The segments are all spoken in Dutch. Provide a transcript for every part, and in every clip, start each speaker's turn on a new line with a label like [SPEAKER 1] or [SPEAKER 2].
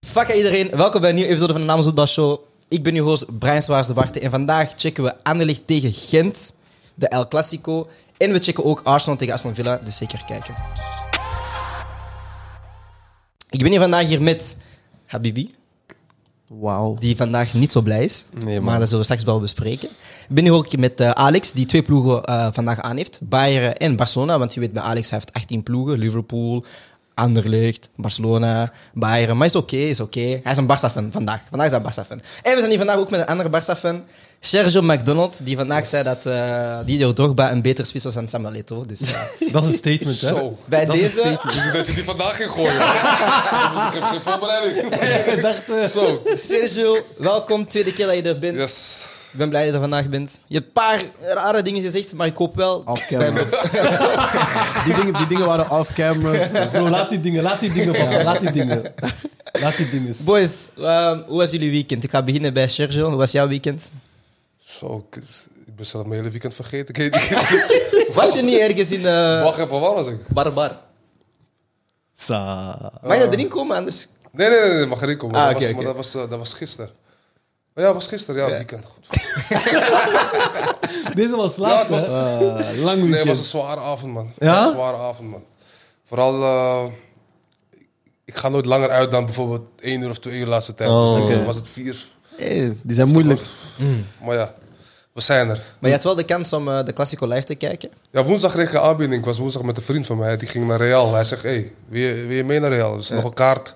[SPEAKER 1] Fuck iedereen, welkom bij een nieuwe episode van de Namensvoetbal Show. Ik ben uw host Brian Swaars de Barte en vandaag checken we Anderlecht tegen Gent, de El Clasico. En we checken ook Arsenal tegen Aston Villa, dus zeker kijken. Ik ben hier vandaag hier met Habibi,
[SPEAKER 2] Wauw.
[SPEAKER 1] die vandaag niet zo blij is,
[SPEAKER 2] Nee, man.
[SPEAKER 1] maar dat zullen we straks wel bespreken. Ik ben hier ook met eh, Alex, die twee ploegen eh, vandaag aan heeft, Bayern en Barcelona, want je weet bij Alex, hij heeft 18 ploegen, Liverpool... Anderlecht, Barcelona, Bayern. Maar is oké, is oké. Hij is een Barça-fan vandaag. Vandaag is hij een Barça-fan. En we zijn hier vandaag ook met een andere Barça-fan. Sergio McDonald, die vandaag zei dat eh Didier Drogba een betere spits was dan Samuel Eto'o. Dus eh,
[SPEAKER 2] Dat is een statement, hè?
[SPEAKER 3] Zo.
[SPEAKER 1] bij
[SPEAKER 2] Dat is een
[SPEAKER 1] deze...
[SPEAKER 2] statement.
[SPEAKER 3] Dus ik dat je die vandaag ging gooien. Dan moet ik heb geen voorbereiding.
[SPEAKER 1] Ik dacht, eh,
[SPEAKER 3] Zo.
[SPEAKER 1] Sergio, welkom. Tweede keer dat je er bent.
[SPEAKER 3] Yes.
[SPEAKER 1] Ik ben blij dat je er vandaag bent. Je hebt een paar rare dingen gezegd, maar ik hoop wel...
[SPEAKER 4] Off-camera. die, dingen, die dingen waren off-camera.
[SPEAKER 2] Bro, laat die dingen, laat die dingen, papa, laat die dingen. Laat die dingen.
[SPEAKER 1] Boys, eh, hoe was jullie weekend? Ik ga beginnen bij Sergio. Hoe was jouw weekend?
[SPEAKER 3] Zo, ik, ik ben zelf mijn hele weekend vergeten. Ik, ik,
[SPEAKER 1] Was je niet ergens in eh
[SPEAKER 3] wacht even, wat was ik?
[SPEAKER 1] Barbar?
[SPEAKER 2] Sa.
[SPEAKER 1] Mag je
[SPEAKER 4] Eh.
[SPEAKER 1] dat erin komen, anders...
[SPEAKER 3] Nee, nee, nee, nee mag er niet komen.
[SPEAKER 1] Ah,
[SPEAKER 3] dat,
[SPEAKER 1] oké,
[SPEAKER 3] was,
[SPEAKER 1] oké.
[SPEAKER 3] maar dat, was, eh, dat was gisteren. Maar ja, dat was gisteren, ja, het weekend. Goed.
[SPEAKER 2] Deze was
[SPEAKER 3] Ja,
[SPEAKER 2] laat,
[SPEAKER 3] het was-
[SPEAKER 2] hè? Ah, lang
[SPEAKER 3] Nee, het was een
[SPEAKER 2] weekend.
[SPEAKER 3] zware avond, man. Het
[SPEAKER 2] Ja?
[SPEAKER 3] was Een zware avond, man. Vooral, eh, ik ga nooit langer uit dan bijvoorbeeld één uur of twee uur laatste tijd.
[SPEAKER 2] Oh.
[SPEAKER 3] Dus dan
[SPEAKER 2] Oké.
[SPEAKER 3] was het vier.
[SPEAKER 4] Hey, Eh, die zijn moeilijk.
[SPEAKER 3] Maar ja, we zijn er.
[SPEAKER 1] Maar je had wel de kans om eh, de Classico live te kijken.
[SPEAKER 3] Ja, woensdag kreeg ik een aanbieding. Ik was woensdag met een vriend van mij. Die ging naar Real. Hij zegt, hé, hey, wil, je- wil je mee naar Real? Dus nog een kaart.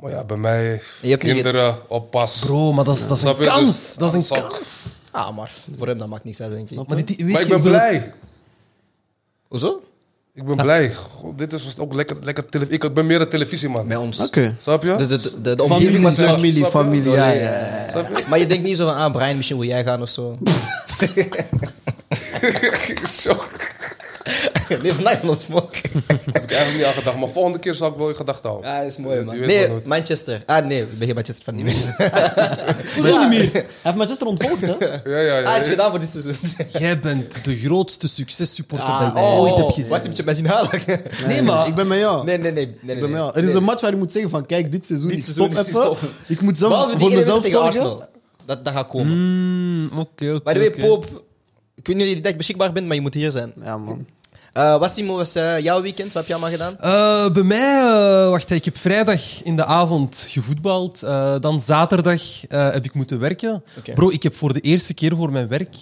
[SPEAKER 3] Maar ja, bij mij,
[SPEAKER 1] Je hebt niet
[SPEAKER 3] kinderen, oppas.
[SPEAKER 2] Bro, maar dat is, dat is een
[SPEAKER 3] Snap je?
[SPEAKER 2] kans.
[SPEAKER 3] Dus-
[SPEAKER 2] Dat is een
[SPEAKER 3] dat is ook-
[SPEAKER 2] kans.
[SPEAKER 1] Ah, maar voor hem dat maakt niks uit, denk ik.
[SPEAKER 2] Maar, dit, weet
[SPEAKER 3] maar
[SPEAKER 2] je,
[SPEAKER 3] ik ben
[SPEAKER 2] wil-
[SPEAKER 3] blij.
[SPEAKER 1] Hoezo?
[SPEAKER 3] Ik ben blij. Goh, dit is was ook lekker, lekker televisie. Ik ben meer een televisieman.
[SPEAKER 1] Bij ons.
[SPEAKER 4] Oké.
[SPEAKER 3] Snap je?
[SPEAKER 1] De, de, de, de, de
[SPEAKER 4] Familie,
[SPEAKER 1] omgeving was
[SPEAKER 3] wel-
[SPEAKER 4] familie,
[SPEAKER 3] snap je?
[SPEAKER 4] familie. Ja, ja, ja.
[SPEAKER 3] Snap je?
[SPEAKER 1] Maar je denkt niet zo van, ah Brian, misschien wil jij gaan of zo.
[SPEAKER 3] Zo.
[SPEAKER 1] Live life no smoke.
[SPEAKER 3] heb ik eigenlijk niet aan gedacht. Maar volgende keer zal ik wel in gedachten houden.
[SPEAKER 1] Ja, dat is mooi,
[SPEAKER 3] Je
[SPEAKER 1] man.
[SPEAKER 3] weet
[SPEAKER 1] Nee,
[SPEAKER 3] maar nooit.
[SPEAKER 1] Manchester. Ah, nee, ik ben geen Manchester van niet meer.
[SPEAKER 2] Hoezo niet meer? Hij heeft Manchester ontvolgd, hè?
[SPEAKER 3] Ja, ja,
[SPEAKER 1] Ah,
[SPEAKER 3] ja.
[SPEAKER 1] is gedaan voor dit seizoen.
[SPEAKER 2] Jij bent de grootste successupporter
[SPEAKER 1] Ah,
[SPEAKER 2] dat ik ooit heb gezien.
[SPEAKER 1] Was je met je benzine halen? Nee,
[SPEAKER 2] Nee, maar...
[SPEAKER 4] Ik ben met jou.
[SPEAKER 1] nee, nee. nee, nee, nee,
[SPEAKER 4] Ik ben met jou. Er is
[SPEAKER 1] Nee.
[SPEAKER 4] een match waar je moet zeggen van, kijk, dit seizoen,
[SPEAKER 1] Dit
[SPEAKER 4] ik
[SPEAKER 1] seizoen
[SPEAKER 4] stop
[SPEAKER 1] is die
[SPEAKER 4] even.
[SPEAKER 1] stop.
[SPEAKER 4] Ik moet zelf
[SPEAKER 1] Behalve die
[SPEAKER 4] voor
[SPEAKER 1] ene wedstrijd
[SPEAKER 4] mezelf
[SPEAKER 1] tegen
[SPEAKER 4] zorgen.
[SPEAKER 1] Arsenal. Dat, dat gaat komen.
[SPEAKER 2] Mm, Oké, oké,
[SPEAKER 1] By the way,
[SPEAKER 2] oké.
[SPEAKER 1] Poop, ik weet niet of je die dag beschikbaar bent, maar je moet hier zijn.
[SPEAKER 4] Ja, man.
[SPEAKER 1] Eh Wassimo, was eh, jouw weekend? Wat heb je allemaal gedaan?
[SPEAKER 2] Eh, bij mij, eh, wacht, ik heb vrijdag in de avond gevoetbald. Eh, dan zaterdag eh, heb ik moeten werken.
[SPEAKER 1] Oké.
[SPEAKER 2] Bro, ik heb voor de eerste keer voor mijn werk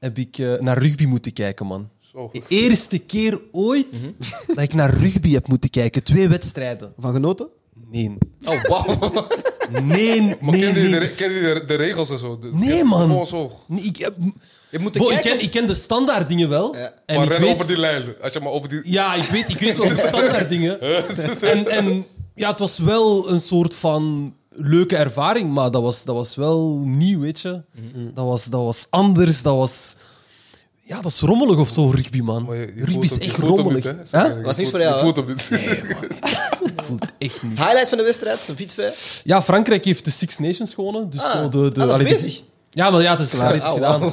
[SPEAKER 2] heb ik, eh, naar rugby moeten kijken, man.
[SPEAKER 3] Zo.
[SPEAKER 2] De eerste keer ooit
[SPEAKER 1] Mhm.
[SPEAKER 2] dat ik naar rugby heb moeten kijken. Twee wedstrijden.
[SPEAKER 4] Van genoten?
[SPEAKER 2] Nee.
[SPEAKER 1] Oh, wauw.
[SPEAKER 2] Nee, nee,
[SPEAKER 3] Maar kennen jullie de,
[SPEAKER 2] nee.
[SPEAKER 3] re- kennen jullie de, de regels en zo? De-
[SPEAKER 2] Nee,
[SPEAKER 3] ja,
[SPEAKER 2] man.
[SPEAKER 3] Gewoon zo.
[SPEAKER 2] Nee, ik, heb-
[SPEAKER 1] Je moet er
[SPEAKER 2] Bro, ik,
[SPEAKER 1] kijken.
[SPEAKER 2] ken, ik ken de standaard dingen wel.
[SPEAKER 1] Ja.
[SPEAKER 2] En
[SPEAKER 3] maar
[SPEAKER 2] ik
[SPEAKER 3] ren
[SPEAKER 2] weet-
[SPEAKER 3] over die lijn. Als je maar over die...
[SPEAKER 2] Ja, ik weet, ik weet wel de standaard dingen. En, en ja, het was wel een soort van leuke ervaring, maar dat was, dat was wel nieuw, weet je. Dat, was, dat was anders, dat was... Ja, dat is rommelig of zo, rugby, man.
[SPEAKER 3] Maar je- je voelt
[SPEAKER 2] rugby is
[SPEAKER 3] hem- je
[SPEAKER 2] echt
[SPEAKER 3] voelt hem niet,
[SPEAKER 2] rommelig.
[SPEAKER 3] hè?
[SPEAKER 2] Hè?
[SPEAKER 3] Zeg eigenlijk,
[SPEAKER 1] Was
[SPEAKER 3] je
[SPEAKER 1] niet
[SPEAKER 3] voelt-
[SPEAKER 1] voor jou,
[SPEAKER 3] Je voelt hem niet.
[SPEAKER 2] Ik voel het echt niet.
[SPEAKER 1] Highlights van de wedstrijd, zo'n fietsvijf.
[SPEAKER 2] Ja, Frankrijk heeft de Six Nations gewonnen. Dus
[SPEAKER 1] Ah,
[SPEAKER 2] zo de, de,
[SPEAKER 1] ah, dat is
[SPEAKER 2] allee, de-
[SPEAKER 1] bezig.
[SPEAKER 2] ja, maar ja, het is klaar.
[SPEAKER 1] Ah,
[SPEAKER 2] gedaan.
[SPEAKER 1] wauw.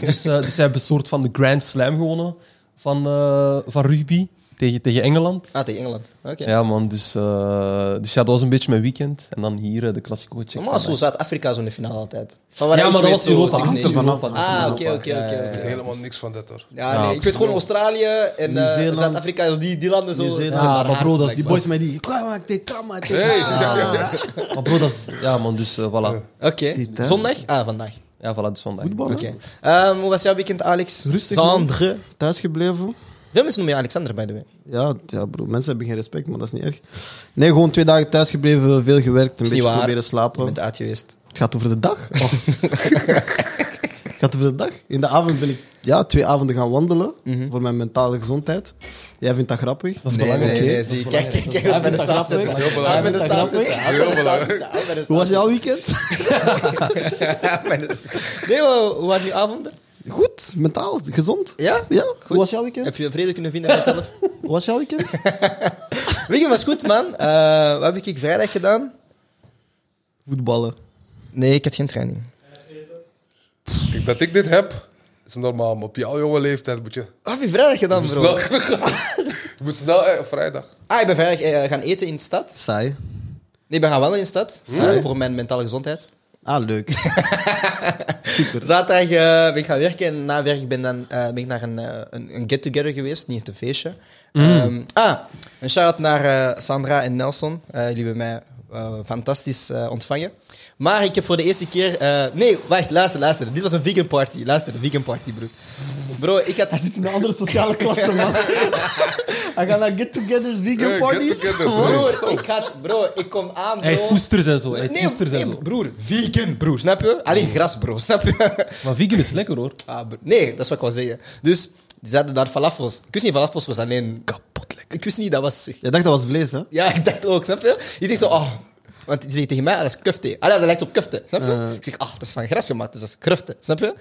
[SPEAKER 2] Dus, eh, dus ze hebben een soort van de Grand Slam gewonnen van, eh, van rugby tegen, tegen Engeland.
[SPEAKER 1] Ah, tegen Engeland. Oké.
[SPEAKER 2] Ja, man. Dus, eh, dus ja, dat was een beetje mijn weekend. En dan hier eh, de Classico check.
[SPEAKER 1] Normaal is zo Zuid-Afrika zo'n finale altijd. Van waar
[SPEAKER 2] Ja,
[SPEAKER 1] ik
[SPEAKER 2] maar dat
[SPEAKER 1] weet
[SPEAKER 2] was
[SPEAKER 1] zo
[SPEAKER 2] Europa.
[SPEAKER 1] Six
[SPEAKER 2] Hangt er
[SPEAKER 1] Nations.
[SPEAKER 4] vanaf.
[SPEAKER 1] Ah, oké, oké, oké.
[SPEAKER 3] Ik
[SPEAKER 1] oké.
[SPEAKER 3] weet helemaal niks van dat, hoor.
[SPEAKER 1] Ja,
[SPEAKER 2] Ja,
[SPEAKER 1] nee, ik weet gewoon Australië en eh,
[SPEAKER 4] Nieuw-Zeeland.
[SPEAKER 1] Zuid-Afrika, die, die landen zo.
[SPEAKER 4] Nieuw-Zeeland.
[SPEAKER 1] zijn
[SPEAKER 2] Ja, Ah, maar
[SPEAKER 1] hard,
[SPEAKER 2] bro, dat is
[SPEAKER 4] Die
[SPEAKER 1] blijkbaar.
[SPEAKER 4] boys met die... Kom maar, dit, kom maar, dit.
[SPEAKER 3] Hey.
[SPEAKER 2] Maar bro, dat is... Ja, man. Dus eh, voilà.
[SPEAKER 1] Oké.
[SPEAKER 4] Die tijd.
[SPEAKER 1] Zondag? Ah, vandaag.
[SPEAKER 2] Ja, voilà. Dus vandaag.
[SPEAKER 4] Voetballen?
[SPEAKER 1] Oké. Ehm, hoe was jouw weekend, Alex?
[SPEAKER 4] Rustig, man.
[SPEAKER 1] Sandre.
[SPEAKER 4] Thuis gebleven?
[SPEAKER 1] Veel mensen noemen je Alexander, by the way.
[SPEAKER 4] Ja, ja, bro. Mensen hebben geen respect, maar dat is niet erg. Nee, gewoon twee dagen thuis gebleven, veel gewerkt, een
[SPEAKER 1] niet
[SPEAKER 4] beetje
[SPEAKER 1] waar. Oh.
[SPEAKER 4] proberen
[SPEAKER 1] Je
[SPEAKER 4] slapen.
[SPEAKER 1] bent uit geweest.
[SPEAKER 4] Het gaat over de dag. het gaat over de dag. In de avond ben ik ja, twee avonden gaan wandelen
[SPEAKER 1] Mhm.
[SPEAKER 4] voor mijn mentale gezondheid. Jij vindt dat grappig.
[SPEAKER 2] Dat is
[SPEAKER 1] Nee,
[SPEAKER 2] belangrijk.
[SPEAKER 1] nee,
[SPEAKER 2] hè?
[SPEAKER 1] nee, zie, Kijk, kijk, kijk. Hij bij de staat zitten.
[SPEAKER 3] heel
[SPEAKER 1] Hij bij
[SPEAKER 3] belangrijk.
[SPEAKER 1] de staat zitten. Hij bij de staat zitten. Hij bij de
[SPEAKER 4] Hoe
[SPEAKER 1] staat
[SPEAKER 4] was jouw weekend?
[SPEAKER 1] zitten. Nee, maar hoe waren die avonden?
[SPEAKER 4] Goed, mentaal, gezond.
[SPEAKER 1] Ja?
[SPEAKER 4] Ja, hoe was jouw weekend?
[SPEAKER 1] Heb je vrede kunnen vinden aan jezelf?
[SPEAKER 4] Hoe was jouw weekend?
[SPEAKER 1] Weekend was goed, man. Eh, wat heb ik vrijdag gedaan?
[SPEAKER 4] Voetballen.
[SPEAKER 1] Nee, ik had geen training.
[SPEAKER 3] Kijk, dat ik dit heb, is normaal. Maar op jouw jonge leeftijd moet je
[SPEAKER 1] Wat heb je vrijdag gedaan, bro?
[SPEAKER 3] snel... je moet snel... eh, vrijdag.
[SPEAKER 1] Ah, ik ben vrijdag eh, gaan eten in de stad.
[SPEAKER 4] Saai.
[SPEAKER 1] Nee, ik ben gaan wandelen in de stad.
[SPEAKER 2] Hm?
[SPEAKER 1] eh, voor mijn mentale gezondheid.
[SPEAKER 4] Ah, leuk. Super.
[SPEAKER 1] Zaterdag eh, ben ik gaan werken en na werk ben, dan, eh, ben ik naar een, eh, een, een get-together geweest, niet echt een feestje.
[SPEAKER 2] Hm.
[SPEAKER 1] Ehm, ah, een shout-out naar eh, Sandra en Nelson. Eh, jullie hebben mij eh, fantastisch eh, ontvangen. Maar ik heb voor de eerste keer... eh, nee, wacht, luister, luister. Dit was een vegan party. Luister, een vegan party, bro. Bro, ik had...
[SPEAKER 4] Een andere sociale klasse, man. Hij gaat naar get-togethers, vegan
[SPEAKER 3] Eh,
[SPEAKER 4] parties.
[SPEAKER 3] get-togethers,
[SPEAKER 4] Wat?
[SPEAKER 1] Bro, ik had... Bro, ik kom aan, bro.
[SPEAKER 2] Hij eet oesters en zo. Hij eet
[SPEAKER 1] Nee,
[SPEAKER 2] oesters en
[SPEAKER 1] nee,
[SPEAKER 2] zo.
[SPEAKER 1] broer. Vegan, broer. Snap je? Alleen gras, bro. Snap je?
[SPEAKER 2] Maar vegan is lekker hoor.
[SPEAKER 1] Ah, bro- nee, dat is wat ik wil zeggen. Dus die zaten daar falafels. Ik wist niet, falafels was alleen... Kapot lekker. Ik wist niet, dat was...
[SPEAKER 4] Je dacht dat was vlees, hè?
[SPEAKER 1] Ja, ik dacht ook, snap je? Ik dacht zo, oh... Want die zegt tegen mij, ah, dat is kufte. Ah, ja, dat lijkt op kufte, snap je?
[SPEAKER 2] Eh.
[SPEAKER 1] Ik zeg, ah, dat is van gras gemaakt, dus dat is krufte, snap je?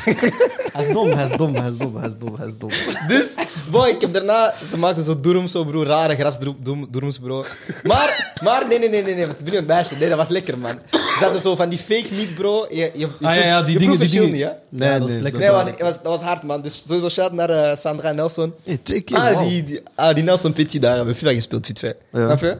[SPEAKER 4] Hij is dom, hij is dom, hij is dom, hij is dom, hij is dom.
[SPEAKER 1] Dus, boy, ik heb daarna... Ze maakten zo doeroms, zo, bro. Rare grasdoeroms, bro. Maar, maar, nee, nee, nee, nee, nee. Want ik ben niet een meisje. Nee, dat was lekker, man. Ze hadden zo van die fake meat, bro. Je, je, je
[SPEAKER 2] Ah, ja, ja,
[SPEAKER 1] proeft-
[SPEAKER 2] die
[SPEAKER 1] je
[SPEAKER 2] dingen,
[SPEAKER 1] proeft
[SPEAKER 2] die
[SPEAKER 1] verschil
[SPEAKER 2] dingen.
[SPEAKER 1] niet, hè?
[SPEAKER 4] Nee,
[SPEAKER 2] Ja, dat is
[SPEAKER 4] nee.
[SPEAKER 2] lekker.
[SPEAKER 1] Nee,
[SPEAKER 4] is
[SPEAKER 1] dat
[SPEAKER 4] waar.
[SPEAKER 1] was, was, dat was hard, man. Dus sowieso shout naar eh, Sandra en Nelson.
[SPEAKER 4] Hey, twee keer,
[SPEAKER 1] Ah,
[SPEAKER 4] wauw.
[SPEAKER 1] die, die, ah, die Nelson Pitti daar hebben we FIFA gespeeld, FIFA.
[SPEAKER 4] Ja.
[SPEAKER 1] Snap je?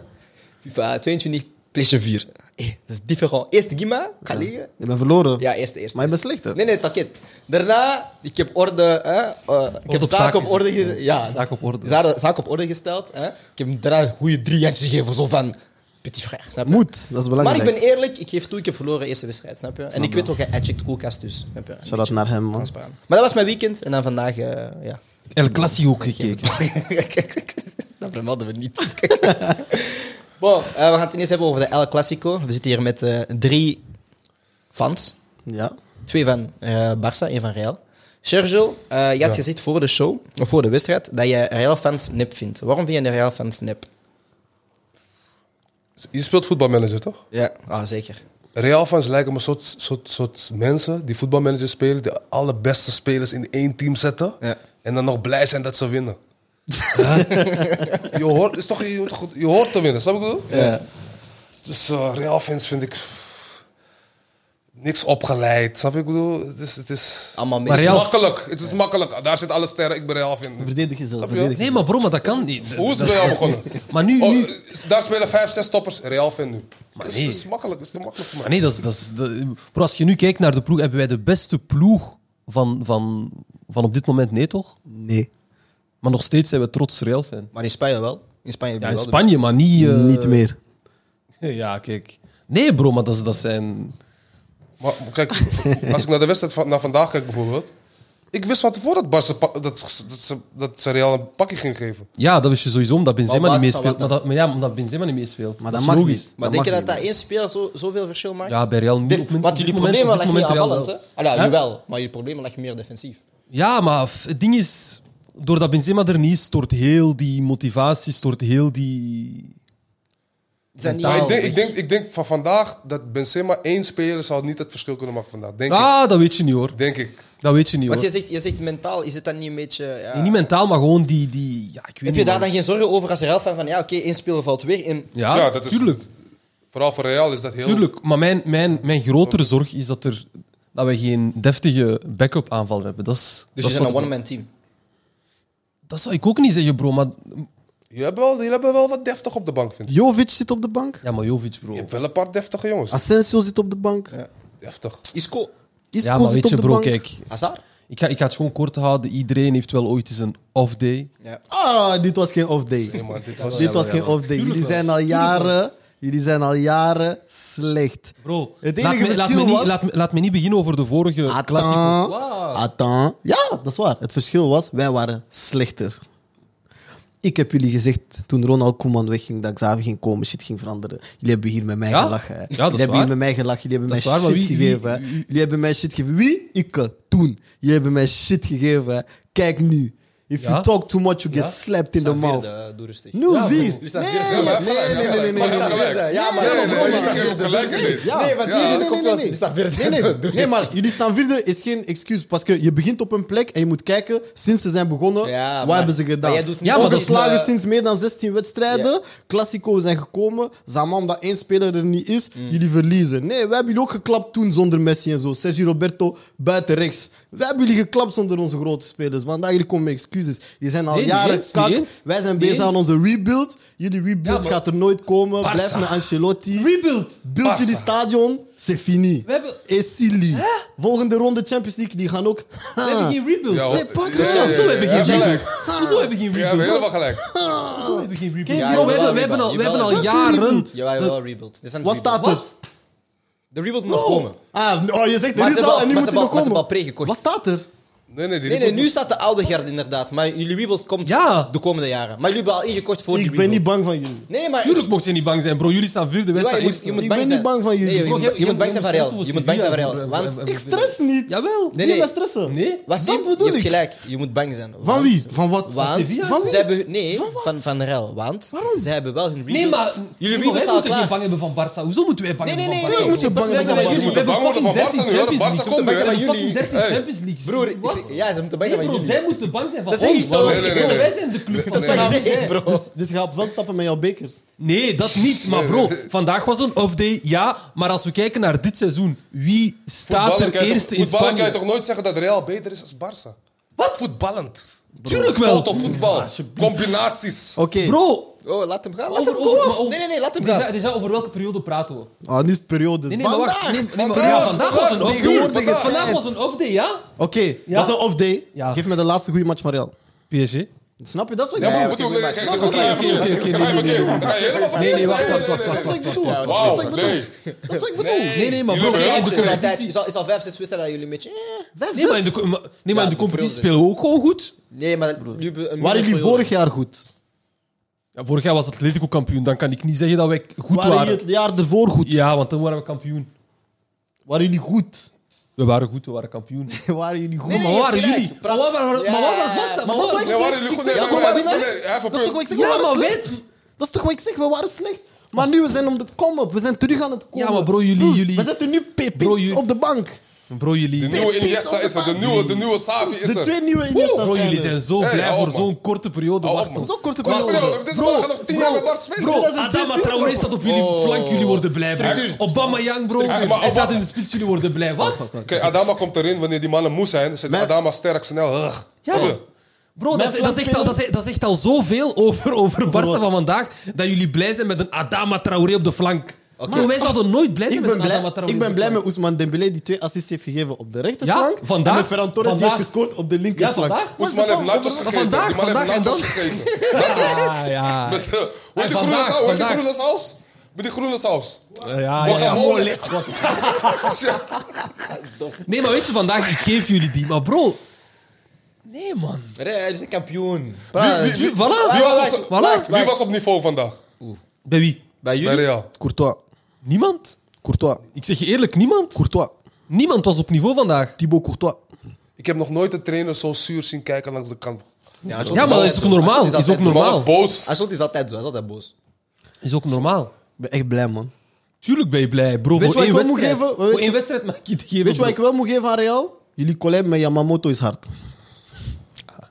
[SPEAKER 1] FIFA 22, PlayStation 4. Hey, dat is different. Eerst Gima, ga liggen.
[SPEAKER 4] Je bent verloren.
[SPEAKER 1] Ja, eerst, eerst.
[SPEAKER 4] Maar je bent slecht, hè?
[SPEAKER 1] Nee, nee, takket. Daarna, ik heb orde... Hè, eh, ik heb
[SPEAKER 2] op
[SPEAKER 1] zaak
[SPEAKER 2] zaak
[SPEAKER 1] op
[SPEAKER 2] is
[SPEAKER 1] orde
[SPEAKER 2] het,
[SPEAKER 1] gesteld. Ja,
[SPEAKER 2] Zaak op orde.
[SPEAKER 1] Zaak, zaak op orde gesteld. Hè. Ik heb daarna een goede drie handjes gegeven, zo van... Petit frère, snap je?
[SPEAKER 4] Moet, dat is
[SPEAKER 1] Maar
[SPEAKER 4] belangrijk.
[SPEAKER 1] ik ben eerlijk, ik geef toe, ik heb verloren eerste wedstrijd, snap je? en ik weet ook, hij checkt koelkast, dus... Snap je?
[SPEAKER 4] Shout-out naar hem, man.
[SPEAKER 1] Transparant. Maar dat was mijn weekend en dan vandaag, eh, ja.
[SPEAKER 2] El Clasico gekeken.
[SPEAKER 1] dat vermelden we niet. bon, eh, we gaan het eerst hebben over de El Clasico. We zitten hier met eh, drie fans.
[SPEAKER 4] Ja.
[SPEAKER 1] Twee van eh Barça, één van Real. Sergio, eh, je had gezegd voor de show, of voor de wedstrijd, dat je Real-fans nep vindt. Waarom vind je de Real-fans nep?
[SPEAKER 3] Je speelt voetbalmanager, toch?
[SPEAKER 1] Ja, ah, zeker.
[SPEAKER 3] Real-fans lijken me soort, soort, soort mensen die voetbalmanager spelen, die alle beste spelers in één team zetten.
[SPEAKER 1] Ja.
[SPEAKER 3] En dan nog blij zijn dat ze winnen. je, hoort, is toch, je, moet goed- je hoort te winnen, snap ik wat ik bedoel?
[SPEAKER 4] Ja.
[SPEAKER 3] Dus eh, Real-fans vind ik pff, niks opgeleid, snap ik wat ik bedoel? Het is, het is,
[SPEAKER 1] Allemaal
[SPEAKER 2] Maar
[SPEAKER 1] mensen.
[SPEAKER 2] Real-
[SPEAKER 3] makkelijk, het is makkelijk. Daar zit alle sterren, ik ben Real-fan.
[SPEAKER 4] Verdedig jezelf.
[SPEAKER 3] je?
[SPEAKER 4] Verdedig
[SPEAKER 2] Nee, maar bro, maar dat kan niet.
[SPEAKER 3] Hoe is het
[SPEAKER 2] Dat-
[SPEAKER 3] bij jou
[SPEAKER 2] dat-
[SPEAKER 3] begonnen?
[SPEAKER 2] Maar nu,
[SPEAKER 3] Oh,
[SPEAKER 2] nu...
[SPEAKER 3] daar spelen vijf, zes toppers, Real-fan nu. Maar
[SPEAKER 2] nee.
[SPEAKER 3] Het is makkelijk, het is te makkelijk. man.
[SPEAKER 2] Maar nee, dat is, dat is, dat- bro, als je nu kijkt naar de ploeg, hebben wij de beste ploeg van, van, van op dit moment, nee toch?
[SPEAKER 4] Nee.
[SPEAKER 2] Maar nog steeds zijn we trots Real-fan.
[SPEAKER 1] Maar in Spanje wel. In Spanje, heb je
[SPEAKER 2] Ja, in
[SPEAKER 1] wel dus. de
[SPEAKER 2] Spanje, maar niet... eh,
[SPEAKER 4] Niet meer.
[SPEAKER 2] Ja, kijk. Nee, bro, maar dat, is- dat zijn...
[SPEAKER 3] Maar kijk, als ik naar de wedstrijd van naar vandaag kijk bijvoorbeeld. Ik wist van tevoren dat, Barca, pa- dat, dat, ze, dat ze Real een pakje ging geven.
[SPEAKER 2] Ja, dat wist je sowieso, omdat
[SPEAKER 1] Maar
[SPEAKER 2] Benzema
[SPEAKER 1] waar
[SPEAKER 2] niet
[SPEAKER 1] is
[SPEAKER 2] meespeelt. Maar,
[SPEAKER 1] Sawata?
[SPEAKER 2] dat- maar ja, omdat Benzema niet meespeelt.
[SPEAKER 4] Maar
[SPEAKER 2] dat
[SPEAKER 4] dat
[SPEAKER 2] is
[SPEAKER 4] mag
[SPEAKER 2] logisch.
[SPEAKER 4] niet.
[SPEAKER 1] Maar
[SPEAKER 4] Dat
[SPEAKER 1] denk je
[SPEAKER 4] mag
[SPEAKER 1] dat dat
[SPEAKER 4] niet.
[SPEAKER 1] één speler zo, zoveel verschil maakt?
[SPEAKER 2] Ja, bij Real niet.
[SPEAKER 1] Def-
[SPEAKER 2] Op dit
[SPEAKER 1] Want jullie
[SPEAKER 2] moment-
[SPEAKER 1] problemen
[SPEAKER 2] op dit
[SPEAKER 1] lag niet
[SPEAKER 2] moment Real
[SPEAKER 1] aanvallend, hè?
[SPEAKER 2] wel.
[SPEAKER 1] Ah, ja,
[SPEAKER 2] Hè?
[SPEAKER 1] jawel, maar jullie problemen lag meer defensief.
[SPEAKER 2] Ja, maar f- het ding is... Doordat Benzema er niet is, stort heel die motivatie, stort heel die...
[SPEAKER 1] Zijn
[SPEAKER 3] Maar
[SPEAKER 1] niet-
[SPEAKER 3] Nou, ik, denk, ik, denk, ik denk van vandaag dat Benzema één speler zou niet het verschil kunnen maken vandaag. Denk ik.
[SPEAKER 2] Ah, dat weet je niet hoor.
[SPEAKER 3] Denk ik.
[SPEAKER 2] Dat weet je niet hoor.
[SPEAKER 1] Want je zegt, je zegt mentaal, is het dan niet een beetje... Ja.
[SPEAKER 2] Nee, niet mentaal, maar gewoon die... die ja, ik weet
[SPEAKER 1] Heb
[SPEAKER 2] niet,
[SPEAKER 1] je daar
[SPEAKER 2] man.
[SPEAKER 1] dan geen zorgen over als Real fan van, ja oké, één speler valt weer in... Dus
[SPEAKER 2] Ja,
[SPEAKER 3] Ja, dat is-
[SPEAKER 2] tuurlijk.
[SPEAKER 3] Vooral voor Real is dat heel...
[SPEAKER 2] tuurlijk. Maar mijn, mijn, mijn grotere zorg is dat, er, dat we geen deftige backup aanval hebben. Dat is,
[SPEAKER 1] Dus
[SPEAKER 2] dat,
[SPEAKER 1] je
[SPEAKER 2] is
[SPEAKER 1] bent een
[SPEAKER 2] wat-
[SPEAKER 1] one-man team.
[SPEAKER 2] dat zou ik ook niet zeggen, bro. Maar,
[SPEAKER 3] Je hebt wel, jullie hebben wel wat deftig op de bank, vind ik.
[SPEAKER 4] Jovic zit op de bank.
[SPEAKER 2] ja, maar Jovic, bro.
[SPEAKER 3] Je hebt wel een paar deftige jongens.
[SPEAKER 4] Asensio zit op de bank.
[SPEAKER 3] Deftig.
[SPEAKER 1] Isco,
[SPEAKER 4] Isco
[SPEAKER 2] ja, maar
[SPEAKER 4] zit
[SPEAKER 2] weet
[SPEAKER 4] op
[SPEAKER 2] je,
[SPEAKER 4] de
[SPEAKER 2] bro,
[SPEAKER 4] bank.
[SPEAKER 2] kijk.
[SPEAKER 1] Hazard?
[SPEAKER 2] Ik ga, ik ga het gewoon kort houden. Iedereen heeft wel ooit eens een off day.
[SPEAKER 1] Ja.
[SPEAKER 4] Ah, dit was geen off day.
[SPEAKER 3] Nee, maar dit was...
[SPEAKER 4] dit was geen off day. Jullie zijn al jaren, jullie zijn al jaren slecht.
[SPEAKER 2] Bro,
[SPEAKER 4] Het enige
[SPEAKER 2] laat, me, laat,
[SPEAKER 4] verschil
[SPEAKER 2] me niet,
[SPEAKER 4] was-
[SPEAKER 2] laat, me, laat me niet beginnen over de vorige klassiekers.
[SPEAKER 4] Attends. Attends. Ja, dat is waar. Het verschil was, wij waren slechter. Ik heb jullie gezegd toen Ronald Koeman wegging dat Xavi ging komen, shit ging veranderen. Jullie hebben hier met mij
[SPEAKER 2] Ja?
[SPEAKER 4] gelachen. hè.
[SPEAKER 2] Ja, dat is
[SPEAKER 4] jullie hebben
[SPEAKER 2] waar.
[SPEAKER 4] hier met mij gelachen, jullie hebben
[SPEAKER 2] Dat
[SPEAKER 4] mij
[SPEAKER 2] is waar, maar
[SPEAKER 4] shit
[SPEAKER 2] wie- wie-
[SPEAKER 4] gegeven. hè. Jullie hebben mij shit gegeven. Wie? Ik. Toen. Jullie hebben mij shit gegeven. hè. Kijk nu. If
[SPEAKER 2] Ja?
[SPEAKER 4] you talk too much, you get
[SPEAKER 2] Ja?
[SPEAKER 4] slapped in the
[SPEAKER 1] Staan
[SPEAKER 4] mouth.
[SPEAKER 1] vierde, eh, doe rustig.
[SPEAKER 4] 0-4. Nee,
[SPEAKER 1] Jullie staan vierde.
[SPEAKER 4] nee,
[SPEAKER 3] Ja, maar
[SPEAKER 4] nee, nee, nee, nee,
[SPEAKER 3] Maar
[SPEAKER 4] nee.
[SPEAKER 1] Ja, maar...
[SPEAKER 3] Nee, nee, nee,
[SPEAKER 4] maar-
[SPEAKER 3] ik heb hem gelijk in dit.
[SPEAKER 4] Ja.
[SPEAKER 1] Nee, want
[SPEAKER 3] Ja.
[SPEAKER 1] hier is een
[SPEAKER 4] Nee, nee, nee,
[SPEAKER 1] kopklas.
[SPEAKER 4] nee.
[SPEAKER 1] Die staan vierde. Dus-
[SPEAKER 4] Nee, nee,
[SPEAKER 1] Doe
[SPEAKER 4] nee, maar jullie staan vierde is geen excuus. Parce que je begint op een plek en je moet kijken, sinds ze zijn begonnen,
[SPEAKER 1] Ja,
[SPEAKER 4] wat
[SPEAKER 1] maar-
[SPEAKER 4] hebben ze gedaan?
[SPEAKER 1] maar jij doet niet-
[SPEAKER 2] Ja, maar dat is,
[SPEAKER 4] Ongeslagen
[SPEAKER 1] eh,
[SPEAKER 4] sinds meer dan 16 wedstrijden. Classico zijn gekomen. Zaman, omdat één speler er niet is,
[SPEAKER 1] Mm.
[SPEAKER 4] jullie verliezen. Nee, wij hebben jullie ook geklapt toen zonder Messi en zo. Sergio Roberto buiten rechts. Wij hebben jullie geklapt zonder onze grote spelers. Vandaag jullie komen met excuses. Je zijn al
[SPEAKER 2] Nee, niet
[SPEAKER 4] jaren
[SPEAKER 2] eens,
[SPEAKER 4] kak.
[SPEAKER 2] niet eens.
[SPEAKER 4] Wij zijn
[SPEAKER 2] Niet
[SPEAKER 4] bezig
[SPEAKER 2] eens.
[SPEAKER 4] aan onze rebuild. Jullie
[SPEAKER 2] Ja,
[SPEAKER 4] rebuild
[SPEAKER 2] maar-
[SPEAKER 4] gaat er nooit komen. Blijf met Ancelotti.
[SPEAKER 2] Rebuild!
[SPEAKER 4] Beeld jullie stadion, c'est fini.
[SPEAKER 2] We hebben-
[SPEAKER 4] Is silly. Volgende ronde Champions League, die gaan ook.
[SPEAKER 2] We hebben geen rebuild.
[SPEAKER 3] Ja, hoor.
[SPEAKER 2] Zeg, pak
[SPEAKER 3] Ja,
[SPEAKER 2] dat,
[SPEAKER 3] ja,
[SPEAKER 2] ja,
[SPEAKER 3] ja,
[SPEAKER 2] Zo
[SPEAKER 3] ja,
[SPEAKER 2] hebben
[SPEAKER 3] ja,
[SPEAKER 2] geen
[SPEAKER 3] gelijk.
[SPEAKER 2] rebuild. Zo hebben geen
[SPEAKER 3] Ja, we hebben
[SPEAKER 2] rebuild.
[SPEAKER 3] helemaal gelijk.
[SPEAKER 2] Zo hebben geen rebuild.
[SPEAKER 4] Kijk,
[SPEAKER 2] We
[SPEAKER 1] jawel,
[SPEAKER 2] hebben- we hebben
[SPEAKER 1] jawel,
[SPEAKER 2] al- we hebben al
[SPEAKER 1] jawel.
[SPEAKER 2] jaren...
[SPEAKER 1] Jawel, wel rebuild. Er zijn
[SPEAKER 4] Wat
[SPEAKER 1] rebuild.
[SPEAKER 4] staat er?
[SPEAKER 2] Wat?
[SPEAKER 1] De rebuild moet nog komen.
[SPEAKER 4] Ah, oh, je zegt
[SPEAKER 1] Maar
[SPEAKER 4] er
[SPEAKER 1] ze hebben
[SPEAKER 4] is al
[SPEAKER 1] al-
[SPEAKER 4] en nu
[SPEAKER 1] maar
[SPEAKER 4] moet
[SPEAKER 1] ze
[SPEAKER 4] hij
[SPEAKER 1] hebben
[SPEAKER 4] nog
[SPEAKER 1] al- maar ze hebben al
[SPEAKER 4] komen.
[SPEAKER 1] pregekocht.
[SPEAKER 4] Wat staat er?
[SPEAKER 3] Nee, nee, die
[SPEAKER 1] Nee, nee, nu staat de oude gerd inderdaad. Maar jullie rebuild komt
[SPEAKER 2] Ja.
[SPEAKER 1] de komende jaren. Maar jullie hebben al ingekort voor die
[SPEAKER 4] Ik ben niet
[SPEAKER 1] rebuild.
[SPEAKER 4] bang van jullie.
[SPEAKER 1] Nee, maar...
[SPEAKER 2] Tuurlijk mocht je niet bang zijn, bro. Jullie staan vierde, wij
[SPEAKER 1] Ja,
[SPEAKER 2] staan
[SPEAKER 1] je moet,
[SPEAKER 2] eerste.
[SPEAKER 1] je moet
[SPEAKER 4] Ik
[SPEAKER 1] bang
[SPEAKER 4] ben
[SPEAKER 1] zijn.
[SPEAKER 4] niet bang van jullie.
[SPEAKER 1] Nee, je,
[SPEAKER 2] Bro,
[SPEAKER 1] moet- je moet bang zijn van
[SPEAKER 2] stress
[SPEAKER 1] Real.
[SPEAKER 2] voor
[SPEAKER 1] Je moet bang zijn
[SPEAKER 2] Sevilla,
[SPEAKER 1] van Real.
[SPEAKER 2] bro.
[SPEAKER 1] Want
[SPEAKER 4] Ik stress niet.
[SPEAKER 2] Jawel.
[SPEAKER 4] Nee,
[SPEAKER 1] nee.
[SPEAKER 4] nee. stressen.
[SPEAKER 2] Nee?
[SPEAKER 1] Wat
[SPEAKER 4] Dat
[SPEAKER 1] zie-
[SPEAKER 4] bedoel
[SPEAKER 1] je hebt
[SPEAKER 4] ik.
[SPEAKER 1] gelijk, je moet bang zijn. Van
[SPEAKER 4] wie? Van wat? Van
[SPEAKER 1] Want,
[SPEAKER 2] Sevilla?
[SPEAKER 1] van
[SPEAKER 4] Van
[SPEAKER 1] ze
[SPEAKER 4] wie?
[SPEAKER 1] hebben, nee, van, van, Rel. Want ze hebben wel hun rebuild.
[SPEAKER 2] Nee, maar
[SPEAKER 1] jullie
[SPEAKER 2] nee, maar
[SPEAKER 1] rebuild
[SPEAKER 2] wij
[SPEAKER 1] staat
[SPEAKER 2] moeten geen
[SPEAKER 1] klaar.
[SPEAKER 2] bang hebben van Barça. Hoezo moeten wij bang
[SPEAKER 1] Nee, nee,
[SPEAKER 2] hebben
[SPEAKER 1] nee.
[SPEAKER 2] van
[SPEAKER 1] nee,
[SPEAKER 2] Barça?
[SPEAKER 1] nee, pas weg bij
[SPEAKER 4] Waarom moeten bang zijn van
[SPEAKER 1] jullie.
[SPEAKER 4] Barca?
[SPEAKER 2] We hebben
[SPEAKER 3] bang worden
[SPEAKER 2] fucking 13 Champions League.
[SPEAKER 3] van Barca nu, hè? Barca komt nu,
[SPEAKER 2] bang
[SPEAKER 3] hè?
[SPEAKER 2] zijn van jullie.
[SPEAKER 1] Jullie-
[SPEAKER 2] 13
[SPEAKER 3] Hey.
[SPEAKER 2] Champions League.
[SPEAKER 1] Broer,
[SPEAKER 2] Broer, wat?
[SPEAKER 1] ik- ja, ze moeten bang
[SPEAKER 2] Nee,
[SPEAKER 1] zijn
[SPEAKER 2] bro,
[SPEAKER 1] van
[SPEAKER 2] zij
[SPEAKER 1] jullie.
[SPEAKER 2] moeten bang zijn van
[SPEAKER 1] Dat
[SPEAKER 2] ons.
[SPEAKER 1] is niet zo.
[SPEAKER 2] bro.
[SPEAKER 3] Nee, nee, nee, nee.
[SPEAKER 2] Wij zijn de club
[SPEAKER 1] Dat is
[SPEAKER 2] van
[SPEAKER 1] wat
[SPEAKER 2] de
[SPEAKER 1] ik zeg, bro.
[SPEAKER 2] naam.
[SPEAKER 4] Dus, dus je gaat op veld stappen met jouw bekers.
[SPEAKER 2] Nee, dat niet. Maar bro, vandaag was een off day, ja. Maar als we kijken naar dit seizoen, wie staat
[SPEAKER 3] Voetballen
[SPEAKER 2] er
[SPEAKER 3] kan je
[SPEAKER 2] eerste
[SPEAKER 3] toch-
[SPEAKER 2] in
[SPEAKER 3] voetballen kan je
[SPEAKER 2] Spanje?
[SPEAKER 3] toch nooit zeggen dat Real beter is als Barça?
[SPEAKER 2] Wat?
[SPEAKER 3] Voetballend.
[SPEAKER 2] Tuurlijk wel.
[SPEAKER 3] Tot voetbal.
[SPEAKER 4] alsjeblieft.
[SPEAKER 3] Combinaties.
[SPEAKER 4] Oké.
[SPEAKER 2] Bro,
[SPEAKER 1] Oh, laat hem gaan. Laat
[SPEAKER 2] over,
[SPEAKER 1] hem
[SPEAKER 2] over,
[SPEAKER 1] komen.
[SPEAKER 2] maar over-
[SPEAKER 1] nee, nee, nee, laat hem
[SPEAKER 2] Deja-
[SPEAKER 1] gaan.
[SPEAKER 2] Deja, over welke periode praten we?
[SPEAKER 4] Ah, nu is het periode.
[SPEAKER 2] Nee, nee, maar wacht.
[SPEAKER 4] Vandaag.
[SPEAKER 2] Nee, nee, maar,
[SPEAKER 3] Vandaag,
[SPEAKER 2] ja, vandaag was een
[SPEAKER 3] vandaag,
[SPEAKER 2] off day.
[SPEAKER 3] vandaag,
[SPEAKER 2] Vandaag,
[SPEAKER 3] vandaag.
[SPEAKER 2] was een off day, ja?
[SPEAKER 4] Oké, dat is een off day.
[SPEAKER 2] Ja.
[SPEAKER 4] Geef me de laatste goede match, Mariel.
[SPEAKER 2] PSG?
[SPEAKER 4] Snap je? Dat is wat
[SPEAKER 3] Ja,
[SPEAKER 4] ik
[SPEAKER 3] maar
[SPEAKER 4] bedoel.
[SPEAKER 3] bedoel, dan ga je zeggen,
[SPEAKER 4] oké,
[SPEAKER 3] dan ga je
[SPEAKER 2] oké, oké,
[SPEAKER 3] verkeerd.
[SPEAKER 2] oké,
[SPEAKER 3] Dan ga je
[SPEAKER 2] nee, nee,
[SPEAKER 3] verkeerd. Dan ga je helemaal verkeerd.
[SPEAKER 2] nee, wacht,
[SPEAKER 3] Nee, nee,
[SPEAKER 2] wacht,
[SPEAKER 3] nee,
[SPEAKER 2] wacht,
[SPEAKER 4] Dat is wat ik bedoel.
[SPEAKER 1] Ja,
[SPEAKER 4] Dat is
[SPEAKER 3] Wauw,
[SPEAKER 4] wat ik bedoel.
[SPEAKER 3] nee.
[SPEAKER 4] Dat is wat ik bedoel.
[SPEAKER 2] Nee, nee, maar
[SPEAKER 3] Jullie
[SPEAKER 2] bro,
[SPEAKER 3] hebben
[SPEAKER 2] in de
[SPEAKER 3] heel veel
[SPEAKER 1] Is al tijd-
[SPEAKER 2] competitie...
[SPEAKER 1] Is al- is al vijf, zes wedstrijden dat jullie een beetje... eh.
[SPEAKER 4] Vijf,
[SPEAKER 2] Nee, maar in de,
[SPEAKER 4] zes.
[SPEAKER 2] co- maar- nee, maar in de
[SPEAKER 1] Ja,
[SPEAKER 2] competitie
[SPEAKER 1] de
[SPEAKER 2] spelen we ook gewoon goed.
[SPEAKER 1] Nee, maar... jullie hebben een
[SPEAKER 4] Waren jullie
[SPEAKER 1] periode.
[SPEAKER 4] vorig jaar goed?
[SPEAKER 2] Ja, vorig jaar was Atletico kampioen, dan kan ik niet zeggen dat wij goed
[SPEAKER 4] Waren jullie
[SPEAKER 2] waren.
[SPEAKER 4] het jaar ervoor goed?
[SPEAKER 2] Ja, want toen waren we kampioen.
[SPEAKER 4] Waren jullie goed?
[SPEAKER 2] We waren goed, we waren kampioen.
[SPEAKER 4] Waren jullie goed?
[SPEAKER 1] Nee, nee,
[SPEAKER 2] Maar
[SPEAKER 1] je
[SPEAKER 2] waren
[SPEAKER 1] hebt gelijk.
[SPEAKER 2] jullie?
[SPEAKER 1] Praat.
[SPEAKER 2] Maar waar- waar- maar waar was-
[SPEAKER 1] Ja.
[SPEAKER 2] was dat?
[SPEAKER 4] Maar dat is wat ik
[SPEAKER 3] Nee,
[SPEAKER 4] zeg.
[SPEAKER 3] waren jullie
[SPEAKER 4] Ik
[SPEAKER 3] goed?
[SPEAKER 4] zeg-
[SPEAKER 3] Nee,
[SPEAKER 4] dat
[SPEAKER 3] nee,
[SPEAKER 4] is wat
[SPEAKER 3] nee,
[SPEAKER 4] ik
[SPEAKER 3] nee,
[SPEAKER 4] zeg.
[SPEAKER 3] nee, hij heeft een
[SPEAKER 4] Dat is toch
[SPEAKER 3] punt.
[SPEAKER 4] wat ik zeg?
[SPEAKER 2] Ja,
[SPEAKER 4] We waren
[SPEAKER 2] maar
[SPEAKER 4] slecht. Dat is toch wat ik zeg? We waren slecht. Maar nu, we zijn op de come-up. We zijn terug aan het komen.
[SPEAKER 2] Ja, maar bro, jullie-
[SPEAKER 4] Hm,
[SPEAKER 2] jullie-
[SPEAKER 4] We zitten nu
[SPEAKER 2] Bro, jullie-
[SPEAKER 4] pepiets op de bank.
[SPEAKER 2] Bro,
[SPEAKER 3] De
[SPEAKER 2] jullie,
[SPEAKER 3] nieuwe Iniesta is er. De nieuwe, de nieuwe Savi is
[SPEAKER 4] De
[SPEAKER 3] er.
[SPEAKER 4] twee nieuwe Iniesta
[SPEAKER 2] bro, jullie
[SPEAKER 4] zijn
[SPEAKER 2] zijn zo
[SPEAKER 3] Hey,
[SPEAKER 2] blij
[SPEAKER 3] hou
[SPEAKER 2] voor
[SPEAKER 3] op, man.
[SPEAKER 2] zo'n korte periode.
[SPEAKER 3] Hou op,
[SPEAKER 2] Wacht
[SPEAKER 3] man.
[SPEAKER 2] op.
[SPEAKER 4] Zo'n korte
[SPEAKER 3] Wat
[SPEAKER 4] periode.
[SPEAKER 3] periode? Dit is wel nog tien jaar met Bart spelen.
[SPEAKER 2] Bro,
[SPEAKER 3] Dat is-
[SPEAKER 2] Adama Traoré staat op jullie
[SPEAKER 1] Oh.
[SPEAKER 2] flank, jullie worden blij. Bro. Obama Young, bro.
[SPEAKER 3] Structuur.
[SPEAKER 2] Hij staat
[SPEAKER 3] Obama-
[SPEAKER 2] in de spits, jullie worden blij. Wat?
[SPEAKER 3] Kijk, Adama komt erin wanneer die mannen moe zijn. Dan zit
[SPEAKER 4] Maar-
[SPEAKER 3] Adama sterk, snel. Ugh.
[SPEAKER 2] Ja,
[SPEAKER 3] Snap je?
[SPEAKER 2] bro. Bro, dat, is-
[SPEAKER 4] flank
[SPEAKER 2] dat, zegt al, dat, zegt, dat zegt al zoveel over, over Barça van vandaag. Dat jullie blij zijn met een Adama Traoré op de flank. Bro, wij zouden nooit blij zijn
[SPEAKER 4] Ik
[SPEAKER 2] met
[SPEAKER 4] ben,
[SPEAKER 2] een Adama
[SPEAKER 4] blij,
[SPEAKER 2] Traoré.
[SPEAKER 4] ik ben
[SPEAKER 2] op de
[SPEAKER 4] blij
[SPEAKER 2] flank.
[SPEAKER 4] met Ousmane Dembélé die twee assists heeft gegeven op de rechterflank.
[SPEAKER 2] Ja, vandaag.
[SPEAKER 4] En met Ferran Torres die
[SPEAKER 2] Vandaag.
[SPEAKER 4] heeft gescoord op de
[SPEAKER 2] Ja,
[SPEAKER 4] linkerflank.
[SPEAKER 2] vandaag.
[SPEAKER 4] Maar
[SPEAKER 3] Oesman
[SPEAKER 4] ze
[SPEAKER 3] heeft
[SPEAKER 4] kan-
[SPEAKER 3] nachos gegeten.
[SPEAKER 2] vandaag,
[SPEAKER 3] die man
[SPEAKER 2] vandaag en
[SPEAKER 3] heeft nachos gegeten. Nachos.
[SPEAKER 2] Ah, ja.
[SPEAKER 3] Met, eh, hoe heet
[SPEAKER 2] vandaag,
[SPEAKER 3] die groene saus? Hoe heet die
[SPEAKER 2] vandaag.
[SPEAKER 3] groene saus? Met die groene saus.
[SPEAKER 2] Ja, Eh, ja, ja.
[SPEAKER 3] Guacamole.
[SPEAKER 2] Nee, maar weet je, vandaag ik geef jullie die. Maar bro... Nee, man.
[SPEAKER 1] Nee, Hij is een kampioen.
[SPEAKER 3] Wie- wie-
[SPEAKER 1] Praat.
[SPEAKER 3] wie-
[SPEAKER 2] Voilà.
[SPEAKER 3] Wie was
[SPEAKER 1] Wacht,
[SPEAKER 3] op-
[SPEAKER 1] wacht,
[SPEAKER 3] Wie
[SPEAKER 1] wacht.
[SPEAKER 3] was op niveau vandaag?
[SPEAKER 2] Bij wie?
[SPEAKER 1] Bij
[SPEAKER 3] Bij
[SPEAKER 1] jullie?
[SPEAKER 3] Real.
[SPEAKER 4] Courtois.
[SPEAKER 2] Niemand.
[SPEAKER 4] Courtois.
[SPEAKER 2] Ik zeg je eerlijk, niemand.
[SPEAKER 4] Courtois.
[SPEAKER 2] Niemand was op niveau vandaag.
[SPEAKER 4] Thibaut Courtois.
[SPEAKER 3] Ik heb nog nooit een trainer zo zuur zien kijken langs de kant.
[SPEAKER 2] Ja, maar dat is toch normaal? Is ook
[SPEAKER 3] De man was
[SPEAKER 2] normaal.
[SPEAKER 3] boos.
[SPEAKER 1] Hij is altijd zo, hij is altijd boos.
[SPEAKER 2] Is ook normaal.
[SPEAKER 4] Ik ben echt blij, man.
[SPEAKER 2] Tuurlijk ben je blij, bro.
[SPEAKER 4] Weet je
[SPEAKER 2] voor
[SPEAKER 4] wat ik
[SPEAKER 2] één
[SPEAKER 4] wel moet
[SPEAKER 2] wedstrijd.
[SPEAKER 4] geven? Weet
[SPEAKER 2] Voor
[SPEAKER 4] je-
[SPEAKER 2] één wedstrijd mag ik je het geven.
[SPEAKER 4] Weet je wat ik
[SPEAKER 2] bro.
[SPEAKER 4] wel moet geven aan Real? Jullie collab met Yamamoto is hard.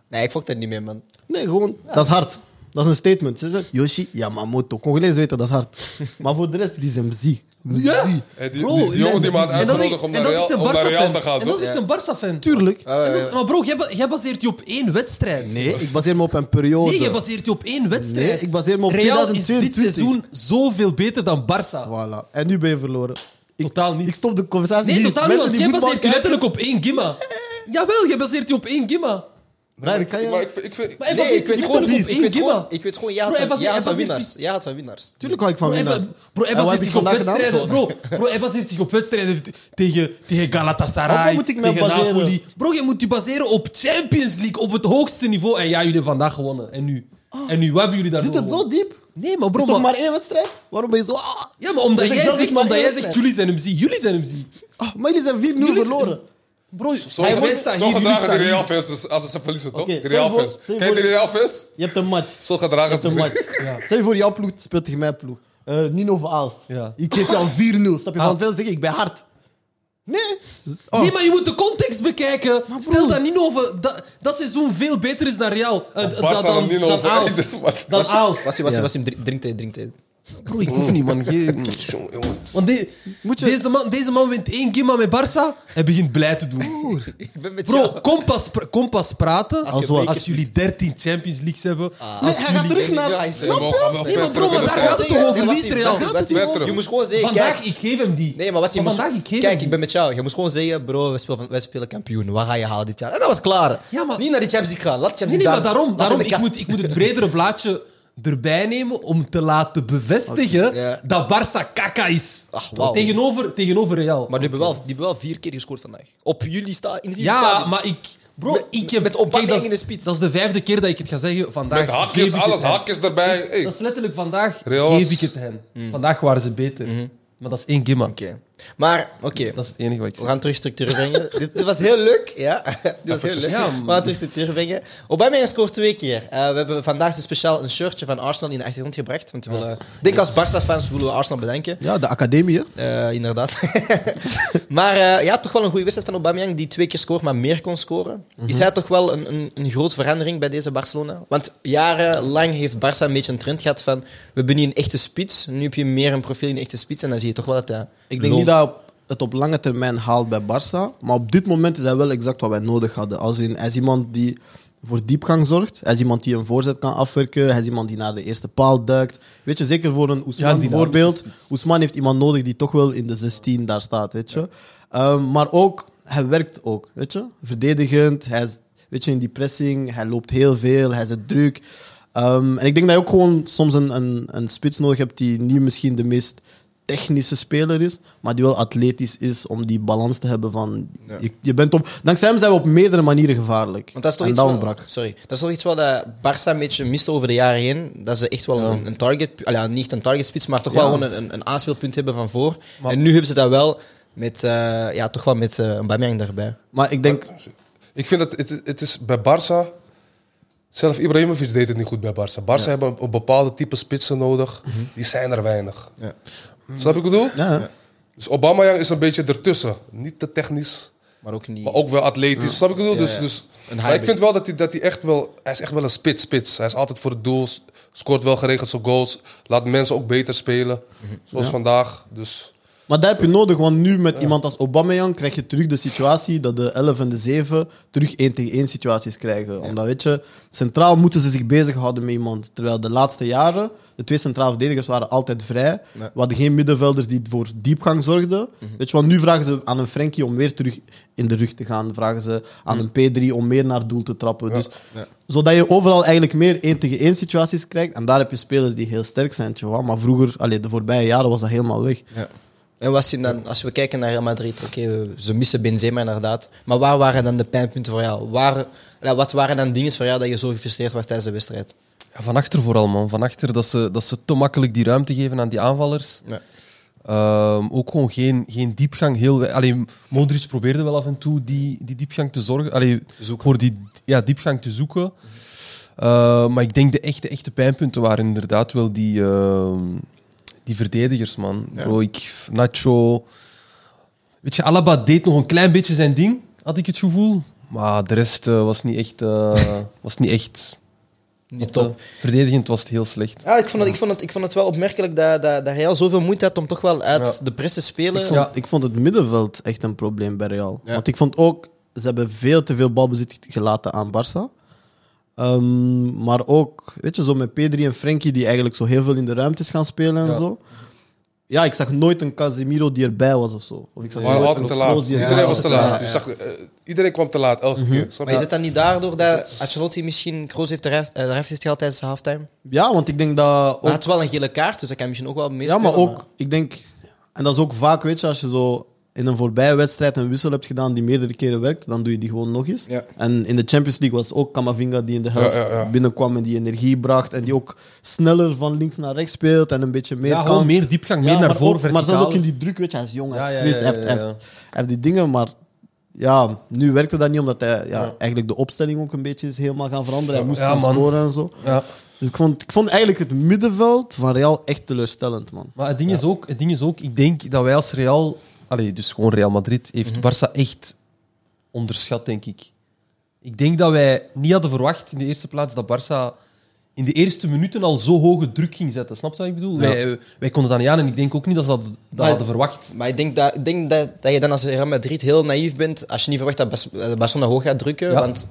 [SPEAKER 1] Nee, ik fok daar niet mee, man.
[SPEAKER 4] Nee, gewoon, dat is hard. Dat is een statement. Ze zeggen, Yoshi Yamamoto. Congolezen weten dat is hard. maar voor de rest, die zijn mzi. Mzi.
[SPEAKER 3] Hey, die,
[SPEAKER 2] Bro,
[SPEAKER 3] die, die jongen die me had
[SPEAKER 2] en dat is-
[SPEAKER 3] uitgenodigd om
[SPEAKER 2] en
[SPEAKER 3] naar
[SPEAKER 2] dat is
[SPEAKER 3] Real,
[SPEAKER 2] echt een
[SPEAKER 3] om naar Real te
[SPEAKER 2] Barca-fan.
[SPEAKER 3] gaan.
[SPEAKER 2] En dat
[SPEAKER 3] toch?
[SPEAKER 2] is echt een Barca-fan.
[SPEAKER 4] Tuurlijk.
[SPEAKER 2] En dat is- Maar bro, jij, ba- jij baseert je op één wedstrijd.
[SPEAKER 4] Nee, ik baseer me op een periode.
[SPEAKER 2] Nee, jij baseert je op één wedstrijd.
[SPEAKER 4] Nee, ik baseer me op
[SPEAKER 2] Real is
[SPEAKER 4] 2022.
[SPEAKER 2] dit seizoen zoveel beter dan Barça.
[SPEAKER 4] Voilà. En nu ben je verloren. Ik,
[SPEAKER 2] Totaal niet.
[SPEAKER 4] ik stop de conversatie
[SPEAKER 2] Nee,
[SPEAKER 4] hier.
[SPEAKER 2] totaal niet,
[SPEAKER 4] Mensen
[SPEAKER 2] want jij
[SPEAKER 4] die voetbal
[SPEAKER 2] baseert je
[SPEAKER 4] kijken-
[SPEAKER 2] letterlijk op één gimma. Eh, Jawel, jij baseert je op één gimma.
[SPEAKER 4] Brian, kan je...
[SPEAKER 3] Maar ik, vind- ik vind...
[SPEAKER 2] Maar hij
[SPEAKER 1] Nee,
[SPEAKER 2] baseert
[SPEAKER 1] ik weet
[SPEAKER 2] zich
[SPEAKER 1] gewoon...
[SPEAKER 2] letterlijk
[SPEAKER 1] Ik
[SPEAKER 2] op één
[SPEAKER 1] weet
[SPEAKER 2] gimma.
[SPEAKER 1] gewoon... Ik weet gewoon...
[SPEAKER 2] Bro,
[SPEAKER 1] Jij
[SPEAKER 2] hij
[SPEAKER 1] had
[SPEAKER 2] baseert-
[SPEAKER 1] jij had van
[SPEAKER 2] hij baseert
[SPEAKER 1] winnaars.
[SPEAKER 2] zich-
[SPEAKER 1] Jij had van winnaars.
[SPEAKER 4] Tuurlijk hou ik van
[SPEAKER 2] Bro, hij
[SPEAKER 4] winnaars.
[SPEAKER 2] ba- Bro, hij
[SPEAKER 4] En wat heb
[SPEAKER 2] baseert
[SPEAKER 4] ik
[SPEAKER 2] zich op
[SPEAKER 4] vandaag gedaan,
[SPEAKER 2] wedstrijden.
[SPEAKER 4] bro?
[SPEAKER 2] Bro, bro, hij baseert zich op wedstrijden t- tegen, tegen
[SPEAKER 4] Op
[SPEAKER 2] Galatasaray,
[SPEAKER 4] wat moet ik mij
[SPEAKER 2] tegen
[SPEAKER 4] baseren?
[SPEAKER 2] Napoli. Bro, je moet je baseren op Champions League, op het hoogste niveau. En ja, jullie hebben vandaag gewonnen. En nu? En nu, wat hebben jullie daarvoor
[SPEAKER 4] Zit het zo
[SPEAKER 2] gewonnen?
[SPEAKER 4] diep?
[SPEAKER 2] Nee, maar bro,
[SPEAKER 4] is toch
[SPEAKER 2] maar-
[SPEAKER 4] maar één wedstrijd? Waarom ben je zo... Ah,
[SPEAKER 2] Ja, maar omdat
[SPEAKER 4] Dat is
[SPEAKER 2] jij
[SPEAKER 4] zelfs
[SPEAKER 2] zegt,
[SPEAKER 4] niet maar
[SPEAKER 2] omdat
[SPEAKER 4] één
[SPEAKER 2] jij zegt
[SPEAKER 4] wedstrijd.
[SPEAKER 2] jullie zijn MC. Jullie zijn MC.
[SPEAKER 4] ah, maar jullie zijn 4-0
[SPEAKER 2] Jullie-
[SPEAKER 4] verloren.
[SPEAKER 2] Bro,
[SPEAKER 3] Zo,
[SPEAKER 2] hij- wij
[SPEAKER 3] gedragen-
[SPEAKER 2] staan
[SPEAKER 3] zo
[SPEAKER 2] hier, jullie
[SPEAKER 3] gedragen die
[SPEAKER 2] staan
[SPEAKER 3] Real
[SPEAKER 2] hier.
[SPEAKER 3] fans als- als ze verliezen, toch?
[SPEAKER 4] Oké,
[SPEAKER 3] Die
[SPEAKER 4] stel
[SPEAKER 3] Real
[SPEAKER 4] je voor-
[SPEAKER 3] fans.
[SPEAKER 4] stel je
[SPEAKER 3] Kijk die
[SPEAKER 4] voor-
[SPEAKER 3] Real fans.
[SPEAKER 4] Je hebt een match.
[SPEAKER 3] Zo gedragen
[SPEAKER 4] Dat is
[SPEAKER 3] ze
[SPEAKER 4] een
[SPEAKER 3] zich.
[SPEAKER 4] match. Stel je voor, jouw ploeg speelt tegen mijn ploeg. Eh, Nino van Aalst.
[SPEAKER 2] Ja.
[SPEAKER 4] Ik geef jou 4-0. Snap je?
[SPEAKER 2] Ah.
[SPEAKER 4] Van veel zeggen, ik ben hard. Nee. Oh.
[SPEAKER 2] Nee, maar je moet de context bekijken.
[SPEAKER 4] broer.
[SPEAKER 2] Stel dat Nino over dat, dat seizoen veel beter is dan Real. eh, d-
[SPEAKER 3] Barca
[SPEAKER 2] dan
[SPEAKER 3] en Nino
[SPEAKER 2] dan
[SPEAKER 3] over Dus-
[SPEAKER 2] Aals.
[SPEAKER 3] Jezus, man.
[SPEAKER 2] Dan Aals.
[SPEAKER 1] Was hij... Was hij... Drinkt hij... Drinkt hij...
[SPEAKER 2] Bro, ik hoef niet, man. Geen-
[SPEAKER 3] Jongen, jongen.
[SPEAKER 2] Want die- deze, man, deze man wint één Gimma met Barça en begint blij te doen.
[SPEAKER 1] Ik ben met jou.
[SPEAKER 2] Bro, kom pas, pra- kom pas praten als,
[SPEAKER 4] Als wat?
[SPEAKER 2] jullie 13 Champions Leagues hebben.
[SPEAKER 4] Nee,
[SPEAKER 2] als
[SPEAKER 4] hij
[SPEAKER 2] jullie-
[SPEAKER 4] gaat terug naar...
[SPEAKER 1] Ja, hij is-
[SPEAKER 4] Snap
[SPEAKER 3] Nee, maar we gaan
[SPEAKER 4] je?
[SPEAKER 3] wel
[SPEAKER 4] Nee, maar
[SPEAKER 3] verder
[SPEAKER 4] bro, maar
[SPEAKER 3] kunnen
[SPEAKER 4] daar
[SPEAKER 3] gaan.
[SPEAKER 4] gaat het
[SPEAKER 1] Nee,
[SPEAKER 4] toch
[SPEAKER 1] maar
[SPEAKER 4] over
[SPEAKER 1] was
[SPEAKER 4] Lies
[SPEAKER 1] hij-
[SPEAKER 4] Real?
[SPEAKER 1] was hij-
[SPEAKER 4] Daar gaat
[SPEAKER 3] was
[SPEAKER 4] het
[SPEAKER 3] hij
[SPEAKER 4] toch
[SPEAKER 3] beter?
[SPEAKER 4] over?
[SPEAKER 1] Je moest gewoon zeggen,
[SPEAKER 2] Vandaag,
[SPEAKER 1] kijk,
[SPEAKER 2] ik geef hem die.
[SPEAKER 1] Nee, maar was je
[SPEAKER 2] Maar
[SPEAKER 1] moest,
[SPEAKER 2] vandaag, ik geef hem
[SPEAKER 1] Kijk,
[SPEAKER 2] die.
[SPEAKER 1] ik ben met jou. Je moest gewoon zeggen, bro, we spelen, van- wij spelen kampioen. Waar ga je halen dit jaar? En dat was klaar.
[SPEAKER 2] Ja, maar-
[SPEAKER 1] Niet naar de Champions League gaan. Laat de
[SPEAKER 2] Nee,
[SPEAKER 1] Champions
[SPEAKER 2] nee,
[SPEAKER 1] League
[SPEAKER 2] maar
[SPEAKER 1] daar.
[SPEAKER 2] daarom.
[SPEAKER 1] Laat
[SPEAKER 2] daarom
[SPEAKER 1] in de
[SPEAKER 2] ik,
[SPEAKER 1] kast.
[SPEAKER 2] moet, ik moet het bredere blaadje erbij nemen om te laten bevestigen
[SPEAKER 1] Oké, ja.
[SPEAKER 2] dat Barça kaka is.
[SPEAKER 1] Ach, wauw.
[SPEAKER 2] tegenover, tegenover Real.
[SPEAKER 1] Maar die hebben, wel, die hebben wel vier keer gescoord vandaag. Op jullie sta in jullie
[SPEAKER 2] ja,
[SPEAKER 1] stadion.
[SPEAKER 2] maar ik... Bro,
[SPEAKER 1] Met-
[SPEAKER 2] ik heb...
[SPEAKER 1] met Aubameyang
[SPEAKER 2] dat is-
[SPEAKER 1] in de spits.
[SPEAKER 2] Dat is de vijfde keer dat ik het ga zeggen. Vandaag
[SPEAKER 3] Met
[SPEAKER 2] geef
[SPEAKER 3] hakjes,
[SPEAKER 2] ik het
[SPEAKER 3] alles,
[SPEAKER 2] hen.
[SPEAKER 3] hakjes erbij. Hey,
[SPEAKER 2] Dat is letterlijk vandaag
[SPEAKER 3] Real was-
[SPEAKER 2] geef ik het hen. Vandaag waren ze beter. Maar dat is één gimma.
[SPEAKER 1] Mm. Mhm. Oké. Maar, oké.
[SPEAKER 2] Dat is het enige wat ik
[SPEAKER 1] We
[SPEAKER 2] zeg.
[SPEAKER 1] gaan terug structuur brengen. dit, dit was heel leuk. Ja, dit was heel leuk.
[SPEAKER 3] Eventjes.
[SPEAKER 2] Ja,
[SPEAKER 1] we
[SPEAKER 2] man.
[SPEAKER 1] gaan terug structuur brengen. Aubameyang scoort twee keer. Eh, we hebben vandaag dus speciaal een shirtje van Arsenal in de achtergrond gebracht. Want we willen, ik denk als Barca-fans willen we Arsenal bedanken.
[SPEAKER 4] Ja, de academie, hè?
[SPEAKER 1] Eh, inderdaad. maar eh, ja, toch wel een goede wedstrijd van Aubameyang die twee keer scoort, maar meer kon scoren.
[SPEAKER 2] Mhm.
[SPEAKER 1] Is hij toch wel een, een, een groot verandering bij deze Barcelona? Want jarenlang heeft Barça een beetje een trend gehad van we hebben nu een echte spits, nu heb je meer een profiel in een echte spits en dan zie je toch wel dat hij
[SPEAKER 4] Ik denk
[SPEAKER 1] loont.
[SPEAKER 4] niet dat het op lange termijn haalt bij Barça. Maar op dit moment is hij wel exact wat wij nodig hadden. Als in, hij is iemand die voor diepgang zorgt. Hij is iemand die een voorzet kan afwerken. Hij is iemand die naar de eerste paal duikt. Weet je, zeker voor een
[SPEAKER 2] Ja,
[SPEAKER 4] Oesman
[SPEAKER 2] dynamisch
[SPEAKER 4] bijvoorbeeld. Oesman heeft iemand nodig die toch wel in de 16 daar staat, weet je. Ehm, maar ook, hij werkt ook, weet je. Verdedigend, hij is weet je, in die pressing. Hij loopt heel veel, hij zet druk. Ehm, en ik denk dat je ook gewoon soms een, een, een spits nodig hebt die niet misschien de meest technische speler is, maar die wel atletisch is om die balans te hebben van... Je, je bent op, dankzij hem zijn we op meerdere manieren gevaarlijk.
[SPEAKER 1] Want dat is toch
[SPEAKER 4] en
[SPEAKER 1] iets
[SPEAKER 4] dat
[SPEAKER 1] wat-
[SPEAKER 4] ontbrak.
[SPEAKER 1] Sorry, dat is toch iets wat eh, Barça een beetje miste over de jaren heen. Dat ze echt wel een, een target, allee, ja, niet een target spits, maar toch wel gewoon een- een, een aanspeelpunt hebben van voor.
[SPEAKER 2] Maar-
[SPEAKER 1] en nu hebben ze dat wel met, eh, ja, toch wel met eh, een Aubameyang daarbij.
[SPEAKER 4] Maar ik denk...
[SPEAKER 3] Ik vind dat het, het is bij Barça. Zelf Ibrahimovic deed het niet goed bij Barça. Barça hebben op, op bepaalde type spitsen nodig. Die zijn er weinig.
[SPEAKER 1] Ja.
[SPEAKER 3] Snap ik wat ik bedoel?
[SPEAKER 4] Ja,
[SPEAKER 3] Dus Aubameyang is een beetje ertussen. Niet te technisch,
[SPEAKER 1] Maar ook niet.
[SPEAKER 3] maar ook wel atletisch. Snap ik wat ik bedoel?
[SPEAKER 1] Ja, ja.
[SPEAKER 3] Dus, dus,
[SPEAKER 1] Een
[SPEAKER 3] maar ik
[SPEAKER 1] hybrid.
[SPEAKER 3] vind wel dat hij, dat hij echt wel... Hij is echt wel een spits-spits. Hij is altijd voor het doel. s- Scoort wel geregeld zijn goals. Laat mensen ook beter spelen. Zoals vandaag. Dus
[SPEAKER 4] Maar dat heb je nodig, want nu met iemand als Aubameyang krijg je terug de situatie dat de 11 en de 7 terug 1 tegen 1 situaties krijgen. Omdat, weet je, centraal moeten ze zich bezighouden met iemand. Terwijl de laatste jaren, de twee centrale verdedigers waren altijd vrij.
[SPEAKER 1] Ja.
[SPEAKER 4] We hadden geen middenvelders die voor diepgang zorgden. Weet je, want nu vragen ze aan een Frenkie om weer terug in de rug te gaan. Vragen ze aan een P3 om meer naar doel te trappen. Dus, Zodat je overal eigenlijk meer 1 tegen 1 situaties krijgt. En daar heb je spelers die heel sterk zijn. tjoh. Maar vroeger, allee, de voorbije jaren, was dat helemaal weg.
[SPEAKER 1] En was hij dan, als we kijken naar Real Madrid, oké, we- ze missen Benzema inderdaad. Maar waar waren dan de pijnpunten voor jou? Waar, ja, wat waren dan dingen voor jou dat je zo gefrustreerd werd tijdens de wedstrijd?
[SPEAKER 2] Ja, van achter vooral, man. Van achter dat ze, dat ze te makkelijk die ruimte geven aan die aanvallers.
[SPEAKER 1] Ja.
[SPEAKER 2] Ehm, ook gewoon geen, geen diepgang. Heel we- Allee, Modric probeerde wel af en toe die, die diepgang te zorgen. Allee, Voor die ja, diepgang te zoeken. Ehm, maar ik denk de echte, echte pijnpunten waren inderdaad wel die, ehm, die verdedigers, man. Bro, ik, Nacho... Weet je, Alaba deed nog een klein beetje zijn ding, had ik het gevoel. Maar de rest eh, was niet echt... eh, was niet echt
[SPEAKER 1] Niet
[SPEAKER 2] want,
[SPEAKER 1] top.
[SPEAKER 2] eh, verdedigend was het heel slecht.
[SPEAKER 1] Ja, ik, vond het, ik, vond het, ik vond het wel opmerkelijk dat, dat, dat Real zoveel moeite had om toch wel uit de press te spelen.
[SPEAKER 4] Ik vond,
[SPEAKER 2] Ja.
[SPEAKER 4] ik vond het middenveld echt een probleem bij Real.
[SPEAKER 1] Ja.
[SPEAKER 4] Want ik vond ook, ze hebben veel te veel balbezit gelaten aan Barça. Ehm, maar ook, weet je, zo met Pedri en Frenkie, die eigenlijk zo heel veel in de ruimtes gaan spelen en
[SPEAKER 2] Ja.
[SPEAKER 4] zo. Ja, ik zag nooit een Casemiro die erbij was of zo. Of ik zag
[SPEAKER 3] we waren
[SPEAKER 4] nooit
[SPEAKER 3] altijd te
[SPEAKER 4] een
[SPEAKER 3] laat.
[SPEAKER 4] Kroos die erbij
[SPEAKER 3] Iedereen was te laat.
[SPEAKER 4] Ja.
[SPEAKER 3] Dus zag- eh, iedereen kwam te laat, elke keer. Snap
[SPEAKER 1] Maar is
[SPEAKER 3] je?
[SPEAKER 1] het dan niet daardoor dat Ancelotti misschien Kroos heeft de ref, eh, de ref heeft gehaald tijdens de halftime?
[SPEAKER 4] Ja, want ik denk dat...
[SPEAKER 1] Hij
[SPEAKER 4] ook-
[SPEAKER 1] had wel een gele kaart, dus dat kan misschien ook wel mis.
[SPEAKER 4] Ja, maar ook, ik denk, en dat is ook vaak, weet je, als je zo in een voorbije wedstrijd een wissel hebt gedaan die meerdere keren werkt, dan doe je die gewoon nog eens.
[SPEAKER 1] Ja.
[SPEAKER 4] En in de Champions League was ook Camavinga die in de helft
[SPEAKER 3] ja, ja.
[SPEAKER 4] binnenkwam en die energie bracht en die ook sneller van links naar rechts speelt en een beetje meer
[SPEAKER 2] Ja,
[SPEAKER 4] kan.
[SPEAKER 2] gewoon meer diepgang,
[SPEAKER 4] Ja,
[SPEAKER 2] meer naar
[SPEAKER 4] maar
[SPEAKER 2] voren,
[SPEAKER 4] ook- Maar zelfs ook in
[SPEAKER 2] verticaal.
[SPEAKER 4] die druk, weet je, hij is jong, hij is
[SPEAKER 2] Ja, ja,
[SPEAKER 4] fris,
[SPEAKER 2] ja,
[SPEAKER 4] hij heeft-
[SPEAKER 2] ja,
[SPEAKER 4] hij
[SPEAKER 2] ja.
[SPEAKER 4] heeft- hij heeft die dingen, maar ja, nu werkte dat niet omdat hij ja, eigenlijk de opstelling ook een beetje is helemaal gaan veranderen. Hij moest
[SPEAKER 2] Ja,
[SPEAKER 4] gaan
[SPEAKER 2] man.
[SPEAKER 4] scoren en zo.
[SPEAKER 2] Ja.
[SPEAKER 4] Dus ik vond, ik vond eigenlijk het middenveld van Real echt teleurstellend, man.
[SPEAKER 2] Maar het ding, is ook, het ding is ook, ik denk dat wij als Real... Allee, dus gewoon Real Madrid heeft Barça echt onderschat, denk ik. Ik denk dat wij niet hadden verwacht in de eerste plaats dat Barça in de eerste minuten al zo hoge druk ging zetten. Snap je wat ik bedoel? Wij, wij konden dat niet aan en ik denk ook niet dat ze dat, dat hadden verwacht.
[SPEAKER 1] Maar ik denk, dat, ik denk dat, dat je dan als Real Madrid heel naïef bent als je niet verwacht dat Bas- eh, Barcelona hoog gaat drukken.
[SPEAKER 2] Ja.
[SPEAKER 1] Want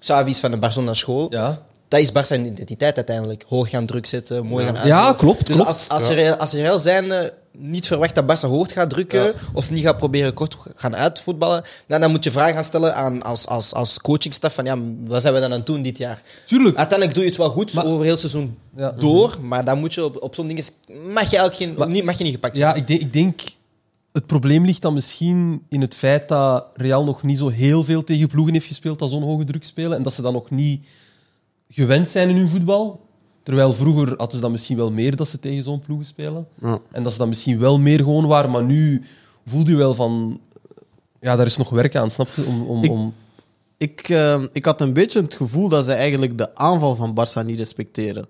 [SPEAKER 1] Xavi is van de Barcelona school.
[SPEAKER 2] Ja.
[SPEAKER 1] Dat is Barça identiteit uiteindelijk. Hoog gaan druk zetten, mooi gaan
[SPEAKER 2] Ja,
[SPEAKER 1] aanvallen.
[SPEAKER 2] klopt,
[SPEAKER 1] Dus
[SPEAKER 2] klopt.
[SPEAKER 1] Als, als, je Real- als je Real zijn eh, niet verwacht dat Barça hoog gaat drukken
[SPEAKER 2] Ja.
[SPEAKER 1] of niet gaat proberen kort gaan uitvoetballen, dan, dan moet je vragen gaan stellen aan, als, als, als coachingstaf van ja, wat zijn we dan aan het doen dit jaar?
[SPEAKER 2] Tuurlijk.
[SPEAKER 1] Uiteindelijk doe je het wel goed
[SPEAKER 2] Maar-
[SPEAKER 1] over heel het seizoen
[SPEAKER 2] Ja.
[SPEAKER 1] door, maar dan moet je op, op zo'n ding is, mag je eigenlijk geen,
[SPEAKER 2] Maar-
[SPEAKER 1] niet, mag je niet gepakt
[SPEAKER 2] Ja, ik denk, ik denk... Het probleem ligt dan misschien in het feit dat Real nog niet zo heel veel tegen ploegen heeft gespeeld dat zo'n hoge druk spelen. En dat ze dat nog niet gewend zijn in hun voetbal. Terwijl vroeger hadden ze dan misschien wel meer dat ze tegen zo'n ploegen spelen.
[SPEAKER 4] Ja.
[SPEAKER 2] En dat ze dan misschien wel meer gewoon waren. Maar nu voelde je wel van... Ja, daar is nog werk aan, snap je? Om, om,
[SPEAKER 4] Ik-
[SPEAKER 2] om...
[SPEAKER 4] Ik, eh, ik had een beetje het gevoel dat ze eigenlijk de aanval van Barça niet respecteren.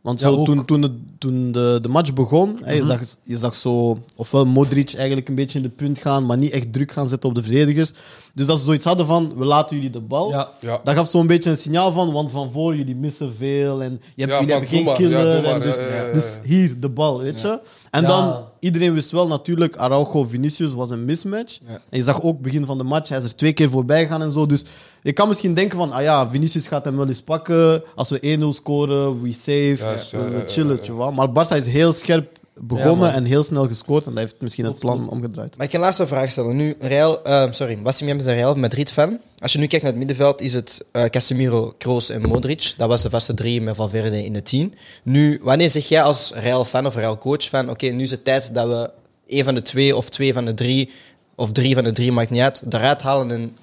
[SPEAKER 4] Want
[SPEAKER 2] Ja,
[SPEAKER 4] zo,
[SPEAKER 2] ook. Mhm.
[SPEAKER 4] toen, toen, het, toen de, de match begon, hè, je, zag, je zag zo ofwel Modric eigenlijk een beetje in de punt gaan, maar niet echt druk gaan zetten op de verdedigers. Dus dat ze zoiets hadden van, we laten jullie de bal.
[SPEAKER 2] Ja.
[SPEAKER 3] Ja.
[SPEAKER 4] Dat gaf zo'n beetje een signaal van, want van voor jullie missen veel en je hebt,
[SPEAKER 3] Ja,
[SPEAKER 4] jullie
[SPEAKER 3] van
[SPEAKER 4] hebben
[SPEAKER 3] doe
[SPEAKER 4] geen
[SPEAKER 3] maar, ja,
[SPEAKER 4] killer.
[SPEAKER 3] doe maar,
[SPEAKER 4] en dus,
[SPEAKER 3] ja, ja, ja.
[SPEAKER 4] dus hier de bal, weet je. En
[SPEAKER 2] Ja.
[SPEAKER 4] dan, iedereen wist wel natuurlijk, Araujo Vinicius was een mismatch.
[SPEAKER 1] Ja.
[SPEAKER 4] En je zag ook begin van de match, hij is er twee keer voorbij gegaan en zo. Dus je kan misschien denken van, ah ja, Vinicius gaat hem wel eens pakken. Als we 1-0 scoren, we save,
[SPEAKER 3] Juist,
[SPEAKER 4] we,
[SPEAKER 3] ja,
[SPEAKER 4] we
[SPEAKER 3] ja, ja,
[SPEAKER 4] chillen,
[SPEAKER 3] ja.
[SPEAKER 4] je wel. Maar Barça is heel scherp
[SPEAKER 2] eh, Ja,
[SPEAKER 4] begonnen
[SPEAKER 2] man.
[SPEAKER 4] en heel snel gescoord. En dat heeft misschien het plan omgedraaid.
[SPEAKER 1] Maar ik kan een laatste vraag stellen. Nu, Real, eh, sorry, was je met een Real Madrid-fan? Als je nu kijkt naar het middenveld, is het eh, Casemiro, Kroos en Modric. Dat was de vaste drie met Valverde in de tien. Nu, wanneer zeg jij als Real-fan of Real-coach-fan... Oké, nu is het tijd dat we één van de twee of twee van de drie... Of drie van de drie, maakt niet uit. Eruit halen en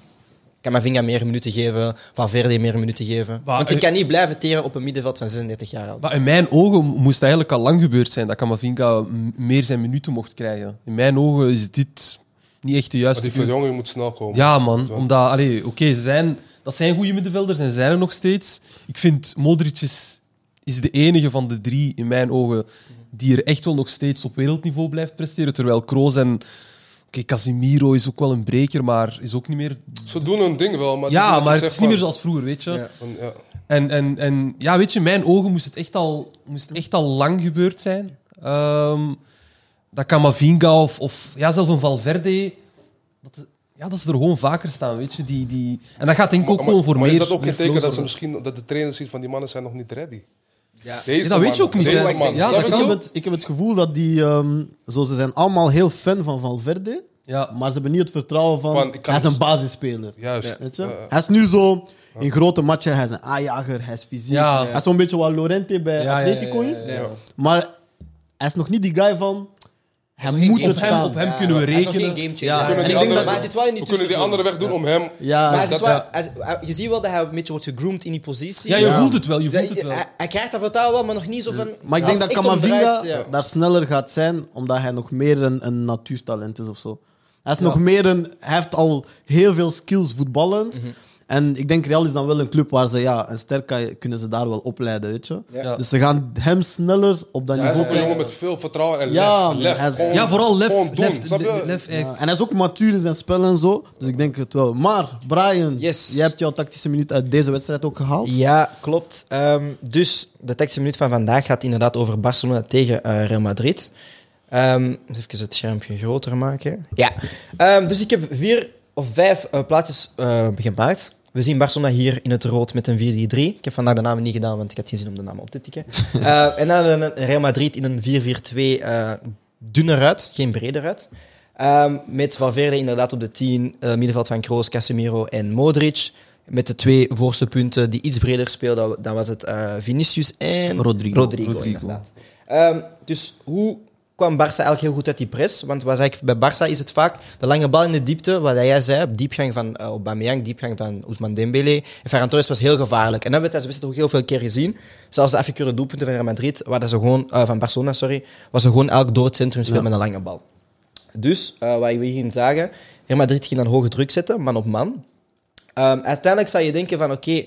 [SPEAKER 1] Camavinga meer minuten geven. Valverde meer minuten geven.
[SPEAKER 2] Maar-
[SPEAKER 1] Want je kan niet blijven teren op een middenveld van 36 jaar oud.
[SPEAKER 2] Maar in mijn ogen moest het eigenlijk al lang gebeurd zijn dat Camavinga m- meer zijn minuten mocht krijgen. In mijn ogen is dit niet echt de
[SPEAKER 3] Maar
[SPEAKER 2] juiste...
[SPEAKER 3] die
[SPEAKER 2] keuze.
[SPEAKER 3] verjonging moet snel komen.
[SPEAKER 2] Ja, man.
[SPEAKER 3] Zo.
[SPEAKER 2] Omdat, allee, oké, ze zijn, dat zijn goede middenvelders en ze zijn er nog steeds. Ik vind Modric is, is de enige van de drie, in mijn ogen, die er echt wel nog steeds op wereldniveau blijft presteren. Terwijl Kroos en... Oké, Casimiro is ook wel een breker, maar is ook niet meer...
[SPEAKER 3] Ze doen hun ding wel, maar...
[SPEAKER 2] ja, maar het is niet meer
[SPEAKER 3] zo...
[SPEAKER 2] zoals vroeger, weet je.
[SPEAKER 1] Ja.
[SPEAKER 3] Ja.
[SPEAKER 2] En, en, en ja, weet je, in mijn ogen moest het echt al, moest het echt al lang gebeurd zijn. Ehm, dat Camavinga of, of ja, zelfs een Valverde... Dat, de- ja, dat ze er gewoon vaker staan, weet je. Die, die... En dat gaat denk ik ook
[SPEAKER 3] Maar-
[SPEAKER 2] gewoon voor
[SPEAKER 3] maar
[SPEAKER 2] meer...
[SPEAKER 3] is dat ook
[SPEAKER 2] meer
[SPEAKER 3] geen teken
[SPEAKER 2] flows
[SPEAKER 3] dat, ze
[SPEAKER 2] worden.
[SPEAKER 3] misschien, dat de trainer ziet van die mannen zijn nog niet ready?
[SPEAKER 1] Ja.
[SPEAKER 3] Deze
[SPEAKER 2] Ja, dat weet je
[SPEAKER 3] man,
[SPEAKER 2] ook niet,
[SPEAKER 3] Deze
[SPEAKER 2] hè.
[SPEAKER 3] man.
[SPEAKER 2] Ja, dat
[SPEAKER 3] Snap je
[SPEAKER 4] Ik
[SPEAKER 2] kan.
[SPEAKER 4] heb,
[SPEAKER 3] wat ik
[SPEAKER 4] het, ik heb het gevoel dat die, ehm, zo, ze zijn allemaal heel fan van Valverde.
[SPEAKER 2] Ja,
[SPEAKER 4] Maar ze hebben niet het vertrouwen van,
[SPEAKER 3] Van, ik kan
[SPEAKER 4] hij is
[SPEAKER 3] het-
[SPEAKER 4] een basisspeler.
[SPEAKER 3] bedoel? Juist.
[SPEAKER 4] Weet je?
[SPEAKER 3] Eh,
[SPEAKER 4] hij is nu zo in grote matchen, hij is een aanjager, hij is fysiek.
[SPEAKER 2] Ja.
[SPEAKER 4] Hij is zo'n beetje wat Lorente
[SPEAKER 2] Ja,
[SPEAKER 4] bij
[SPEAKER 2] ja,
[SPEAKER 4] Atletico
[SPEAKER 2] ja, ja,
[SPEAKER 4] is.
[SPEAKER 2] ja.
[SPEAKER 3] Ja.
[SPEAKER 4] Maar hij is nog niet die guy van, hij
[SPEAKER 1] is nog
[SPEAKER 4] moet
[SPEAKER 1] geen
[SPEAKER 4] het
[SPEAKER 2] op hem,
[SPEAKER 4] staan.
[SPEAKER 2] op hem kunnen we
[SPEAKER 1] Hij is nog geen
[SPEAKER 2] rekenen.
[SPEAKER 1] gamechanger.
[SPEAKER 2] Ja,
[SPEAKER 3] kunnen
[SPEAKER 1] en
[SPEAKER 3] die
[SPEAKER 1] ik denk
[SPEAKER 3] andere-
[SPEAKER 1] dat- maar hij zit wel in die
[SPEAKER 3] We kunnen die
[SPEAKER 1] tussenzone.
[SPEAKER 3] andere weg doen om hem...
[SPEAKER 4] Ja,
[SPEAKER 1] Maar hij, zit
[SPEAKER 3] dat-
[SPEAKER 1] wel, hij zit- hij- je ziet wel dat hij een beetje wordt gegroomd in die positie.
[SPEAKER 2] ja, je voelt het wel, je
[SPEAKER 1] Dat-
[SPEAKER 2] voelt het wel.
[SPEAKER 1] Hij, hij krijgt dat vertrouwen wel, maar nog niet zo van...
[SPEAKER 4] Maar ik
[SPEAKER 1] als
[SPEAKER 4] denk dat
[SPEAKER 1] het echt om
[SPEAKER 4] Camavinga
[SPEAKER 1] draait, ja.
[SPEAKER 4] daar sneller gaat zijn, omdat hij nog meer een, een natuurtalent is of zo. Hij is nog meer een... Hij heeft al heel veel skills voetballend. En ik denk Real is dan wel een club waar ze... Ja, een ster kan- kunnen ze daar wel opleiden, weet je.
[SPEAKER 2] Ja.
[SPEAKER 4] Dus ze gaan hem sneller op dat
[SPEAKER 3] Hij is
[SPEAKER 4] niveau
[SPEAKER 3] ook een
[SPEAKER 4] krijgen.
[SPEAKER 3] jongen met veel vertrouwen en
[SPEAKER 4] Ja,
[SPEAKER 3] lef. lef.
[SPEAKER 4] hij is-
[SPEAKER 3] Gewoon-
[SPEAKER 2] Ja, vooral lef.
[SPEAKER 3] gewoon doen,
[SPEAKER 2] lef,
[SPEAKER 3] snap je?
[SPEAKER 2] lef, lef, echt.
[SPEAKER 4] Ja, En hij is ook matuur in zijn spel en zo. Dus ik denk het wel. Maar, Brian,
[SPEAKER 1] Yes.
[SPEAKER 4] jij hebt jouw tactische minuut uit deze wedstrijd ook gehaald.
[SPEAKER 1] Ja, klopt. Ehm, dus de tekst minuut van vandaag gaat inderdaad over Barcelona tegen eh, Real Madrid. Ehm, eens even het schermpje groter maken. Ja. Ehm, dus ik heb vier of vijf eh, plaatjes eh, gemaakt. We zien Barcelona hier in het rood met een 4-3-3. Ik heb vandaag de namen niet gedaan, want ik had geen zin om de namen op te tikken. Eh, en dan hebben we een Real Madrid in een 4-4-2 eh dunner uit, geen breder uit. Ehm, met Valverde inderdaad op de 10, eh, middenveld van Kroos, Casemiro en Modric. Met de twee voorste punten die iets breder speelden, dan was het eh, Vinicius en
[SPEAKER 4] Rodrigo.
[SPEAKER 2] Rodrigo.
[SPEAKER 1] inderdaad. Ehm, dus hoe kwam Barça eigenlijk heel goed uit die press? Want wat ik, bij Barça is het vaak de lange bal in de diepte, wat jij zei, diepgang van eh, Aubameyang, diepgang van Ousmane Dembele. En Ferran Torres was heel gevaarlijk. En dat hebben we tijdens de wedstrijd ook heel veel keer gezien. Zelfs de afgekeurde doelpunten van Real Madrid, waar dat ze gewoon, eh, van Barcelona, sorry, was ze gewoon elk door het centrum spelen met een lange bal. Dus, eh, wat we hierin zagen, Real Madrid ging dan hoge druk zetten, man op man. Ehm, uiteindelijk zou je denken van, oké,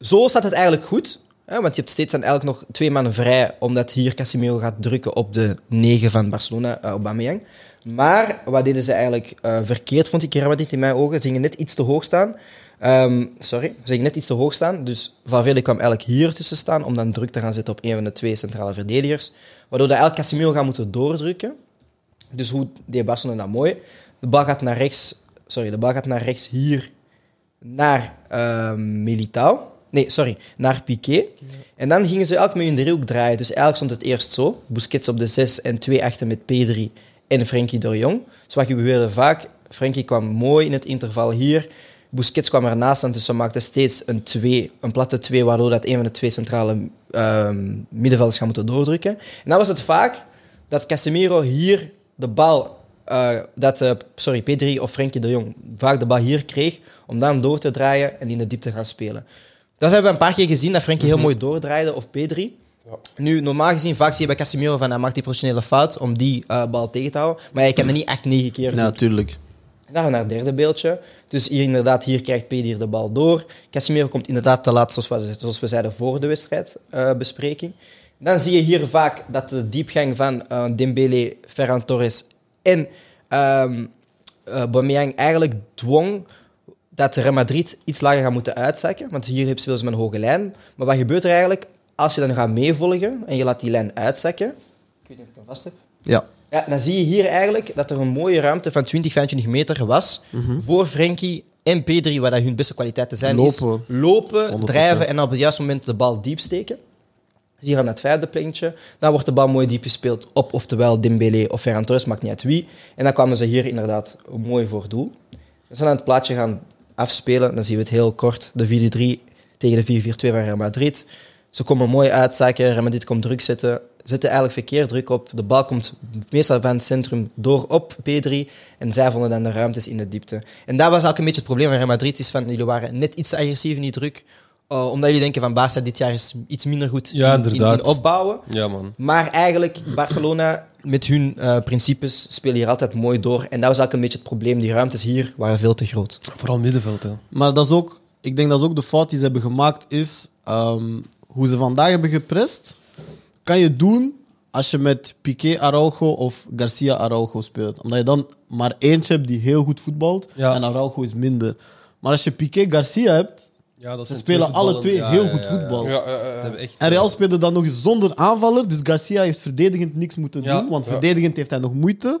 [SPEAKER 1] zo staat het eigenlijk goed. Hè, want je hebt steeds dan eigenlijk nog twee mannen vrij, omdat hier Casemiro gaat drukken op de negen van Barcelona, eh, Aubameyang. Maar wat deden ze eigenlijk eh, verkeerd, vond ik Real Madrid in mijn ogen. Ze gingen net iets te hoog staan. Ehm, sorry, dus ik net iets te hoog staan. Dus Valverde kwam eigenlijk hier tussen staan om dan druk te gaan zetten op een van de twee centrale verdedigers. Waardoor dat eigenlijk Casemiro gaat moeten doordrukken. Dus hoe deed Barcelona dat mooi? De bal gaat naar rechts, sorry, de bal gaat naar rechts hier naar ehm, Militao. Nee, sorry, naar Piqué. En dan gingen ze elk met hun driehoek draaien. Dus eigenlijk stond het eerst zo. Busquets op de 6 en twee achter met Pedri en Frenkie de Jong. Dus wat gebeurde vaak, Frenkie kwam mooi in het interval hier. Busquets kwam ernaast en dus ze maakten steeds een 2, een platte 2, waardoor dat een van de twee centrale ehm, middenvelders gaan moeten doordrukken. En dan was het vaak dat Casemiro hier de bal eh, dat, eh, sorry, Pedri of Frenkie de Jong vaak de bal hier kreeg om dan door te draaien en in de diepte gaan spelen. Dat hebben we een paar keer gezien, dat Frenkie heel mooi doordraaide of Pedri.
[SPEAKER 3] Ja.
[SPEAKER 1] Nu, normaal gezien, vaak zie je bij Casemiro van hij maakt die professionele fout om die eh, bal tegen te houden. Maar hij kan er niet echt negen keer doen.
[SPEAKER 4] Natuurlijk.
[SPEAKER 1] Dan gaan we naar het derde beeldje. Dus hier inderdaad, hier krijgt Pedir de bal door. Casemiro komt inderdaad te laat, zoals we, zoals we zeiden voor de wedstrijdbespreking. Dan zie je hier vaak dat de diepgang van eh, Dembele, Ferran Torres en ehm eh, Aubameyang eigenlijk dwong dat Real Madrid iets lager gaat moeten uitzakken. Want hier hebben ze met een hoge lijn. Maar wat gebeurt er eigenlijk als je dan gaat meevolgen en je laat die lijn uitzakken? Ik weet niet of ik hem vast heb.
[SPEAKER 4] Ja.
[SPEAKER 1] Ja, dan zie je hier eigenlijk dat er een mooie ruimte van 20, 25 meter was voor Frenkie en Pedri, waar dat hun beste kwaliteiten zijn.
[SPEAKER 4] Lopen.
[SPEAKER 1] Is lopen,
[SPEAKER 4] 100%.
[SPEAKER 1] drijven en op het juiste moment de bal diep steken. Dus hier aan het vijfde plintje. Dan wordt de bal mooi diep gespeeld op, oftewel Dembele of Ferran Torres, maakt niet uit wie. En dan kwamen ze hier inderdaad mooi voor doel. We zijn aan het plaatje gaan afspelen. Dan zien we het heel kort. De 4-3 tegen de 4-4-2 van Real Madrid. Ze komen mooi uitzakken. Real Madrid komt druk zetten. Zetten eigenlijk verkeerd druk op. De bal komt meestal van het centrum door op P3. En zij vonden dan de ruimtes in de diepte. En dat was eigenlijk een beetje het probleem van Real Madrid. Is van, jullie waren net iets te agressief in die druk. eh, omdat jullie denken van Barca dit jaar is iets minder goed
[SPEAKER 2] Ja,
[SPEAKER 1] in- in- in
[SPEAKER 2] inderdaad.
[SPEAKER 1] opbouwen.
[SPEAKER 2] Ja, man.
[SPEAKER 1] Maar eigenlijk, Barcelona met hun eh, principes spelen hier altijd mooi door. En dat was eigenlijk een beetje het probleem. Die ruimtes hier waren veel te groot.
[SPEAKER 2] Vooral middenveld, hè.
[SPEAKER 4] Maar dat is ook, ik denk dat is ook de fout die ze hebben gemaakt is ehm, hoe ze vandaag hebben geprest. Kan je doen als je met Piqué Araujo of Garcia Araujo speelt. Omdat je dan maar eentje hebt die heel goed voetbalt
[SPEAKER 2] Ja.
[SPEAKER 4] en Araujo is minder. Maar als je Piqué Garcia hebt,
[SPEAKER 2] Ja, dat
[SPEAKER 4] ze
[SPEAKER 2] zijn
[SPEAKER 4] spelen alle
[SPEAKER 2] voetballen-
[SPEAKER 4] twee
[SPEAKER 2] ja,
[SPEAKER 4] heel
[SPEAKER 2] ja,
[SPEAKER 4] goed
[SPEAKER 2] ja,
[SPEAKER 4] voetbal.
[SPEAKER 3] Ja, ja, ja,
[SPEAKER 2] Ja. Ze
[SPEAKER 3] ja.
[SPEAKER 2] hebben echt... eh,
[SPEAKER 4] En Real speelde dan nog eens zonder aanvaller. Dus Garcia heeft verdedigend niks moeten
[SPEAKER 2] Ja.
[SPEAKER 4] doen. Want
[SPEAKER 3] Ja.
[SPEAKER 4] verdedigend heeft hij nog moeite.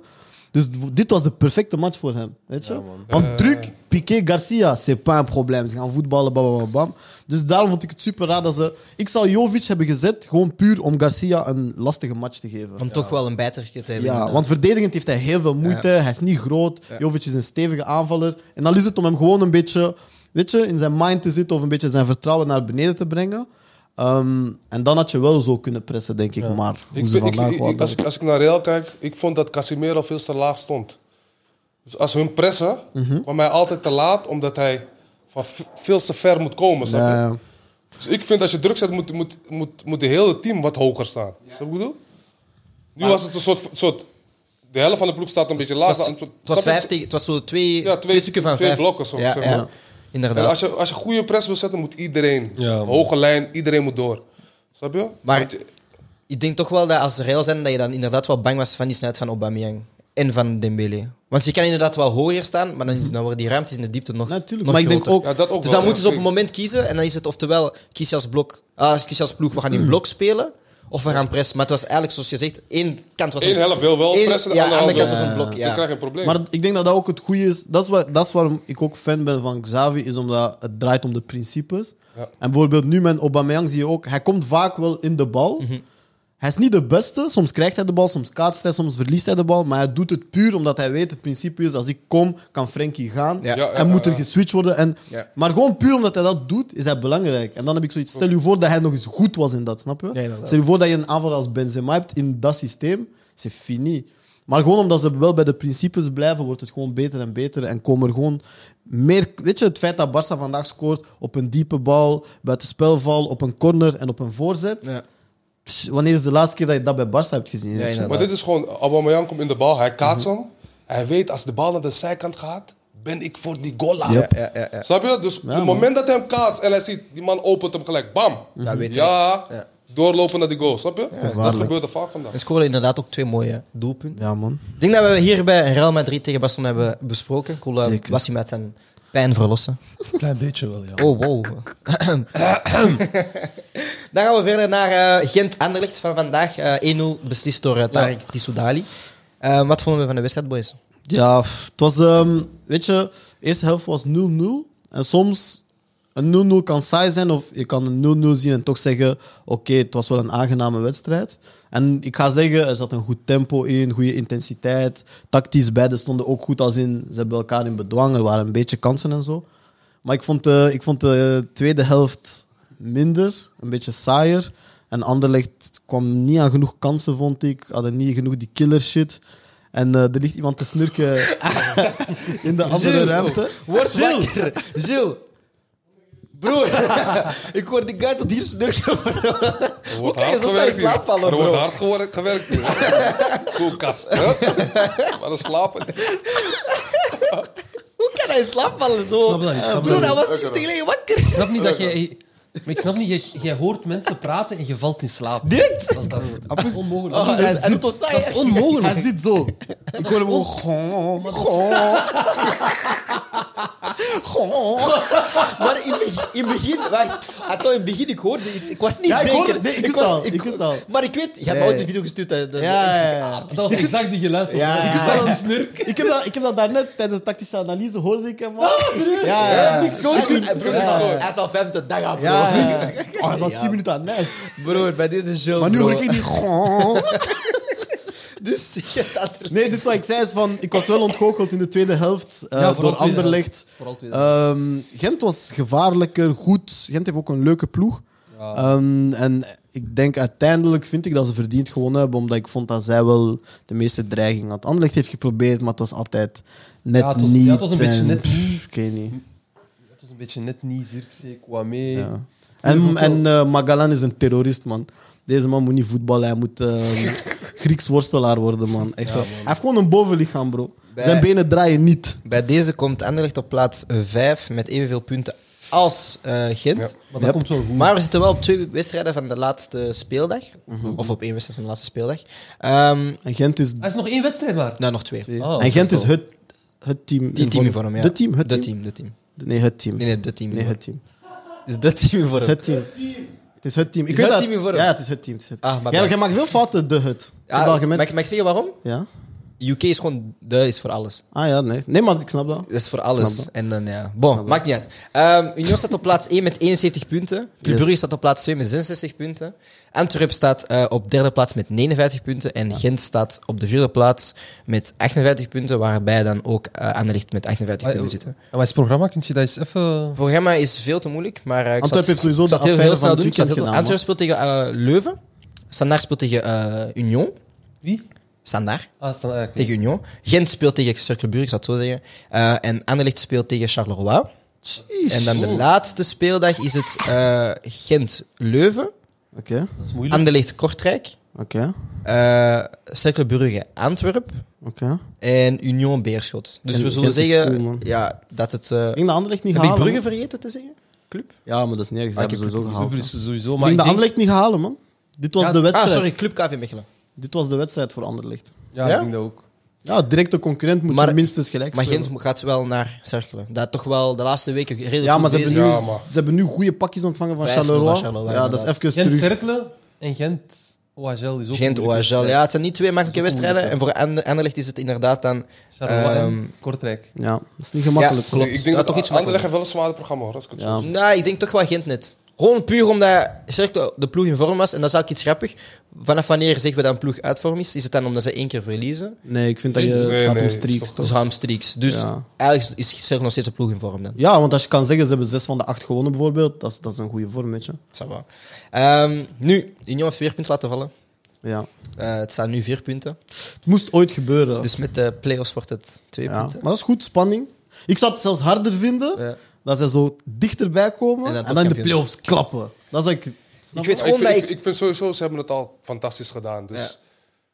[SPEAKER 4] Dus d- dit was de perfecte match voor hem. Weet je? want
[SPEAKER 3] Eh.
[SPEAKER 4] druk, Piqué, Garcia, c'est pas een probleem. Ze gaan voetballen, bam, bam, bam, bam. Dus daarom vond ik het super raar dat ze... Ik zou Jovic hebben gezet, gewoon puur om Garcia een lastige match te geven.
[SPEAKER 1] Om toch wel een bijtertje te hebben.
[SPEAKER 4] Ja, want verdedigend heeft hij heel veel moeite. Hij is niet groot. Jovic is een stevige aanvaller. En dan is het om hem gewoon een beetje weet je, in zijn mind te zitten of een beetje zijn vertrouwen naar beneden te brengen. Ehm, en dan had je wel zo kunnen pressen, denk ik. Maar hoe
[SPEAKER 3] Ik
[SPEAKER 4] ze
[SPEAKER 3] vind- ik-
[SPEAKER 4] vandaag
[SPEAKER 3] ik-
[SPEAKER 4] waren-
[SPEAKER 3] als, ik, als ik naar Real kijk, ik vond dat Casimiro veel te laag stond. Dus als hun pressen,
[SPEAKER 2] Mhm.
[SPEAKER 3] kwam hij altijd te laat, omdat hij van v- veel te ver moet komen. snap je?
[SPEAKER 4] Ja, ja.
[SPEAKER 3] Dus ik vind als je druk zet, moet, moet, moet, moet de hele team wat hoger staan. Snap je wat ik bedoel? Nu was het een soort, soort... De helft van de ploeg staat een beetje laag.
[SPEAKER 1] Het was,
[SPEAKER 3] een soort-
[SPEAKER 1] het was,
[SPEAKER 3] snap je?
[SPEAKER 1] vijf tegen- het was zo twee,
[SPEAKER 3] Ja, twee-
[SPEAKER 1] twee stukken van
[SPEAKER 3] twee
[SPEAKER 1] vijf.
[SPEAKER 3] blokken soms,
[SPEAKER 1] Ja,
[SPEAKER 3] zeg
[SPEAKER 1] ja.
[SPEAKER 3] maar. En
[SPEAKER 1] inderdaad.
[SPEAKER 3] als je, als je goede press wil zetten, moet iedereen.
[SPEAKER 2] Ja, man.
[SPEAKER 3] hoge lijn, iedereen moet door. Snap je?
[SPEAKER 1] Maar-
[SPEAKER 3] Want-
[SPEAKER 1] Ik denk toch wel dat als Real zijn, dat je dan inderdaad wel bang was van die snelheid van Aubameyang. En van Dembele. Want je kan inderdaad wel hoger staan, maar dan, is- dan worden die ruimtes in de diepte nog,
[SPEAKER 4] Natuurlijk,
[SPEAKER 1] nog
[SPEAKER 4] maar ik denk
[SPEAKER 1] groter.
[SPEAKER 4] ook-
[SPEAKER 3] ja, dat ook
[SPEAKER 1] Dus
[SPEAKER 3] wel,
[SPEAKER 1] dan moeten ze
[SPEAKER 3] ja.
[SPEAKER 1] op een moment kiezen. En dan is het oftewel, kies je als, blok, ah, als, kies je als ploeg, we gaan in blok spelen. Of we gaan pressen. Maar het was eigenlijk, zoals je zegt, één kant was
[SPEAKER 3] Eén
[SPEAKER 1] een-
[SPEAKER 3] helft wil wel
[SPEAKER 1] één-
[SPEAKER 3] pressen, de
[SPEAKER 1] ja,
[SPEAKER 3] andere
[SPEAKER 1] andere kant
[SPEAKER 3] helft
[SPEAKER 1] was een blok.
[SPEAKER 3] Dan krijg
[SPEAKER 1] Ja.
[SPEAKER 3] je een probleem.
[SPEAKER 4] Maar ik denk dat dat ook het goede is. Dat is, waar, dat is waarom ik ook fan ben van Xavi, is omdat het draait om de principes.
[SPEAKER 3] Ja.
[SPEAKER 4] En bijvoorbeeld nu met Aubameyang zie je ook, hij komt vaak wel in de bal.
[SPEAKER 3] Mhm.
[SPEAKER 4] Hij is niet de beste, soms krijgt hij de bal, soms kaatst hij, soms verliest hij de bal. Maar hij doet het puur omdat hij weet, het principe is, als ik kom, kan Frenkie gaan.
[SPEAKER 1] Ja.
[SPEAKER 4] En
[SPEAKER 1] Ja,
[SPEAKER 3] ja,
[SPEAKER 4] moet
[SPEAKER 3] ja,
[SPEAKER 4] er
[SPEAKER 3] ja.
[SPEAKER 4] geswitcht worden. En,
[SPEAKER 3] Ja.
[SPEAKER 4] Maar gewoon puur omdat hij dat doet, is hij belangrijk. En dan heb ik zoiets, stel je voor dat hij nog eens goed was in dat, snap je?
[SPEAKER 1] Ja, inderdaad.
[SPEAKER 4] Stel je voor dat je een aanval als Benzema hebt in dat systeem, c'est fini. Maar gewoon omdat ze wel bij de principes blijven, wordt het gewoon beter en beter. En komen er gewoon meer. Weet je, het feit dat Barça vandaag scoort op een diepe bal, buiten spelval, op een corner en op een voorzet.
[SPEAKER 1] Ja.
[SPEAKER 4] Pss, Wanneer is de laatste keer dat je dat bij Barça hebt gezien? weet je?
[SPEAKER 1] inderdaad.
[SPEAKER 3] Maar dit is gewoon, Aubameyang komt in de bal,
[SPEAKER 1] Mhm.
[SPEAKER 3] hij kaatst hem. Hij weet, als de bal naar de zijkant gaat, ben ik voor die goal. aan.
[SPEAKER 4] Yep.
[SPEAKER 1] Ja, ja, ja.
[SPEAKER 3] Snap je? Dus op het moment dat hij hem kaatst en hij ziet, die man opent hem gelijk, bam.
[SPEAKER 1] Ja, weet je
[SPEAKER 3] ja,
[SPEAKER 1] het. Ja.
[SPEAKER 3] doorlopen naar die goal, snap je? dat
[SPEAKER 4] Gevaarlijk.
[SPEAKER 3] gebeurt er vaak vandaag.
[SPEAKER 1] En scoren inderdaad ook twee mooie doelpunten.
[SPEAKER 4] ja, man.
[SPEAKER 1] Ik denk dat we hier bij Real Madrid tegen Barcelona hebben besproken. Ik wil eh,
[SPEAKER 4] Zeker.
[SPEAKER 1] Wassim uit zijn Pijn verlossen.
[SPEAKER 2] Klein beetje wel, ja.
[SPEAKER 1] Oh, wow. Dan gaan we verder naar eh Gent-Anderlecht van vandaag. Eh, 1-0 beslist door eh, Tarek Tissoudali. Eh, wat vonden we van de wedstrijd, boys?
[SPEAKER 4] Ja, pff, het was, ehm, weet je, de eerste helft was 0-0. En soms een 0-0 kan saai zijn, of je kan een 0-0 zien en toch zeggen: Oké, het was wel een aangename wedstrijd. En ik ga zeggen, er zat een goed tempo in, goede intensiteit. Tactisch, beide stonden ook goed, als in ze hebben elkaar in bedwang. Er waren een beetje kansen en zo. Maar ik vond, de- ik vond de tweede helft minder, een beetje saaier. En Anderlecht kwam niet aan genoeg kansen, vond ik. Hadden niet genoeg die killer shit. En eh, er ligt iemand te snurken in de andere
[SPEAKER 1] Gilles.
[SPEAKER 4] ruimte.
[SPEAKER 1] Word wakker! Gilles! Broer, ik hoor die guy tot hier snurken.
[SPEAKER 3] Er wordt
[SPEAKER 1] kan je
[SPEAKER 3] hard
[SPEAKER 1] zo snel in
[SPEAKER 3] gewerkt hier.
[SPEAKER 1] slaap vallen,
[SPEAKER 3] Er wordt
[SPEAKER 1] bro?
[SPEAKER 3] hard gewer- gewerkt hier. Koelkast, hè? Maar dan slapen.
[SPEAKER 1] Hoe kan hij slaapvallen zo?
[SPEAKER 2] Snap dat niet, snap
[SPEAKER 1] Broer,
[SPEAKER 2] dat
[SPEAKER 1] hij
[SPEAKER 2] niet.
[SPEAKER 1] was niet gelegen wakker.
[SPEAKER 2] Ik snap niet dat jij... Maar ik snap niet, jij, jij hoort mensen praten en je valt in slaap.
[SPEAKER 1] Direct?
[SPEAKER 2] Dat is, dat, dat is onmogelijk.
[SPEAKER 1] Oh,
[SPEAKER 2] dat,
[SPEAKER 1] en- en het was saai,
[SPEAKER 2] is
[SPEAKER 1] hè?
[SPEAKER 2] onmogelijk.
[SPEAKER 4] Hij zit zo. Ik hoor hem ook. Goh, goh, goh.
[SPEAKER 1] Maar in, beg- in begin, wacht, Atto, in begin ik hoorde iets. Ik was niet
[SPEAKER 4] Ja, ik
[SPEAKER 1] zeker.
[SPEAKER 4] hoorde- nee, ik wist
[SPEAKER 1] was,
[SPEAKER 4] al, ik wist al.
[SPEAKER 1] Maar ik weet, je hebt
[SPEAKER 4] Ja,
[SPEAKER 1] me ooit
[SPEAKER 4] ja.
[SPEAKER 1] een video gestuurd. hè, dat-
[SPEAKER 4] Ja,
[SPEAKER 1] ik-
[SPEAKER 4] ja, ja.
[SPEAKER 2] Dat was exact die geluid.
[SPEAKER 1] Ja,
[SPEAKER 2] Ja,
[SPEAKER 1] ja, ja.
[SPEAKER 2] Exact die snurk.
[SPEAKER 4] Ik heb dat, ik heb dat daarnet tijdens de tactische analyse hoorde ik hem. man. Ja, ja, ja.
[SPEAKER 1] Hij is-
[SPEAKER 4] Ja.
[SPEAKER 1] broer, hij is al- hij is al vijfde dag aan, bro.
[SPEAKER 4] Ja, ja. Oh, hij zat 10 minuten aan net.
[SPEAKER 1] Broer, bij deze show,
[SPEAKER 4] Maar nu
[SPEAKER 1] bro.
[SPEAKER 4] hoor ik die. goh.
[SPEAKER 1] Dus ik heb dat...
[SPEAKER 4] Nee, dus wat ik zei is van, ik was wel ontgoocheld in de tweede helft eh,
[SPEAKER 2] Ja, vooral
[SPEAKER 4] door
[SPEAKER 2] tweede
[SPEAKER 4] Anderlecht.
[SPEAKER 2] helft. Vooral tweede
[SPEAKER 4] Ehm, Gent was gevaarlijker, goed. Gent heeft ook een leuke ploeg. Ehm, en ik denk uiteindelijk vind ik dat ze verdiend gewonnen hebben, omdat ik vond dat zij wel de meeste dreiging had. Anderlecht heeft geprobeerd, maar het was altijd net
[SPEAKER 2] Ja, het was-
[SPEAKER 4] niet.
[SPEAKER 2] ja, het was een beetje
[SPEAKER 4] en-
[SPEAKER 2] net niet.
[SPEAKER 4] Ik weet niet.
[SPEAKER 2] Het was een beetje net niet Zirkzee, Kwame.
[SPEAKER 4] Ja. En, en eh, Magalan is een terrorist, man. Deze man moet niet voetballen, hij moet ehm, Grieks worstelaar worden, man. Echt, waar. Hij heeft gewoon een bovenlichaam, bro.
[SPEAKER 1] Bij-
[SPEAKER 4] Zijn benen draaien niet.
[SPEAKER 1] Bij deze komt Anderlecht op plaats 5 met evenveel punten als eh, Gent.
[SPEAKER 2] Maar dat
[SPEAKER 4] Yep.
[SPEAKER 2] komt wel goed.
[SPEAKER 1] Maar we zitten wel op twee wedstrijden van de laatste speeldag.
[SPEAKER 4] Mhm.
[SPEAKER 1] Of op één wedstrijd van de laatste speeldag. Ehm,
[SPEAKER 4] En Gent is,
[SPEAKER 2] Er Ah, is nog één wedstrijd maar.
[SPEAKER 1] nou, nog twee.
[SPEAKER 2] Oh, oké.
[SPEAKER 4] en Gent is het, het team.
[SPEAKER 1] Die team in vorm, ja.
[SPEAKER 4] De team, het
[SPEAKER 1] de
[SPEAKER 4] team.
[SPEAKER 1] team. De team.
[SPEAKER 4] Nee, het team.
[SPEAKER 1] Nee,
[SPEAKER 4] Nee,
[SPEAKER 1] nee, de team.
[SPEAKER 4] het team.
[SPEAKER 1] Is dat team in
[SPEAKER 4] Het is
[SPEAKER 1] vorm?
[SPEAKER 4] het team. Het is het team. Ik
[SPEAKER 1] Is
[SPEAKER 4] weet
[SPEAKER 1] het
[SPEAKER 4] dat-
[SPEAKER 1] team in vorm?
[SPEAKER 4] Ja, het is het team. Het is het
[SPEAKER 1] Ah, maar
[SPEAKER 4] ja,
[SPEAKER 1] bad.
[SPEAKER 4] jij maakt veel fouten, de het.
[SPEAKER 1] Ah,
[SPEAKER 4] Ja, dat
[SPEAKER 1] mag,
[SPEAKER 4] gemerkt.
[SPEAKER 1] ik- mag ik zeggen waarom?
[SPEAKER 4] Ja?
[SPEAKER 1] UK is gewoon de is voor alles.
[SPEAKER 4] Ah ja, nee. Nee, maar ik snap dat.
[SPEAKER 1] Dat is voor
[SPEAKER 4] Snap
[SPEAKER 1] alles.
[SPEAKER 4] dat.
[SPEAKER 1] En dan, ja. Bon, maakt niet uit. Ehm, Union staat op plaats 1 met 71 punten. Club
[SPEAKER 4] Yes.
[SPEAKER 1] Brugge staat op plaats 2 met 66 punten. Antwerp staat eh, op derde plaats met 59 punten. En Gent staat op de vierde plaats met 58 punten. Waarbij dan ook eh Anderlecht met 58
[SPEAKER 2] Maar,
[SPEAKER 1] punten
[SPEAKER 4] oh.
[SPEAKER 2] eh,
[SPEAKER 1] zitten.
[SPEAKER 2] maar het programma, kun je dat eens even...
[SPEAKER 1] Het programma is veel te moeilijk, maar eh, ik
[SPEAKER 4] Antwerp heeft sowieso
[SPEAKER 1] ik zal
[SPEAKER 4] de
[SPEAKER 1] het heel, heel
[SPEAKER 4] affaire
[SPEAKER 1] snel
[SPEAKER 4] van
[SPEAKER 1] doen. Ik
[SPEAKER 4] het
[SPEAKER 1] zal het
[SPEAKER 4] weekend
[SPEAKER 1] heel-
[SPEAKER 4] gedaan,
[SPEAKER 1] Antwerp speelt tegen eh, Leuven. Standaard speelt tegen eh, Union.
[SPEAKER 2] Wie?
[SPEAKER 1] Standaard
[SPEAKER 2] Ah, staan eigenlijk.
[SPEAKER 1] tegen Union. Gent speelt tegen Cercle ik zou het zo zeggen. Eh, en Anderlecht speelt tegen Charleroi.
[SPEAKER 4] Jeez.
[SPEAKER 1] En dan de laatste speeldag is het eh, Gent-Leuven,
[SPEAKER 4] Oké,
[SPEAKER 2] Dat is moeilijk.
[SPEAKER 1] Anderlecht-Kortrijk,
[SPEAKER 4] oké,
[SPEAKER 1] eh Cercle Brugge-Antwerp
[SPEAKER 4] oké.
[SPEAKER 1] en Union-Beerschot. Dus
[SPEAKER 4] En
[SPEAKER 1] we zullen
[SPEAKER 4] Gent is
[SPEAKER 1] zeggen
[SPEAKER 4] cool, man.
[SPEAKER 1] ja, dat het... eh,
[SPEAKER 4] Ik denk dat Anderlecht niet
[SPEAKER 1] heb ik
[SPEAKER 4] halen.
[SPEAKER 1] Brugge
[SPEAKER 4] man.
[SPEAKER 1] vergeten te zeggen? Club?
[SPEAKER 4] Ja, maar dat is nergens. Ze
[SPEAKER 1] Ah, ik
[SPEAKER 4] hebben
[SPEAKER 1] heb
[SPEAKER 4] sowieso gehaald. man. Ik
[SPEAKER 2] Sowieso, sowieso. Maar
[SPEAKER 4] denk
[SPEAKER 2] ik
[SPEAKER 4] dat
[SPEAKER 2] denk...
[SPEAKER 4] Anderlecht niet halen, man. Dit was
[SPEAKER 2] Ja,
[SPEAKER 4] de
[SPEAKER 1] Ah,
[SPEAKER 4] wedstrijd.
[SPEAKER 1] sorry, Club KV Mechelen.
[SPEAKER 4] Dit was de wedstrijd voor Anderlecht.
[SPEAKER 2] Ja,
[SPEAKER 1] Ja?
[SPEAKER 2] ik denk dat ook.
[SPEAKER 4] Ja, directe concurrent moet
[SPEAKER 1] Maar-
[SPEAKER 4] je minstens gelijk
[SPEAKER 1] Maar
[SPEAKER 4] spelen.
[SPEAKER 1] Gent gaat wel naar cirkelen. Dat toch wel de laatste weken redelijk
[SPEAKER 4] Ja,
[SPEAKER 1] goed
[SPEAKER 4] maar ze hebben,
[SPEAKER 1] bezig
[SPEAKER 4] nu,
[SPEAKER 1] is.
[SPEAKER 3] Ja, maar-
[SPEAKER 4] ze hebben nu goede pakjes ontvangen van
[SPEAKER 1] 5-0 van
[SPEAKER 4] Charleroi.
[SPEAKER 1] Charleroi,
[SPEAKER 4] ja, dat is even
[SPEAKER 2] Dus Gent
[SPEAKER 4] terug.
[SPEAKER 2] Cercle en Gent OHL is ook
[SPEAKER 1] Gent,
[SPEAKER 2] een moeilijke
[SPEAKER 1] OHL.
[SPEAKER 2] wedstrijd.
[SPEAKER 1] Ja, het zijn niet twee makkelijke
[SPEAKER 2] Dat is ook
[SPEAKER 1] wedstrijden. En voor Ander- Anderlecht is het inderdaad dan...
[SPEAKER 2] Charleroi
[SPEAKER 1] Ehm,
[SPEAKER 2] en Kortrijk.
[SPEAKER 4] Ja, dat is niet gemakkelijk.
[SPEAKER 1] Ja,
[SPEAKER 3] Ik denk
[SPEAKER 1] Ja,
[SPEAKER 3] dat
[SPEAKER 1] toch iets
[SPEAKER 3] Anderlecht heeft wel een zwaarder programma hoor, als ik het zo
[SPEAKER 4] Ja.
[SPEAKER 3] zie.
[SPEAKER 1] Nou, ik denk toch wel Gent net. Gewoon puur omdat Cercle de ploeg in vorm was. En dat is ook iets grappig. Vanaf wanneer zeggen we dat een ploeg uit vorm is? Is het dan omdat ze één keer verliezen?
[SPEAKER 4] Nee, ik vind dat je het
[SPEAKER 3] Nee,
[SPEAKER 4] gaat
[SPEAKER 3] nee,
[SPEAKER 4] om
[SPEAKER 3] is
[SPEAKER 4] streaks.
[SPEAKER 3] toch-
[SPEAKER 4] toch?
[SPEAKER 1] Dus hamstreeks. Dus
[SPEAKER 4] Ja.
[SPEAKER 1] eigenlijk is Cercle nog steeds een ploeg in vorm dan.
[SPEAKER 4] Ja, want als je kan zeggen, ze hebben zes van de acht gewonnen bijvoorbeeld, dat is, dat is een goede vorm, weet je.
[SPEAKER 1] Ça va. Ehm, nu, Union heeft weer punten laten vallen.
[SPEAKER 4] Ja.
[SPEAKER 1] Eh, het staan nu vier punten.
[SPEAKER 4] Het moest ooit gebeuren.
[SPEAKER 1] Dus met de play-offs wordt het twee
[SPEAKER 4] ja.
[SPEAKER 1] punten.
[SPEAKER 4] Maar dat is goed, spanning. Ik zou het zelfs harder vinden
[SPEAKER 1] Ja.
[SPEAKER 4] dat ze zo dichterbij komen
[SPEAKER 1] En
[SPEAKER 4] en
[SPEAKER 1] dan
[SPEAKER 4] dan,
[SPEAKER 1] toch
[SPEAKER 4] in de
[SPEAKER 1] kampioen.
[SPEAKER 4] playoffs klappen. Dat zou ik... Snap
[SPEAKER 1] Ik
[SPEAKER 4] je?
[SPEAKER 1] weet gewoon
[SPEAKER 3] ik,
[SPEAKER 1] dat
[SPEAKER 3] vind,
[SPEAKER 1] ik...
[SPEAKER 3] ik, ik vind sowieso, ze hebben het al fantastisch gedaan. Dus.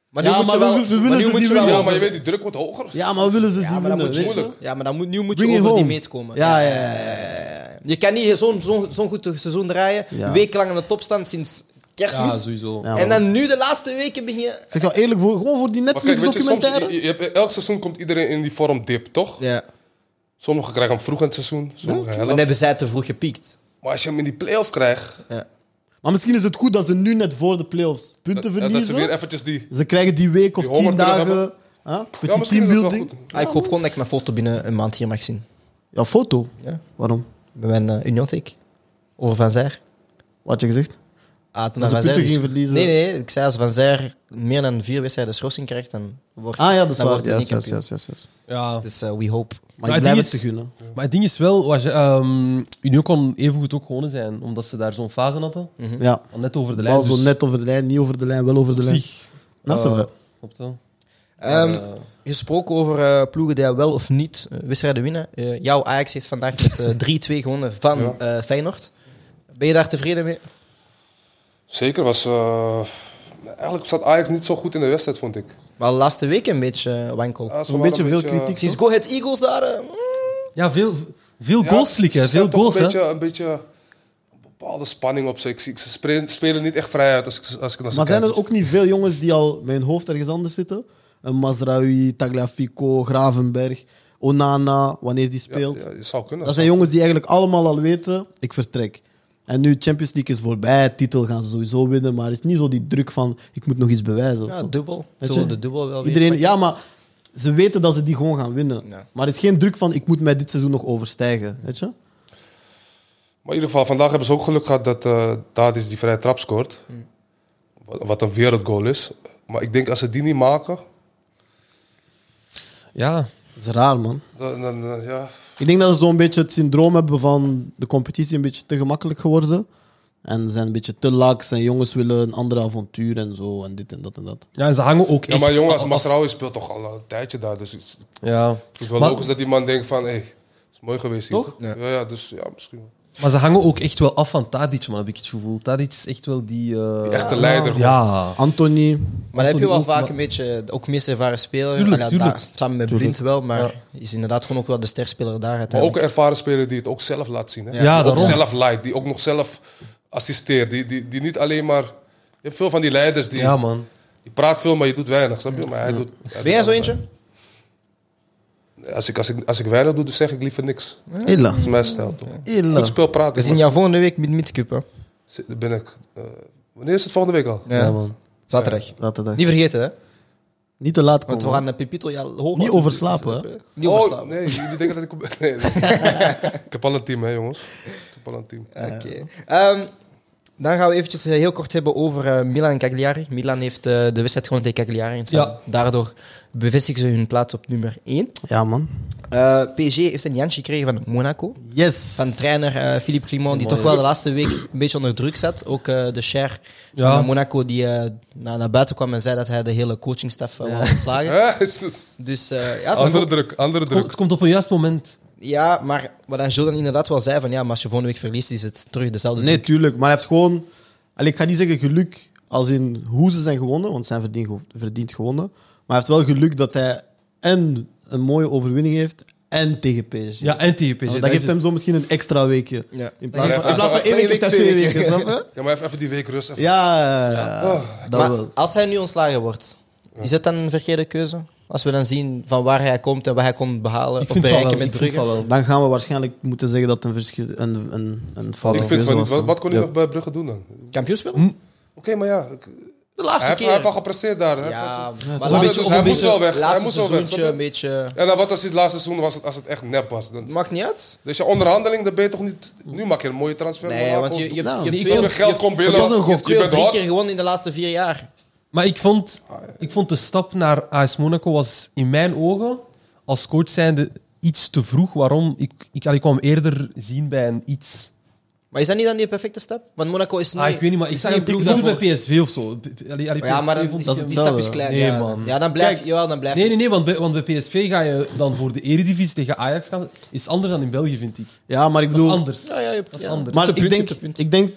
[SPEAKER 1] Maar nu
[SPEAKER 4] Ja,
[SPEAKER 1] moet
[SPEAKER 4] maar
[SPEAKER 1] je wel...
[SPEAKER 4] we willen-
[SPEAKER 1] maar
[SPEAKER 4] we willen
[SPEAKER 1] nu
[SPEAKER 4] ze
[SPEAKER 1] moet je
[SPEAKER 4] niet
[SPEAKER 1] wel
[SPEAKER 3] Ja,
[SPEAKER 4] winnen.
[SPEAKER 1] over-
[SPEAKER 3] maar je weet, die druk wordt hoger.
[SPEAKER 4] Ja, maar we willen ze
[SPEAKER 1] Ja,
[SPEAKER 4] zien
[SPEAKER 1] maar dan
[SPEAKER 4] winnen,
[SPEAKER 1] moet je,
[SPEAKER 4] weet je.
[SPEAKER 1] moeilijk. Ja, maar dan moet, nu moet je
[SPEAKER 4] Bring it
[SPEAKER 1] over die
[SPEAKER 4] home.
[SPEAKER 1] meet komen.
[SPEAKER 4] Ja, ja, ja, ja,
[SPEAKER 1] Je kan niet zo'n zo'n zo'n goed seizoen draaien,
[SPEAKER 4] Ja.
[SPEAKER 1] wekenlang aan de top staan sinds
[SPEAKER 2] Ja,
[SPEAKER 1] kerstmis.
[SPEAKER 2] sowieso.
[SPEAKER 4] Ja,
[SPEAKER 1] en
[SPEAKER 4] man.
[SPEAKER 1] dan nu de laatste weken begin je...
[SPEAKER 4] Ik zeg jou eerlijk, voor, gewoon voor die
[SPEAKER 3] Maar kijk, weet je, soms,
[SPEAKER 4] Netflix-documentaire.
[SPEAKER 3] je- je hebt- elk seizoen komt iedereen in die vorm dip, toch?
[SPEAKER 1] Ja.
[SPEAKER 3] Sommigen krijgen hem vroeg in het seizoen, sommigen
[SPEAKER 1] Dan
[SPEAKER 3] helft.
[SPEAKER 1] hebben zij te vroeg gepiekt.
[SPEAKER 3] Maar als je hem in die play-off krijgt,
[SPEAKER 4] Maar misschien is het goed dat ze nu net voor de playoffs punten
[SPEAKER 3] dat, dat
[SPEAKER 4] verliezen.
[SPEAKER 3] ze
[SPEAKER 4] ze,
[SPEAKER 3] weer eventjes die...
[SPEAKER 4] krijgen die week of
[SPEAKER 3] Die
[SPEAKER 4] tien
[SPEAKER 3] honger kunnen
[SPEAKER 4] dagen.
[SPEAKER 3] hebben.
[SPEAKER 4] Huh?
[SPEAKER 3] Ja,
[SPEAKER 4] Petit
[SPEAKER 3] misschien is dat wel
[SPEAKER 4] teambuilding.
[SPEAKER 3] goed.
[SPEAKER 1] Ah, ik hoop gewoon dat ik mijn foto binnen een maand hier mag zien.
[SPEAKER 4] Ja, foto.
[SPEAKER 1] Ja.
[SPEAKER 4] Waarom?
[SPEAKER 1] Bij mijn uh, Uniontech. Over Van Zijr.
[SPEAKER 4] Wat had je gezegd?
[SPEAKER 1] Ah, toen
[SPEAKER 4] Dat ze
[SPEAKER 1] Van Zijr
[SPEAKER 4] punten
[SPEAKER 1] is-
[SPEAKER 4] gingen verliezen.
[SPEAKER 1] Nee, nee, ik zei als Van Zijr meer dan vier wedstrijden schorsing krijgt, dan wordt
[SPEAKER 4] Ah ja, dat is
[SPEAKER 1] dan
[SPEAKER 4] waar.
[SPEAKER 1] wordt hij
[SPEAKER 4] Yes,
[SPEAKER 1] niet
[SPEAKER 4] yes,
[SPEAKER 1] kampioen.
[SPEAKER 4] yes, yes, yes.
[SPEAKER 2] Ja.
[SPEAKER 1] Dus eh, we hope.
[SPEAKER 4] Maar
[SPEAKER 2] Maar
[SPEAKER 4] ik
[SPEAKER 2] het
[SPEAKER 4] blijf
[SPEAKER 2] ding
[SPEAKER 4] het te
[SPEAKER 2] is-
[SPEAKER 4] gunnen.
[SPEAKER 2] Maar het ding is wel, was, ehm Union kon evengoed ook gewonnen zijn, omdat ze daar zo'n fase hadden.
[SPEAKER 4] Ja.
[SPEAKER 2] Al Net over de lijn.
[SPEAKER 4] Wel zo
[SPEAKER 2] dus
[SPEAKER 4] net over de lijn, niet over de lijn, wel over de
[SPEAKER 2] op
[SPEAKER 4] lijn.
[SPEAKER 2] zich,
[SPEAKER 4] Dat is
[SPEAKER 2] eh,
[SPEAKER 4] wel.
[SPEAKER 2] klopt wel.
[SPEAKER 1] Ehm,
[SPEAKER 2] Maar, eh,
[SPEAKER 1] Gesproken over eh, ploegen die wel of niet eh, wedstrijden winnen. Eh, jouw Ajax heeft vandaag met eh, 3-2 gewonnen van
[SPEAKER 3] Ja.
[SPEAKER 1] eh, Feyenoord. Ben je daar tevreden mee?
[SPEAKER 3] Zeker was... eh, eigenlijk zat Ajax niet zo goed in de wedstrijd, vond ik.
[SPEAKER 1] Maar de laatste week een beetje eh, wankel.
[SPEAKER 3] Ja, ze
[SPEAKER 4] Een
[SPEAKER 3] waren
[SPEAKER 4] beetje veel
[SPEAKER 3] eh,
[SPEAKER 4] kritiek.
[SPEAKER 1] Sinds Go Ahead Eagles daar... eh, mm,
[SPEAKER 2] ja, veel, veel
[SPEAKER 3] ja,
[SPEAKER 2] goals slikken.
[SPEAKER 3] ze
[SPEAKER 2] Veel
[SPEAKER 3] zetten toch
[SPEAKER 2] goals,
[SPEAKER 3] een
[SPEAKER 2] hè.
[SPEAKER 3] beetje, een beetje een bepaalde spanning op ze. Ik zie- Ze spelen- spelen niet echt vrij uit als ik, als ik naar ze
[SPEAKER 4] Maar zijn
[SPEAKER 3] kijk.
[SPEAKER 4] er ook niet veel jongens die al met hun hoofd ergens anders zitten? Een Mazraoui, Tagliafico, Gravenberg, Onana, wanneer die
[SPEAKER 3] Ja,
[SPEAKER 4] speelt.
[SPEAKER 3] ja, het zou kunnen.
[SPEAKER 4] Dat zijn jongens die eigenlijk allemaal al weten, ik vertrek. En nu, Champions League is voorbij, titel gaan ze sowieso winnen, maar er is niet zo die druk van, ik moet nog iets bewijzen. of
[SPEAKER 1] ja,
[SPEAKER 4] zo.
[SPEAKER 1] dubbel.
[SPEAKER 4] Weet
[SPEAKER 1] Ze
[SPEAKER 4] je?
[SPEAKER 1] willen de dubbel wel weer
[SPEAKER 4] Iedereen, ja, maar ze weten dat ze die gewoon gaan winnen.
[SPEAKER 1] Ja.
[SPEAKER 4] Maar er is geen druk van, ik moet mij dit seizoen nog overstijgen. Weet je?
[SPEAKER 3] Maar in ieder geval, vandaag hebben ze ook geluk gehad dat eh Tadis die vrije trap scoort.
[SPEAKER 2] Hmm.
[SPEAKER 3] Wat, wat een wereldgoal is. Maar ik denk als ze die niet maken,
[SPEAKER 2] Ja,
[SPEAKER 4] Dat is raar, man.
[SPEAKER 3] dan, dan, dan, ja.
[SPEAKER 4] Ik denk dat ze zo'n beetje het syndroom hebben van de competitie een beetje te gemakkelijk geworden. En ze zijn een beetje te lax en jongens willen een andere avontuur en zo en dit en dat en dat.
[SPEAKER 2] ja en ze hangen ook
[SPEAKER 3] ja
[SPEAKER 2] echt...
[SPEAKER 3] maar jongens,
[SPEAKER 2] af-
[SPEAKER 3] Masraoui speelt toch al een tijdje daar. Dus het is- het
[SPEAKER 2] Ja.
[SPEAKER 3] is wel
[SPEAKER 2] Maar-
[SPEAKER 3] logisch dat die man denkt van, hé, hey, is mooi geweest hier.
[SPEAKER 4] Toch?
[SPEAKER 3] Ja. ja, ja, dus ja, misschien wel.
[SPEAKER 2] Maar ze hangen ook echt wel af van Tadic, man, heb ik het gevoel. Tadic is echt wel die... eh,
[SPEAKER 3] Die echte leider.
[SPEAKER 2] Ja.
[SPEAKER 4] Anthony,
[SPEAKER 1] Maar dan heb je wel
[SPEAKER 2] Anthony ook,
[SPEAKER 1] vaak
[SPEAKER 2] maar-
[SPEAKER 1] een beetje, eh, ook meest ervaren speler.
[SPEAKER 2] Tuurlijk,
[SPEAKER 1] Ah ja, daar-
[SPEAKER 2] tuurlijk.
[SPEAKER 1] samen met Blind wel, maar is inderdaad gewoon ook wel de sterspeler daar
[SPEAKER 3] Maar ook
[SPEAKER 1] uiteindelijk.
[SPEAKER 3] een ervaren speler die het ook zelf laat zien. Hè?
[SPEAKER 2] Ja,
[SPEAKER 3] die ook
[SPEAKER 2] daarom.
[SPEAKER 3] zelf leidt, die ook nog zelf assisteert. Die, die, die niet alleen maar... Je hebt veel van die leiders die...
[SPEAKER 2] Ja, man.
[SPEAKER 3] Je praat veel, maar je doet weinig, snap je? Maar hij doet, hij
[SPEAKER 1] Ben
[SPEAKER 3] doet
[SPEAKER 1] jij zo
[SPEAKER 3] wel-
[SPEAKER 1] eentje?
[SPEAKER 3] Als ik, als, ik, als ik weinig doe, dan zeg ik liever niks.
[SPEAKER 4] Illa.
[SPEAKER 3] Dat is
[SPEAKER 1] Mm.
[SPEAKER 3] mijn stijl, toch?
[SPEAKER 4] Illa.
[SPEAKER 3] Goed speel praten.
[SPEAKER 1] We zien jou volgende week met Midcup, hè?
[SPEAKER 3] Daar ben ik. eh, wanneer is het volgende week al?
[SPEAKER 1] Ja.
[SPEAKER 2] man.
[SPEAKER 1] Zaterdag.
[SPEAKER 4] Zaterdag.
[SPEAKER 1] Niet vergeten, hè?
[SPEAKER 4] Niet te laat
[SPEAKER 1] Want
[SPEAKER 4] komen.
[SPEAKER 1] we gaan eh, Pepito ja, hoog
[SPEAKER 4] Niet
[SPEAKER 1] laten. Dus, eh,
[SPEAKER 4] overslapen, hè?
[SPEAKER 1] Niet
[SPEAKER 3] oh,
[SPEAKER 1] overslapen.
[SPEAKER 3] nee, jullie denken dat ik... op- Nee, nee. ik heb al een team, hè, jongens. Ik heb al een team.
[SPEAKER 1] Oké. Ehm, dan gaan we eventjes eh, heel kort hebben over eh, Milan en Cagliari. Milan heeft eh, de wedstrijd gewonnen tegen Cagliari. En
[SPEAKER 2] Ja.
[SPEAKER 1] Daardoor bevestigen ze hun plaats op nummer 1.
[SPEAKER 4] Ja, man.
[SPEAKER 1] Eh PSG heeft een Jantje gekregen van Monaco.
[SPEAKER 4] Yes.
[SPEAKER 1] Van trainer eh, Philippe Clement, die toch wel de laatste week een beetje onder druk zat. Ook eh, de Cher
[SPEAKER 2] Ja.
[SPEAKER 1] van Monaco, die eh, naar, naar buiten kwam en zei dat hij de hele coachingstaf eh, wou ontslagen.
[SPEAKER 3] Hè, het is dus-
[SPEAKER 1] Dus eh, ja, het was
[SPEAKER 3] andere
[SPEAKER 1] ook-
[SPEAKER 3] druk, andere
[SPEAKER 2] Het komt-
[SPEAKER 3] druk.
[SPEAKER 2] Het komt op een juist moment.
[SPEAKER 1] ja, maar wat dan Jules dan inderdaad wel zei, van ja, maar als je volgende week verliest, is het terug dezelfde
[SPEAKER 4] Nee,
[SPEAKER 1] druk.
[SPEAKER 4] tuurlijk. Maar hij heeft gewoon... Allee, ik ga niet zeggen geluk als in hoe ze zijn gewonnen, want ze zijn verdiend, gewo- verdiend gewonnen. Maar hij heeft wel geluk dat hij en een mooie overwinning heeft en tegen PSG.
[SPEAKER 2] Ja, en tegen PSG.
[SPEAKER 4] Want
[SPEAKER 2] Dat
[SPEAKER 4] dat
[SPEAKER 2] is
[SPEAKER 4] geeft hem zo misschien een extra weekje.
[SPEAKER 1] Ja.
[SPEAKER 4] In plaats
[SPEAKER 3] Ja,
[SPEAKER 4] van, in plaats van
[SPEAKER 3] ja,
[SPEAKER 4] één week heeft hij twee weken, snap je?
[SPEAKER 3] Ja, maar even, even die week rust. even-
[SPEAKER 4] Ja, ja, ja, ja. dat
[SPEAKER 1] Oh. Maar
[SPEAKER 4] wel.
[SPEAKER 1] als hij nu ontslagen wordt, is het dan een verkeerde keuze? Als we dan zien van waar hij komt en wat hij kon behalen
[SPEAKER 2] Ik
[SPEAKER 1] of
[SPEAKER 2] vind het wel
[SPEAKER 1] bereiken met
[SPEAKER 2] wel. Ik vind
[SPEAKER 1] Brugge.
[SPEAKER 2] het wel wel.
[SPEAKER 4] Dan gaan we waarschijnlijk moeten zeggen dat het een, verschil, een, een, een fout
[SPEAKER 3] Ik
[SPEAKER 4] was.
[SPEAKER 3] vind van niet.
[SPEAKER 4] was.
[SPEAKER 3] Wat, wat kon hij
[SPEAKER 2] Ja.
[SPEAKER 3] nog bij Brugge doen dan? Oké,
[SPEAKER 1] Kampioen spelen?
[SPEAKER 3] maar ja. ik-
[SPEAKER 1] De
[SPEAKER 3] Hij
[SPEAKER 1] laatste
[SPEAKER 3] heeft,
[SPEAKER 1] keer.
[SPEAKER 3] hij heeft al gepresteerd daar. hè.
[SPEAKER 1] ja,
[SPEAKER 3] Dus
[SPEAKER 1] laatste-
[SPEAKER 2] beetje-
[SPEAKER 3] dus
[SPEAKER 2] op
[SPEAKER 3] hij
[SPEAKER 2] een
[SPEAKER 3] moest
[SPEAKER 2] beetje-
[SPEAKER 3] wel weg. Hij
[SPEAKER 1] laatste
[SPEAKER 3] moest wel weg.
[SPEAKER 1] seizoentje een
[SPEAKER 3] snap je?
[SPEAKER 1] beetje...
[SPEAKER 3] En dan wat als hij het laatste seizoen was, als het echt nep was? Dan-
[SPEAKER 1] Maakt niet uit.
[SPEAKER 3] Dus je onderhandeling, dan ben je toch niet... Nu maak je een mooie transfer.
[SPEAKER 1] Nee,
[SPEAKER 3] Monaco.
[SPEAKER 1] want je, je, hebt- je,
[SPEAKER 4] Nou,
[SPEAKER 1] hebt
[SPEAKER 4] die
[SPEAKER 1] twee
[SPEAKER 3] Snap je,
[SPEAKER 1] of-
[SPEAKER 3] geld komt binnen.
[SPEAKER 4] was een
[SPEAKER 1] je hebt
[SPEAKER 3] Je
[SPEAKER 1] twee of
[SPEAKER 3] bent
[SPEAKER 1] drie
[SPEAKER 3] hot.
[SPEAKER 1] keer gewonnen in de laatste vier jaar.
[SPEAKER 2] Maar ik vond, ik vond de stap naar AS Monaco was in mijn ogen, als coach zijnde, iets te vroeg. Waarom? Ik, ik, ik kwam eerder zien bij een iets...
[SPEAKER 1] Maar is dat niet dan die perfecte stap? Want Monaco is niet...
[SPEAKER 2] Ah, ik weet niet, maar ik zag
[SPEAKER 1] niet
[SPEAKER 2] een
[SPEAKER 1] een
[SPEAKER 2] ploeg
[SPEAKER 1] ploeg
[SPEAKER 2] dat met PSV of zo. B- allee, allee,
[SPEAKER 1] ja,
[SPEAKER 2] PSV
[SPEAKER 1] maar dan,
[SPEAKER 2] vond
[SPEAKER 1] is,
[SPEAKER 2] ik-
[SPEAKER 1] die stap is klein.
[SPEAKER 2] Nee,
[SPEAKER 1] ja.
[SPEAKER 2] man.
[SPEAKER 1] Ja, dan blijf,
[SPEAKER 4] Kijk,
[SPEAKER 1] jawel, dan blijf
[SPEAKER 2] Nee, nee, nee, want bij, want bij PSV ga je dan voor de Eredivisie tegen Ajax gaan. Is anders dan in België, vind ik.
[SPEAKER 4] Ja, maar ik
[SPEAKER 2] Dat is
[SPEAKER 4] bedoel...
[SPEAKER 2] anders.
[SPEAKER 1] Ja, ja, je hebt-
[SPEAKER 2] Dat is
[SPEAKER 1] ja.
[SPEAKER 2] anders.
[SPEAKER 4] Maar
[SPEAKER 1] Op de
[SPEAKER 4] ik
[SPEAKER 1] punt,
[SPEAKER 4] denk,
[SPEAKER 1] op de punt.
[SPEAKER 4] ik denk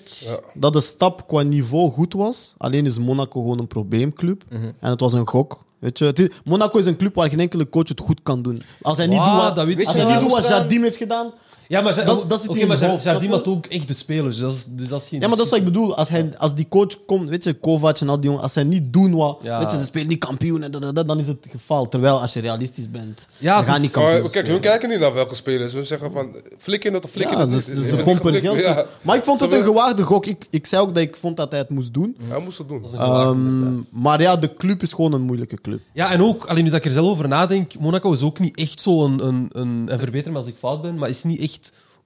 [SPEAKER 4] dat de stap qua niveau goed was. Alleen is Monaco gewoon een probleemclub.
[SPEAKER 2] Mhm.
[SPEAKER 4] En het was een gok. Weet je, Het is- Monaco is een club waar geen enkele coach het goed kan doen. Als hij niet
[SPEAKER 2] Wow,
[SPEAKER 4] doet wat,
[SPEAKER 2] dat weet je
[SPEAKER 4] als
[SPEAKER 2] wel.
[SPEAKER 4] hij niet doet wat
[SPEAKER 1] Moest dan-
[SPEAKER 4] Jardim heeft gedaan,
[SPEAKER 2] Ja, maar, ze-
[SPEAKER 4] Dat- dat zit
[SPEAKER 2] oké,
[SPEAKER 4] in
[SPEAKER 2] maar
[SPEAKER 4] het hoofd,
[SPEAKER 2] Jardim
[SPEAKER 4] snap
[SPEAKER 2] had
[SPEAKER 4] je?
[SPEAKER 2] ook echt de spelers, dus, dat is- dus dat is geen
[SPEAKER 4] Ja, maar dat is wat ik bedoel. Als, hij, als die coach komt, weet je, Kovac en al die jongens, als zij niet doen wat,
[SPEAKER 2] Ja.
[SPEAKER 4] weet je, ze spelen niet kampioen, en dat, dat, dat, dan is het gefaald. Terwijl als je realistisch bent,
[SPEAKER 2] Ja, dus-
[SPEAKER 4] ja, ze
[SPEAKER 2] het
[SPEAKER 4] gaan
[SPEAKER 2] is-
[SPEAKER 4] niet
[SPEAKER 3] Maar
[SPEAKER 4] kampioen.
[SPEAKER 3] kijk, hun kijken niet naar welke spelers. Hun zeggen van, flik in dat of flik in
[SPEAKER 4] ja,
[SPEAKER 3] dat.
[SPEAKER 4] ze,
[SPEAKER 3] niet.
[SPEAKER 4] ze-
[SPEAKER 3] Is-
[SPEAKER 4] ze
[SPEAKER 3] is- is-
[SPEAKER 4] pompen geld.
[SPEAKER 3] ja.
[SPEAKER 4] Maar ik vond het
[SPEAKER 3] Ze
[SPEAKER 4] een
[SPEAKER 3] hebben-
[SPEAKER 4] gewaagde gok. Ik, ik zei ook dat ik vond dat hij het moest doen.
[SPEAKER 3] Hij moest het doen.
[SPEAKER 2] Dat is een gewaagde
[SPEAKER 4] Ehm,
[SPEAKER 2] move,
[SPEAKER 4] maar ja, de club is gewoon een moeilijke club.
[SPEAKER 2] Ja, en ook, alleen nu dat ik er zelf over nadenk, Monaco is ook niet echt zo'n, een, een, en verbeter me als ik fout ben, maar is niet echt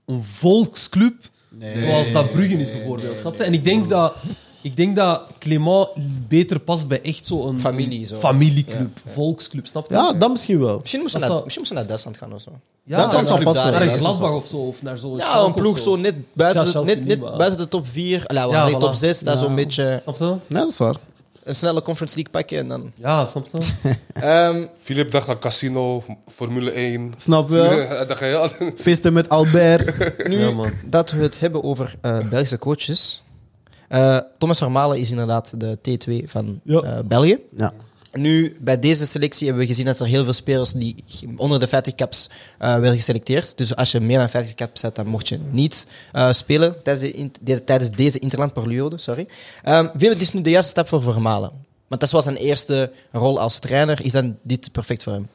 [SPEAKER 2] een volksclub zoals dat Bruggen is bijvoorbeeld. snap je? En ik denk dat, ik denk dat Clément beter past bij echt zo'n
[SPEAKER 1] Familie, zo.
[SPEAKER 2] familieclub, volksclub, snap je?
[SPEAKER 4] Ja, dat misschien wel.
[SPEAKER 1] Misschien moest ze
[SPEAKER 2] Dat
[SPEAKER 1] naar-
[SPEAKER 2] zou-
[SPEAKER 1] misschien moest ze naar Duitsland gaan of zo.
[SPEAKER 2] Ja,
[SPEAKER 4] dat zou
[SPEAKER 2] naar-
[SPEAKER 4] zou passen,
[SPEAKER 2] Naar
[SPEAKER 4] ja,
[SPEAKER 2] een
[SPEAKER 4] dat zou
[SPEAKER 2] Gladbach of zo, of naar zo'n
[SPEAKER 1] Ja,
[SPEAKER 2] Schalke
[SPEAKER 1] een ploeg
[SPEAKER 2] of
[SPEAKER 1] zo net buiten,
[SPEAKER 2] Ja,
[SPEAKER 1] de,
[SPEAKER 2] Schalke
[SPEAKER 1] net,
[SPEAKER 2] niet,
[SPEAKER 1] net
[SPEAKER 2] maar-
[SPEAKER 1] buiten de top 4. Allee, we
[SPEAKER 2] Ja,
[SPEAKER 1] gaan zeggen
[SPEAKER 2] voilà.
[SPEAKER 1] top 6, dat is
[SPEAKER 4] Ja.
[SPEAKER 1] zo'n beetje
[SPEAKER 2] Snap je?
[SPEAKER 4] Nee, dat is waar.
[SPEAKER 1] een snelle Conference League pakken. En dan,
[SPEAKER 2] Ja, snap je?
[SPEAKER 1] Ehm,
[SPEAKER 3] Eh, Philip dacht aan Casino, Formule 1.
[SPEAKER 4] Snap je?
[SPEAKER 3] Dat ga je altijd...
[SPEAKER 4] Feesten met Albert.
[SPEAKER 1] nu
[SPEAKER 2] Ja, man.
[SPEAKER 1] dat we het hebben over eh, Belgische coaches. Eh, Thomas Vermalen is inderdaad de T2 van
[SPEAKER 2] Ja.
[SPEAKER 1] eh, België.
[SPEAKER 4] Ja.
[SPEAKER 1] Nu, bij deze selectie hebben we gezien dat er heel veel spelers die onder de 50 caps eh, werden geselecteerd. Dus als je meer dan 50 caps zet, dan mocht je niet eh, spelen tijdens, de in- de- tijdens deze interlandperiode. Sorry. Ehm Veel het is nu de juiste stap voor Vermalen. Want dat was zijn eerste rol als trainer. Is dan dit perfect voor hem?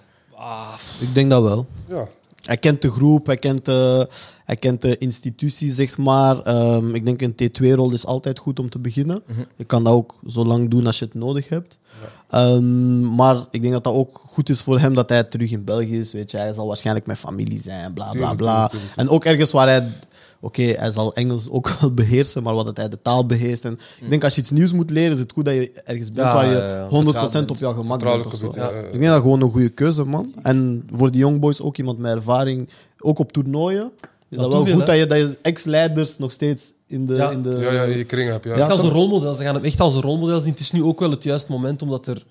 [SPEAKER 4] Ik denk dat wel.
[SPEAKER 3] Ja.
[SPEAKER 4] Hij kent de groep, hij kent de, hij kent de institutie, zeg maar. Ehm, ik denk een T2-rol is altijd goed om te beginnen.
[SPEAKER 3] Mhm.
[SPEAKER 4] Je kan dat ook zo lang doen als je het nodig hebt. Ehm, maar ik denk dat dat ook goed is voor hem dat hij terug in België is. Weet je. Hij zal waarschijnlijk met familie zijn, bla bla
[SPEAKER 3] Tuurlijk,
[SPEAKER 4] bla.
[SPEAKER 3] tuurlijk, tuurlijk,
[SPEAKER 4] En ook ergens waar hij. Oké, hij zal Engels ook wel beheersen, maar wat dat hij de taal beheerst. En
[SPEAKER 3] Mhm.
[SPEAKER 4] ik denk als je iets nieuws moet leren, is het goed dat je ergens bent
[SPEAKER 2] Ja,
[SPEAKER 4] waar je
[SPEAKER 2] ja, ja.
[SPEAKER 4] 100% op jouw gemak bent.
[SPEAKER 3] Vertrouwelijk
[SPEAKER 4] of zo.
[SPEAKER 3] gebied, ja.
[SPEAKER 4] Ik denk dat gewoon een goede keuze, man. En voor die young boys ook iemand met ervaring, ook op toernooien. Is dat,
[SPEAKER 2] doet
[SPEAKER 4] wel
[SPEAKER 2] veel,
[SPEAKER 4] goed
[SPEAKER 2] hè?
[SPEAKER 4] dat je, dat je ex-leiders nog steeds in de.
[SPEAKER 2] Ja.
[SPEAKER 4] In de
[SPEAKER 3] Ja, ja, in je kring heb je. Ja.
[SPEAKER 4] Ja.
[SPEAKER 2] Echt als een rolmodel. Ze gaan hem echt als een rolmodel zien. Het is nu ook wel het juiste moment, omdat er een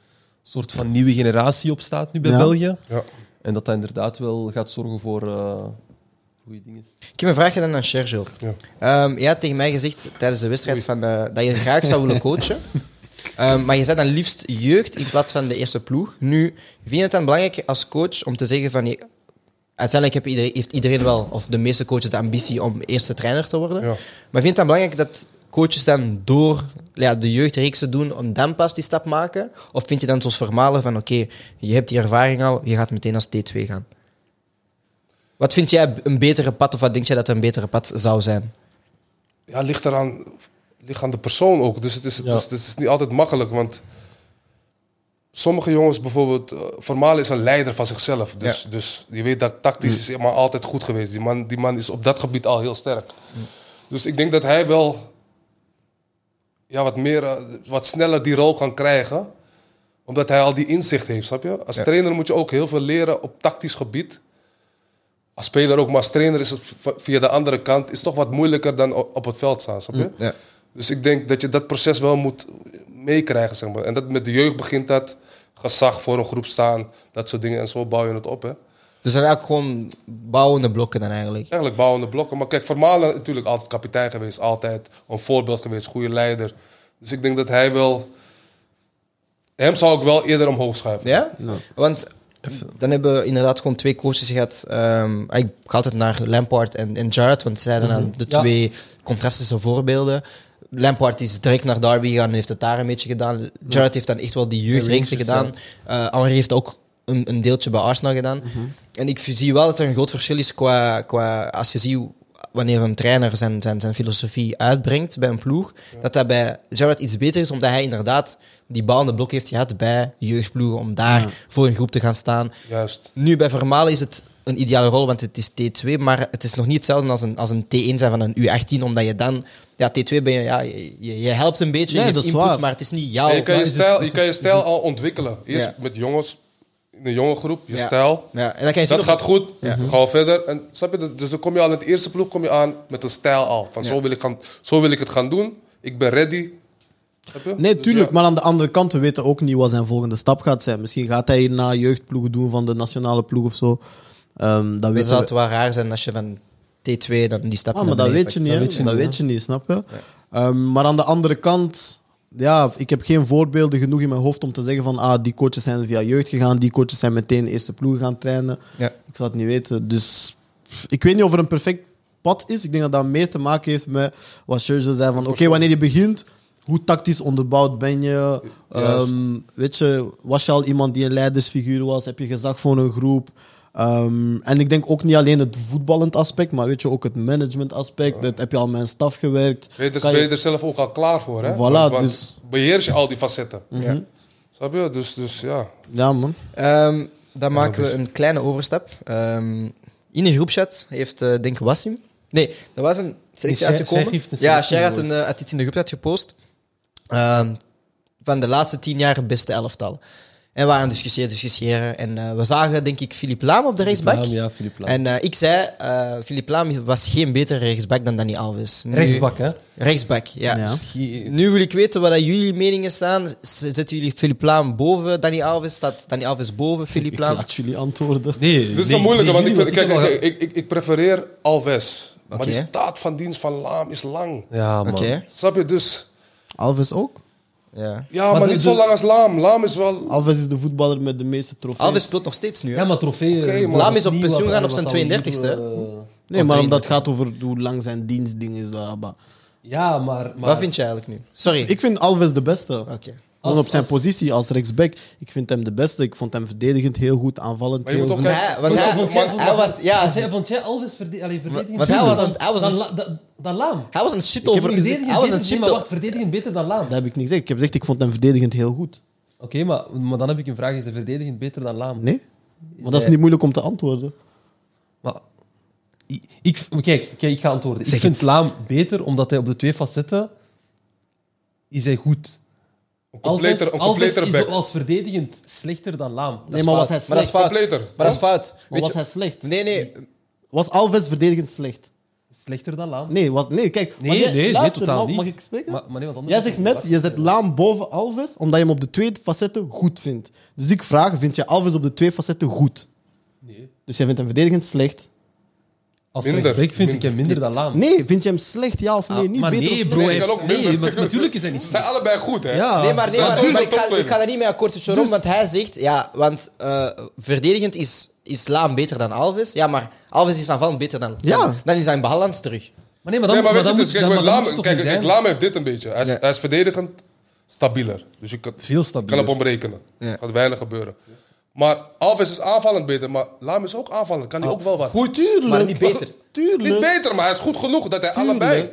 [SPEAKER 2] soort van nieuwe generatie op staat nu bij
[SPEAKER 4] Ja.
[SPEAKER 2] België.
[SPEAKER 3] Ja.
[SPEAKER 2] En dat dat inderdaad wel gaat zorgen voor eh goede dingen.
[SPEAKER 1] Ik heb een vraag gedaan aan Sergio.
[SPEAKER 3] Ja.
[SPEAKER 1] Ehm jij had tegen mij gezegd tijdens de wedstrijd van, eh, dat je graag zou willen coachen. Ehm, maar je zei dan liefst jeugd in plaats van de eerste ploeg. Nu, vind je het dan belangrijk als coach om te zeggen van... je- uiteindelijk heb iedereen, heeft iedereen wel, of de meeste coaches, de ambitie om eerste trainer te worden.
[SPEAKER 3] Ja.
[SPEAKER 1] Maar vind je het dan belangrijk dat coaches dan door ja, de jeugdreeksen doen, om dan pas die stap maken? Of vind je dan zoals vermalen van oké, je hebt die ervaring al, je gaat meteen als T2 gaan? Wat vind jij een betere pad, of wat denk jij dat een betere pad zou zijn?
[SPEAKER 3] ja, ligt eraan ligt aan de persoon ook. Dus het is, het,
[SPEAKER 4] Ja.
[SPEAKER 3] is, het is niet altijd makkelijk, want sommige jongens bijvoorbeeld, eh, Vermalen is een leider van zichzelf. Dus, dus je weet dat tactisch is maar altijd goed geweest. Die man, die man is op dat gebied al heel sterk. Dus ik denk dat hij wel ja, wat, meer, eh, wat sneller die rol kan krijgen omdat hij al die inzicht heeft, snap je? Als trainer moet je ook heel veel leren op tactisch gebied. Als speler ook, maar als trainer is het v- via de andere kant is het toch wat moeilijker dan o- op het veld staan, snap je?
[SPEAKER 1] Ja.
[SPEAKER 3] Dus ik denk dat je dat proces wel moet meekrijgen, zeg maar. En dat met de jeugd begint dat gezag voor een groep staan, dat soort dingen. En zo bouw je het op, hè.
[SPEAKER 1] Dus dan eigenlijk gewoon bouwende blokken dan eigenlijk.
[SPEAKER 3] Eigenlijk bouwende blokken. Maar kijk, Vermalen natuurlijk altijd kapitein geweest. Altijd een voorbeeld geweest, goede leider. Dus ik denk dat hij wel... Hem zou ik wel eerder omhoog schuiven.
[SPEAKER 1] Ja? Want dan hebben we inderdaad gewoon twee coaches gehad. Ehm, ik ga altijd naar Lampard en, en Jarrett, want zij zijn dan de
[SPEAKER 2] Ja.
[SPEAKER 1] twee contrastische voorbeelden. Lampard is direct naar Derby gegaan en heeft het daar een beetje gedaan. Jarrett heeft dan echt wel die jeugdreeksen gedaan.
[SPEAKER 2] Rangers,
[SPEAKER 1] Eh Henry heeft ook een, een deeltje bij Arsenal gedaan. En ik zie wel dat er een groot verschil is qua, qua als je ziet wanneer een trainer zijn, zijn, zijn filosofie uitbrengt bij een ploeg, dat dat bij Gerard iets beter is, omdat hij inderdaad die bouwende blok heeft gehad bij jeugdploegen, om daar voor een groep te gaan staan.
[SPEAKER 3] Juist.
[SPEAKER 1] Nu, bij Vermalen is het een ideale rol, want het is T2, maar het is nog niet hetzelfde als een, als een T1 zijn van een U18, omdat je dan... Ja, T2 ben je... Ja, je, je- je helpt een beetje,
[SPEAKER 4] Nee,
[SPEAKER 1] je
[SPEAKER 4] dat
[SPEAKER 1] hebt
[SPEAKER 4] is
[SPEAKER 1] input,
[SPEAKER 4] waar.
[SPEAKER 1] maar het is niet
[SPEAKER 3] En
[SPEAKER 1] jouw... Dus
[SPEAKER 3] je kan je
[SPEAKER 1] maar-
[SPEAKER 3] stijl, je, kan je stijl al ontwikkelen. Eerst
[SPEAKER 1] Ja.
[SPEAKER 3] met jongens, in een jonge groep, je
[SPEAKER 1] Ja.
[SPEAKER 3] stijl.
[SPEAKER 1] Ja, en dan kan je zien
[SPEAKER 3] Dat
[SPEAKER 1] of-
[SPEAKER 3] gaat goed, ga verder. En, snap je? Dus dan kom je al in het eerste ploeg kom je aan met een stijl al. Van zo, wil ik gaan, zo wil ik het gaan doen, ik ben ready. Snap je?
[SPEAKER 4] Nee,
[SPEAKER 3] Dus
[SPEAKER 4] tuurlijk.
[SPEAKER 3] ja.
[SPEAKER 4] Maar aan de andere kant, we weten ook niet wat zijn volgende stap gaat zijn. Misschien gaat hij hierna jeugdploegen doen van de nationale ploeg of zo. Ehm dat
[SPEAKER 1] Dan
[SPEAKER 4] weten
[SPEAKER 1] zou
[SPEAKER 4] we.
[SPEAKER 1] het wel raar zijn als je van T2 dan die stap
[SPEAKER 4] Ah, maar dat weet je niet, hè.
[SPEAKER 2] Dat weet
[SPEAKER 4] dat,
[SPEAKER 2] je
[SPEAKER 4] weet,
[SPEAKER 2] niet,
[SPEAKER 4] je niet, snap je? Ehm, maar aan de andere kant, ja, ik heb geen voorbeelden genoeg in mijn hoofd om te zeggen van ah, die coaches zijn via jeugd gegaan, die coaches zijn meteen eerste ploeg gaan trainen.
[SPEAKER 1] Ja.
[SPEAKER 4] Ik zou het niet weten, dus pff, ik weet niet of er een perfect pad is. Ik denk dat dat meer te maken heeft met wat Sergio zei: van oké, wanneer je begint, hoe tactisch onderbouwd ben je?
[SPEAKER 3] Juist.
[SPEAKER 4] Ehm, weet je, was je al iemand die een leidersfiguur was? Heb je gezag voor een groep? Ehm, en ik denk ook niet alleen het voetballend aspect, maar weet je, ook het management aspect. Dat heb je al met een staf gewerkt?
[SPEAKER 3] Ben je, dus
[SPEAKER 4] Kan
[SPEAKER 3] ben je er zelf ook al klaar voor, hè?
[SPEAKER 4] Voilà,
[SPEAKER 3] Want- want
[SPEAKER 4] dus-
[SPEAKER 3] Beheers je al die facetten.
[SPEAKER 1] Ja.
[SPEAKER 3] Snap je? Dus, dus ja.
[SPEAKER 4] Ja, man.
[SPEAKER 1] Ehm, dan maken we
[SPEAKER 3] dus.
[SPEAKER 1] een kleine overstap. Ehm, in de groepchat heeft, eh, denk ik, Wassim... Nee, er was een selectie
[SPEAKER 2] Nee, Sher-
[SPEAKER 1] uitgekomen.
[SPEAKER 2] Sher heeft een
[SPEAKER 1] ja,
[SPEAKER 2] selectie
[SPEAKER 1] Sher had, een,
[SPEAKER 2] gegooid.
[SPEAKER 1] eh, had iets in de groepchat gepost. Ehm, van de laatste tien jaar het beste elftal. En we waren aan het discussiëren, discussiëren. En eh, we zagen, denk ik, Filip Laam op de rechtsback.
[SPEAKER 2] Laam, ja, Philippe Laam.
[SPEAKER 1] En eh, ik zei, eh Filip Laam was geen betere rechtsback dan Danny Alves. Nu-
[SPEAKER 2] Rechtsbak, hè?
[SPEAKER 1] Rechtsback, ja. Dus
[SPEAKER 4] Ja.
[SPEAKER 2] Ge-
[SPEAKER 1] Nu wil ik weten wat dat jullie meningen staan. Z- Zetten jullie Filip Laam boven Danny Alves? Staat Danny Alves boven Filip
[SPEAKER 4] Ik
[SPEAKER 1] Laam?
[SPEAKER 4] laat jullie antwoorden.
[SPEAKER 2] Nee,
[SPEAKER 3] Dit is
[SPEAKER 2] nee,
[SPEAKER 3] een moeilijke,
[SPEAKER 2] nee,
[SPEAKER 3] want ik,
[SPEAKER 2] nee,
[SPEAKER 3] vind, kijk,
[SPEAKER 2] heb
[SPEAKER 3] ik, ik, ik, ik prefereer Alves.
[SPEAKER 1] Oké.
[SPEAKER 3] Maar die staat van dienst van Laam is lang.
[SPEAKER 2] al- Ja,
[SPEAKER 1] Oké.
[SPEAKER 2] man.
[SPEAKER 3] Snap je? Dus
[SPEAKER 4] Alves ook?
[SPEAKER 1] Ja.
[SPEAKER 3] ja, maar,
[SPEAKER 2] Maar de-
[SPEAKER 3] niet zo
[SPEAKER 2] de-
[SPEAKER 3] lang als Laam. Laam is wel.
[SPEAKER 4] Alves is de voetballer met de meeste trofees.
[SPEAKER 1] Alves speelt nog steeds nu. hè?
[SPEAKER 2] Ja, maar trofee...
[SPEAKER 3] Oké,
[SPEAKER 2] eh,
[SPEAKER 3] man.
[SPEAKER 1] Laam is op
[SPEAKER 2] niet
[SPEAKER 1] pensioen
[SPEAKER 2] wat-
[SPEAKER 1] gaan op
[SPEAKER 2] wat
[SPEAKER 1] zijn
[SPEAKER 2] dan liever,
[SPEAKER 1] 32e.
[SPEAKER 2] eh,
[SPEAKER 4] Nee,
[SPEAKER 1] Of
[SPEAKER 4] maar
[SPEAKER 1] 33.
[SPEAKER 4] omdat het gaat over hoe lang zijn dienstding is. bla, bla.
[SPEAKER 2] Ja, maar... maar
[SPEAKER 1] Wat vind je eigenlijk nu? Sorry.
[SPEAKER 4] Ik vind Alves de beste.
[SPEAKER 1] Oké.
[SPEAKER 4] Gewoon
[SPEAKER 2] Als-
[SPEAKER 4] op zijn
[SPEAKER 2] als-
[SPEAKER 4] positie als rechtsback. Ik vind hem de beste. Ik vond hem verdedigend heel goed, aanvallend
[SPEAKER 3] Maar je
[SPEAKER 4] heel
[SPEAKER 3] moet
[SPEAKER 4] goed.
[SPEAKER 3] ook
[SPEAKER 1] Want hij,
[SPEAKER 3] kijken-
[SPEAKER 1] want
[SPEAKER 3] Vond-
[SPEAKER 1] hij,
[SPEAKER 3] vond-
[SPEAKER 1] want
[SPEAKER 3] vond-
[SPEAKER 1] hij was, ja,
[SPEAKER 2] Vond jij, vond jij Alves verde allee, verdedigend
[SPEAKER 1] want hij was
[SPEAKER 2] beter
[SPEAKER 1] aan-
[SPEAKER 2] dan-
[SPEAKER 1] hij was
[SPEAKER 2] dan
[SPEAKER 1] aan-
[SPEAKER 2] La- da- Dan Laam.
[SPEAKER 1] hij was een shit
[SPEAKER 2] Ik heb
[SPEAKER 1] over.
[SPEAKER 2] niet gezegd,
[SPEAKER 1] Hij was een
[SPEAKER 2] nee,
[SPEAKER 1] shit
[SPEAKER 2] maar
[SPEAKER 1] over.
[SPEAKER 2] wacht, verdedigend beter dan Laam.
[SPEAKER 4] Dat heb ik niet gezegd. Ik heb gezegd, ik vond hem verdedigend heel goed.
[SPEAKER 2] Oké, maar, maar dan heb ik een vraag. Is de verdedigend beter dan Laam?
[SPEAKER 4] Nee? Maar dat is
[SPEAKER 1] Nee.
[SPEAKER 4] niet moeilijk om te antwoorden.
[SPEAKER 2] Maar, ik, ik- maar kijk, kijk, ik ga antwoorden.
[SPEAKER 1] Zeg
[SPEAKER 2] ik vind
[SPEAKER 1] het.
[SPEAKER 2] Laam beter, omdat hij op de twee facetten... Is hij goed.
[SPEAKER 3] Een
[SPEAKER 2] Alves,
[SPEAKER 3] completer, een
[SPEAKER 2] Alves
[SPEAKER 3] completer
[SPEAKER 2] is
[SPEAKER 3] back.
[SPEAKER 2] als verdedigend slechter dan Laam.
[SPEAKER 4] Nee, maar was hij
[SPEAKER 1] Maar dat is
[SPEAKER 4] slecht?
[SPEAKER 1] fout.
[SPEAKER 3] Completer.
[SPEAKER 1] Maar dat is fout.
[SPEAKER 4] Maar
[SPEAKER 1] Weet
[SPEAKER 4] was
[SPEAKER 1] je-
[SPEAKER 4] hij slecht?
[SPEAKER 1] Nee, nee.
[SPEAKER 4] Was Alves verdedigend slecht?
[SPEAKER 2] Slechter dan Laam.
[SPEAKER 4] Nee, was, nee kijk.
[SPEAKER 2] Nee,
[SPEAKER 4] wanneer-
[SPEAKER 2] nee, nee,
[SPEAKER 4] luister,
[SPEAKER 2] totaal
[SPEAKER 4] mag,
[SPEAKER 2] niet.
[SPEAKER 4] Mag ik spreken?
[SPEAKER 2] Maar, maar nee, want anders-
[SPEAKER 4] Jij zegt net, je zet Laam boven Alves, omdat je hem op de twee facetten goed vindt. Dus ik vraag, vind je Alves op de twee facetten goed?
[SPEAKER 2] Nee.
[SPEAKER 4] Dus jij vindt hem verdedigend slecht?
[SPEAKER 2] Als
[SPEAKER 3] Minder.
[SPEAKER 2] rechtsback vind ik
[SPEAKER 3] Minder.
[SPEAKER 2] hem minder dan Laam.
[SPEAKER 4] Nee, vind je hem slecht, ja of nee?
[SPEAKER 2] Ah,
[SPEAKER 4] niet
[SPEAKER 2] maar
[SPEAKER 4] beter of
[SPEAKER 2] nee,
[SPEAKER 4] slecht?
[SPEAKER 2] bro. hij
[SPEAKER 3] Ik kan
[SPEAKER 2] heeft-
[SPEAKER 3] ook
[SPEAKER 2] nee,
[SPEAKER 3] minder.
[SPEAKER 2] maar natuurlijk is hij niet
[SPEAKER 3] Ze zijn
[SPEAKER 2] slecht.
[SPEAKER 3] allebei goed, hè?
[SPEAKER 2] Ja.
[SPEAKER 1] Nee, maar, nee,
[SPEAKER 3] Ja,
[SPEAKER 1] maar,
[SPEAKER 3] dus-
[SPEAKER 1] maar ik, ga,
[SPEAKER 3] dus-
[SPEAKER 1] ik ga daar niet mee akkoord tussen Rom, want hij zegt, ja, want eh, verdedigend is, is Laam beter dan Alves. Ja, maar Alves is aanvallend beter dan
[SPEAKER 4] Ja.
[SPEAKER 1] Dan, dan is hij in balans terug.
[SPEAKER 2] Maar nee, maar dan,
[SPEAKER 3] nee,
[SPEAKER 2] maar
[SPEAKER 3] maar weet je,
[SPEAKER 2] dan
[SPEAKER 3] dus,
[SPEAKER 2] moet
[SPEAKER 3] kijk,
[SPEAKER 2] dan- maar
[SPEAKER 3] met
[SPEAKER 2] dan
[SPEAKER 3] Laam,
[SPEAKER 2] moet het toch
[SPEAKER 3] kijk,
[SPEAKER 2] niet
[SPEAKER 3] kijk,
[SPEAKER 2] zijn?
[SPEAKER 3] Laam heeft dit een beetje. Hij is,
[SPEAKER 1] Ja.
[SPEAKER 3] hij is verdedigend stabieler. Dus je kan,
[SPEAKER 2] Veel
[SPEAKER 3] kan op
[SPEAKER 2] stabieler.
[SPEAKER 3] hem rekenen.
[SPEAKER 1] Ja.
[SPEAKER 3] Gaat weinig gebeuren. Maar Alves is aanvallend beter, maar Laam is ook aanvallend.
[SPEAKER 2] Ah,
[SPEAKER 3] Kan hij ook wel wat?
[SPEAKER 1] Goed, maar niet beter.
[SPEAKER 4] Tuurlijk.
[SPEAKER 3] Niet beter, maar hij is goed genoeg dat hij allebei.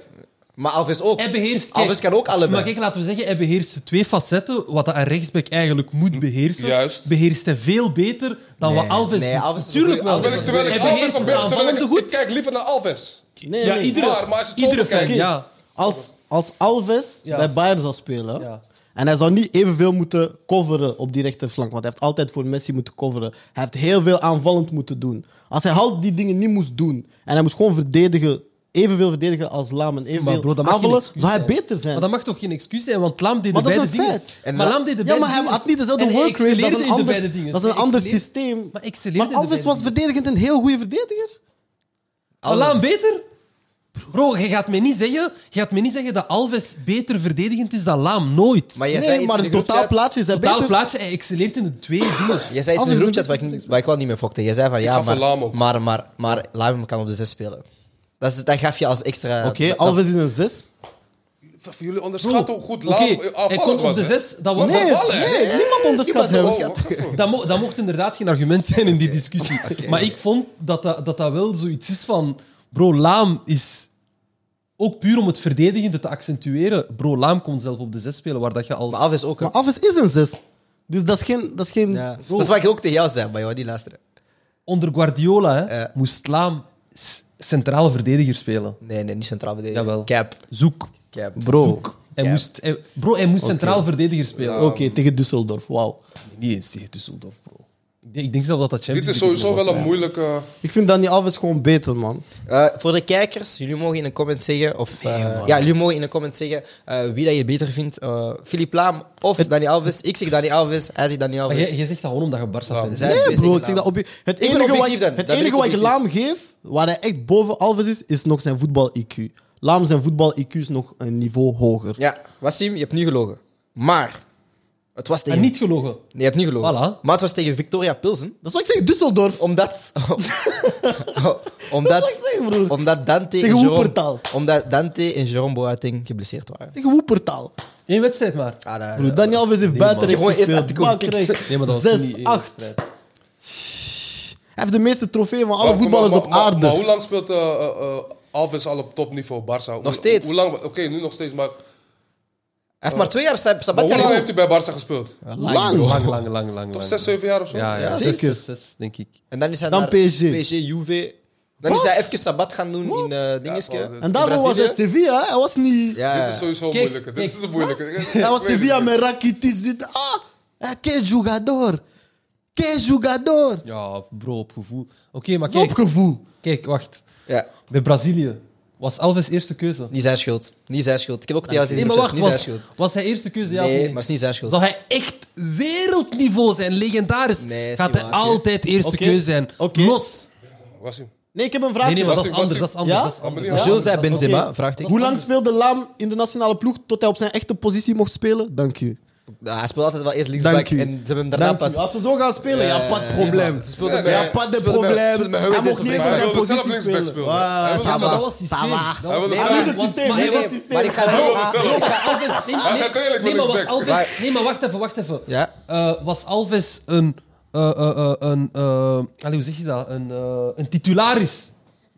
[SPEAKER 1] Maar Alves ook.
[SPEAKER 2] Hij beheerst... kijk,
[SPEAKER 1] Alves kan ook allebei.
[SPEAKER 2] Maar kijk, laten we zeggen, hij beheerst de twee facetten, wat een rechtsback eigenlijk moet beheersen.
[SPEAKER 3] Juist.
[SPEAKER 2] Beheerst hij veel beter dan wat
[SPEAKER 1] Nee,
[SPEAKER 2] Alves
[SPEAKER 1] nee,
[SPEAKER 2] doet.
[SPEAKER 1] Alves is een
[SPEAKER 2] Tuurlijk
[SPEAKER 1] goeie-
[SPEAKER 2] wel.
[SPEAKER 3] Terwijl ik, terwijl ik
[SPEAKER 2] Hij
[SPEAKER 3] Alves
[SPEAKER 2] beheerst
[SPEAKER 3] een
[SPEAKER 2] het
[SPEAKER 3] be- terwijl ik,
[SPEAKER 2] aanvallende
[SPEAKER 3] ik
[SPEAKER 2] goed.
[SPEAKER 3] kijk liever naar Alves.
[SPEAKER 4] Nee,
[SPEAKER 2] Ja,
[SPEAKER 4] nee.
[SPEAKER 2] iedere,
[SPEAKER 3] Maar- maar als je het zo
[SPEAKER 2] iedere
[SPEAKER 3] bekijkt-
[SPEAKER 2] fan, ja.
[SPEAKER 4] Als, als Alves
[SPEAKER 2] Ja.
[SPEAKER 4] bij Bayern zou spelen
[SPEAKER 2] Ja.
[SPEAKER 4] en hij zou niet evenveel moeten coveren op die rechterflank, want hij heeft altijd voor Messi moeten coveren. Hij heeft heel veel aanvallend moeten doen. Als hij al die dingen niet moest doen en hij moest gewoon verdedigen, evenveel verdedigen als Laam en evenveel
[SPEAKER 2] Maar bro, dat mag geen
[SPEAKER 4] aanvallen,
[SPEAKER 2] excuus
[SPEAKER 4] zou hij
[SPEAKER 2] zijn.
[SPEAKER 4] beter zijn.
[SPEAKER 2] Maar dat mag toch geen excuus zijn, want Laam deed
[SPEAKER 4] Maar
[SPEAKER 2] de
[SPEAKER 4] dat is
[SPEAKER 2] beide
[SPEAKER 4] een
[SPEAKER 2] dingen.
[SPEAKER 4] feit.
[SPEAKER 1] En
[SPEAKER 2] Maar
[SPEAKER 1] La-
[SPEAKER 2] Laam deed de
[SPEAKER 4] ja,
[SPEAKER 2] beide
[SPEAKER 4] maar hij
[SPEAKER 2] dingen.
[SPEAKER 4] had niet dezelfde
[SPEAKER 2] En hij
[SPEAKER 4] workrate. Dat
[SPEAKER 2] excelleerde
[SPEAKER 4] is
[SPEAKER 2] in
[SPEAKER 4] een
[SPEAKER 2] de
[SPEAKER 4] ander,
[SPEAKER 2] beide dingen.
[SPEAKER 4] dat is een
[SPEAKER 2] Hij
[SPEAKER 4] ander
[SPEAKER 2] excelleerde-
[SPEAKER 4] systeem.
[SPEAKER 2] Maar excelleerde in de
[SPEAKER 4] Alves
[SPEAKER 2] beide
[SPEAKER 4] was
[SPEAKER 2] dingen.
[SPEAKER 4] verdedigend een heel goede verdediger.
[SPEAKER 2] Maar
[SPEAKER 1] Alves-
[SPEAKER 2] Laam beter? Bro, je gaat, mij niet zeggen, je gaat mij niet zeggen dat Alves beter verdedigend is dan Laam. Nooit.
[SPEAKER 1] Maar jij zei
[SPEAKER 4] Nee,
[SPEAKER 1] iets
[SPEAKER 4] maar
[SPEAKER 1] in
[SPEAKER 4] het
[SPEAKER 1] de
[SPEAKER 4] totaal
[SPEAKER 1] groepchat-
[SPEAKER 4] plaatje is hij
[SPEAKER 2] Totaal
[SPEAKER 4] beter.
[SPEAKER 2] plaatje, hij excelleert in de twee dingen.
[SPEAKER 1] Jij zei iets in de
[SPEAKER 4] Alves is
[SPEAKER 1] groepchat waar ik, niet- waar ik wel niet mee fokte. Jij zei van, ja,
[SPEAKER 3] ga voor
[SPEAKER 1] maar,
[SPEAKER 3] Laam ook.
[SPEAKER 1] maar, maar, maar Laam kan op de zes spelen. Dat, is, dat gaf je als extra...
[SPEAKER 4] Oké,
[SPEAKER 1] dat-
[SPEAKER 4] Alves is een 6.
[SPEAKER 3] Voor jullie
[SPEAKER 2] Bro,
[SPEAKER 3] onderschatten hoe goed
[SPEAKER 2] oké,
[SPEAKER 3] Laam
[SPEAKER 2] Hij
[SPEAKER 3] aanvallend
[SPEAKER 2] kon op
[SPEAKER 3] was.
[SPEAKER 2] de
[SPEAKER 3] hè?
[SPEAKER 2] zes... Dat, wa-
[SPEAKER 3] Wat een
[SPEAKER 2] dat,
[SPEAKER 3] ballen, hè?
[SPEAKER 4] Nee, niemand onderschat hem.
[SPEAKER 3] Oh, wacht even.
[SPEAKER 2] dat, mo- dat mocht inderdaad geen argument zijn in die discussie. Maar ik vond dat dat, dat dat wel zoiets is van... Bro, Laam is... Ook puur om het verdedigende te accentueren. Bro, Laam kon zelf op de zes spelen, waar dat je als...
[SPEAKER 1] Maar Alves ook. hè.
[SPEAKER 4] Maar Alves is een 6. Dus dat is geen... Dat is geen
[SPEAKER 1] Ja. Dat is wat ik ook tegen jou zei, maar joh, die luisteren.
[SPEAKER 2] Onder Guardiola hè,
[SPEAKER 1] Ja.
[SPEAKER 2] moest Laam s- centrale verdediger spelen.
[SPEAKER 1] Nee, nee, niet centraal verdedigen.
[SPEAKER 2] Jawel.
[SPEAKER 1] Cap.
[SPEAKER 2] Zoek.
[SPEAKER 1] Cap.
[SPEAKER 4] Bro, oké,
[SPEAKER 2] Hij
[SPEAKER 1] Ja.
[SPEAKER 2] moest, hij- bro, hij moest centraal verdediger spelen. Ook
[SPEAKER 4] tegen Düsseldorf, wauw.
[SPEAKER 2] niet eens tegen Düsseldorf, bro. Ik denk, ik denk zelf dat dat
[SPEAKER 3] Dit
[SPEAKER 2] Champions
[SPEAKER 3] is
[SPEAKER 2] League
[SPEAKER 3] sowieso
[SPEAKER 2] was,
[SPEAKER 3] wel een
[SPEAKER 2] hè.
[SPEAKER 3] moeilijke.
[SPEAKER 4] Ik vind Dani Alves gewoon beter, man.
[SPEAKER 1] Eh, voor de kijkers, jullie mogen in de comment zeggen. Of, eh, ja, jullie mogen in de comment zeggen eh, wie dat je beter vindt. Eh Filip Laam of Dani Alves. Ik zeg Dani Alves, hij zegt Dani
[SPEAKER 2] Maar
[SPEAKER 1] Alves.
[SPEAKER 2] jij, jij zegt dat gewoon omdat je Barca
[SPEAKER 3] Ja.
[SPEAKER 2] bent.
[SPEAKER 1] Zij is
[SPEAKER 4] Nee,
[SPEAKER 1] beter
[SPEAKER 4] bro,
[SPEAKER 1] dan
[SPEAKER 4] ik zeg
[SPEAKER 1] Laam.
[SPEAKER 4] dat op... Het
[SPEAKER 1] ben
[SPEAKER 4] enige, wat
[SPEAKER 1] objectief
[SPEAKER 4] ik,
[SPEAKER 1] dan. Dan
[SPEAKER 4] het
[SPEAKER 1] ben ik
[SPEAKER 4] enige wat ik
[SPEAKER 1] objectief.
[SPEAKER 4] Laam geef, waar hij echt boven Alves is, is nog zijn voetbal-IQ. Laam zijn voetbal-IQ is nog een niveau hoger.
[SPEAKER 1] Ja, Wassim, je hebt nu gelogen. Maar Het
[SPEAKER 4] Ah,
[SPEAKER 1] was tegen...
[SPEAKER 2] En niet gelogen.
[SPEAKER 1] Nee, je hebt niet gelogen.
[SPEAKER 2] Voilà.
[SPEAKER 1] Maar het was tegen Victoria Pilsen.
[SPEAKER 4] Dat is wat ik zeg, Düsseldorf.
[SPEAKER 1] Omdat...
[SPEAKER 4] Dat is wat
[SPEAKER 1] omdat,
[SPEAKER 4] ik zeg, broer.
[SPEAKER 1] omdat Dante
[SPEAKER 4] Tegen
[SPEAKER 1] en
[SPEAKER 4] Woepertaal.
[SPEAKER 1] Jerome... Omdat Dante en Jerome Boateng geblesseerd waren.
[SPEAKER 4] Tegen Woepertaal.
[SPEAKER 2] Eén wedstrijd maar.
[SPEAKER 1] Ah, dat-
[SPEAKER 4] Broer, Dani Alves heeft buitenrecht
[SPEAKER 1] man. Ik heb
[SPEAKER 4] gespeeld.
[SPEAKER 1] gewoon eerst Atletico
[SPEAKER 4] Bakrecht.
[SPEAKER 1] gekikt.
[SPEAKER 2] Nee, maar dat was niet één
[SPEAKER 4] 6-8. Hij heeft de meeste trofeeën van alle
[SPEAKER 3] Maar-
[SPEAKER 4] voetballers
[SPEAKER 3] maar-
[SPEAKER 4] op
[SPEAKER 3] maar- maar- Maar
[SPEAKER 4] aarde.
[SPEAKER 3] hoe lang speelt eh, eh, eh, Alves al op topniveau Barça? Hoe-
[SPEAKER 1] Nog steeds.
[SPEAKER 3] Hoe lang? Oké, nu nog steeds. Maar, maar
[SPEAKER 1] Hij heeft maar twee jaar sab-
[SPEAKER 3] hoe
[SPEAKER 1] sabbatjaar
[SPEAKER 3] lang
[SPEAKER 1] gedaan.
[SPEAKER 3] heeft hij bij Barça gespeeld?
[SPEAKER 4] Lang.
[SPEAKER 2] Lang, lang, lang, lang.
[SPEAKER 3] Toch
[SPEAKER 2] lang.
[SPEAKER 3] zes, zeven jaar of zo?
[SPEAKER 2] Ja, ja.
[SPEAKER 1] Ja,
[SPEAKER 2] zes,
[SPEAKER 4] zeker.
[SPEAKER 2] zes, denk ik.
[SPEAKER 1] En dan is hij
[SPEAKER 4] Dan
[SPEAKER 1] naar
[SPEAKER 4] PSG.
[SPEAKER 1] Juve. Dan
[SPEAKER 4] Wat?
[SPEAKER 1] is hij even sabbat gaan doen in eh dingetje.
[SPEAKER 3] Ja, maar-
[SPEAKER 4] En daarvoor
[SPEAKER 1] In
[SPEAKER 4] was
[SPEAKER 1] Brazilië?
[SPEAKER 4] hij Sevilla. hè. Hij was niet...
[SPEAKER 1] ja,
[SPEAKER 3] Dit is sowieso een
[SPEAKER 2] Kijk,
[SPEAKER 3] moeilijke. Dit
[SPEAKER 2] kijk.
[SPEAKER 3] is een moeilijke.
[SPEAKER 4] Hij was
[SPEAKER 3] Ik weet
[SPEAKER 4] Sevilla
[SPEAKER 3] het niet.
[SPEAKER 4] met Rakitic. Dit. Ah, ja, que jugador. Que jugador.
[SPEAKER 2] Ja, bro, op gevoel. Oké, maar kijk,
[SPEAKER 4] Topgevoel.
[SPEAKER 2] kijk, wacht.
[SPEAKER 1] ja.
[SPEAKER 2] Bij Brazilië was Alves eerste keuze.
[SPEAKER 1] Niet zijn schuld. Niet zijn schuld. Ik heb ook tegen
[SPEAKER 2] Nee,
[SPEAKER 1] jou
[SPEAKER 2] maar
[SPEAKER 1] gezegd,
[SPEAKER 2] wacht,
[SPEAKER 1] niet zijn
[SPEAKER 2] was,
[SPEAKER 1] schuld.
[SPEAKER 2] was hij eerste keuze? Ja, of
[SPEAKER 1] Nee, maar het is niet zijn schuld.
[SPEAKER 2] Zal hij echt wereldniveau zijn, legendarisch?
[SPEAKER 1] Nee, is
[SPEAKER 2] gaat
[SPEAKER 1] niet
[SPEAKER 2] hij
[SPEAKER 1] waar,
[SPEAKER 2] altijd eerste
[SPEAKER 4] Oké.
[SPEAKER 2] keuze zijn.
[SPEAKER 4] Oké.
[SPEAKER 2] Los.
[SPEAKER 3] Was hij?
[SPEAKER 4] Nee, ik heb een vraag.
[SPEAKER 2] Nee, nee, maar
[SPEAKER 4] voor
[SPEAKER 2] dat is
[SPEAKER 4] je.
[SPEAKER 3] was-
[SPEAKER 2] anders. Dat is anders.
[SPEAKER 4] Ja?
[SPEAKER 2] Dat is anders.
[SPEAKER 3] Ja,
[SPEAKER 1] Jules zei
[SPEAKER 4] dat is
[SPEAKER 1] Benzema,
[SPEAKER 4] oké.
[SPEAKER 1] vraagt ik.
[SPEAKER 4] Hoe lang speelde Laam in de nationale ploeg tot hij op zijn echte positie mocht spelen? Dank u.
[SPEAKER 1] hij speelt altijd wel eerst
[SPEAKER 4] Dank
[SPEAKER 1] linksback
[SPEAKER 4] u.
[SPEAKER 1] en ze hebben hem
[SPEAKER 4] Dank
[SPEAKER 1] daarna
[SPEAKER 4] u.
[SPEAKER 1] pas...
[SPEAKER 4] Als we zo gaan spelen, ja,
[SPEAKER 1] Ja,
[SPEAKER 4] pas
[SPEAKER 1] ja,
[SPEAKER 4] probleem.
[SPEAKER 1] speelde
[SPEAKER 3] bij-
[SPEAKER 4] Ja, pas de
[SPEAKER 1] speelde bij-
[SPEAKER 4] probleem.
[SPEAKER 1] speelde bij
[SPEAKER 4] Hij
[SPEAKER 1] Hummels
[SPEAKER 4] mocht
[SPEAKER 1] op
[SPEAKER 4] niet eens op
[SPEAKER 3] linksback.
[SPEAKER 4] zijn
[SPEAKER 3] Hij wilde zelf
[SPEAKER 4] positie
[SPEAKER 3] linksback spelen.
[SPEAKER 4] spelen. Ah,
[SPEAKER 3] Hij
[SPEAKER 2] Ja, maar
[SPEAKER 4] ça va,
[SPEAKER 2] dat was
[SPEAKER 4] ça
[SPEAKER 2] systeem.
[SPEAKER 4] va.
[SPEAKER 2] Dat was
[SPEAKER 3] wilde
[SPEAKER 4] Hij
[SPEAKER 3] zelf-
[SPEAKER 4] is het
[SPEAKER 2] Want-
[SPEAKER 4] systeem.
[SPEAKER 2] maar
[SPEAKER 4] Hij
[SPEAKER 2] hij
[SPEAKER 4] was
[SPEAKER 2] was-
[SPEAKER 4] systeem.
[SPEAKER 1] maar ik ga
[SPEAKER 2] Maar
[SPEAKER 1] daar-
[SPEAKER 3] Bro, zelf.
[SPEAKER 2] nee, maar Alves- nee,
[SPEAKER 3] Hij
[SPEAKER 2] nee,
[SPEAKER 3] zei trainen, ik
[SPEAKER 2] nee,
[SPEAKER 3] wil
[SPEAKER 2] maar was
[SPEAKER 3] linksback.
[SPEAKER 1] Waar-
[SPEAKER 2] Alves... Nee, maar wacht even, wacht even.
[SPEAKER 1] Ja.
[SPEAKER 2] Eh, was Alves een... eh, eh, eh, een eh, allee, hoe zeg je dat? Een, eh, een titularis.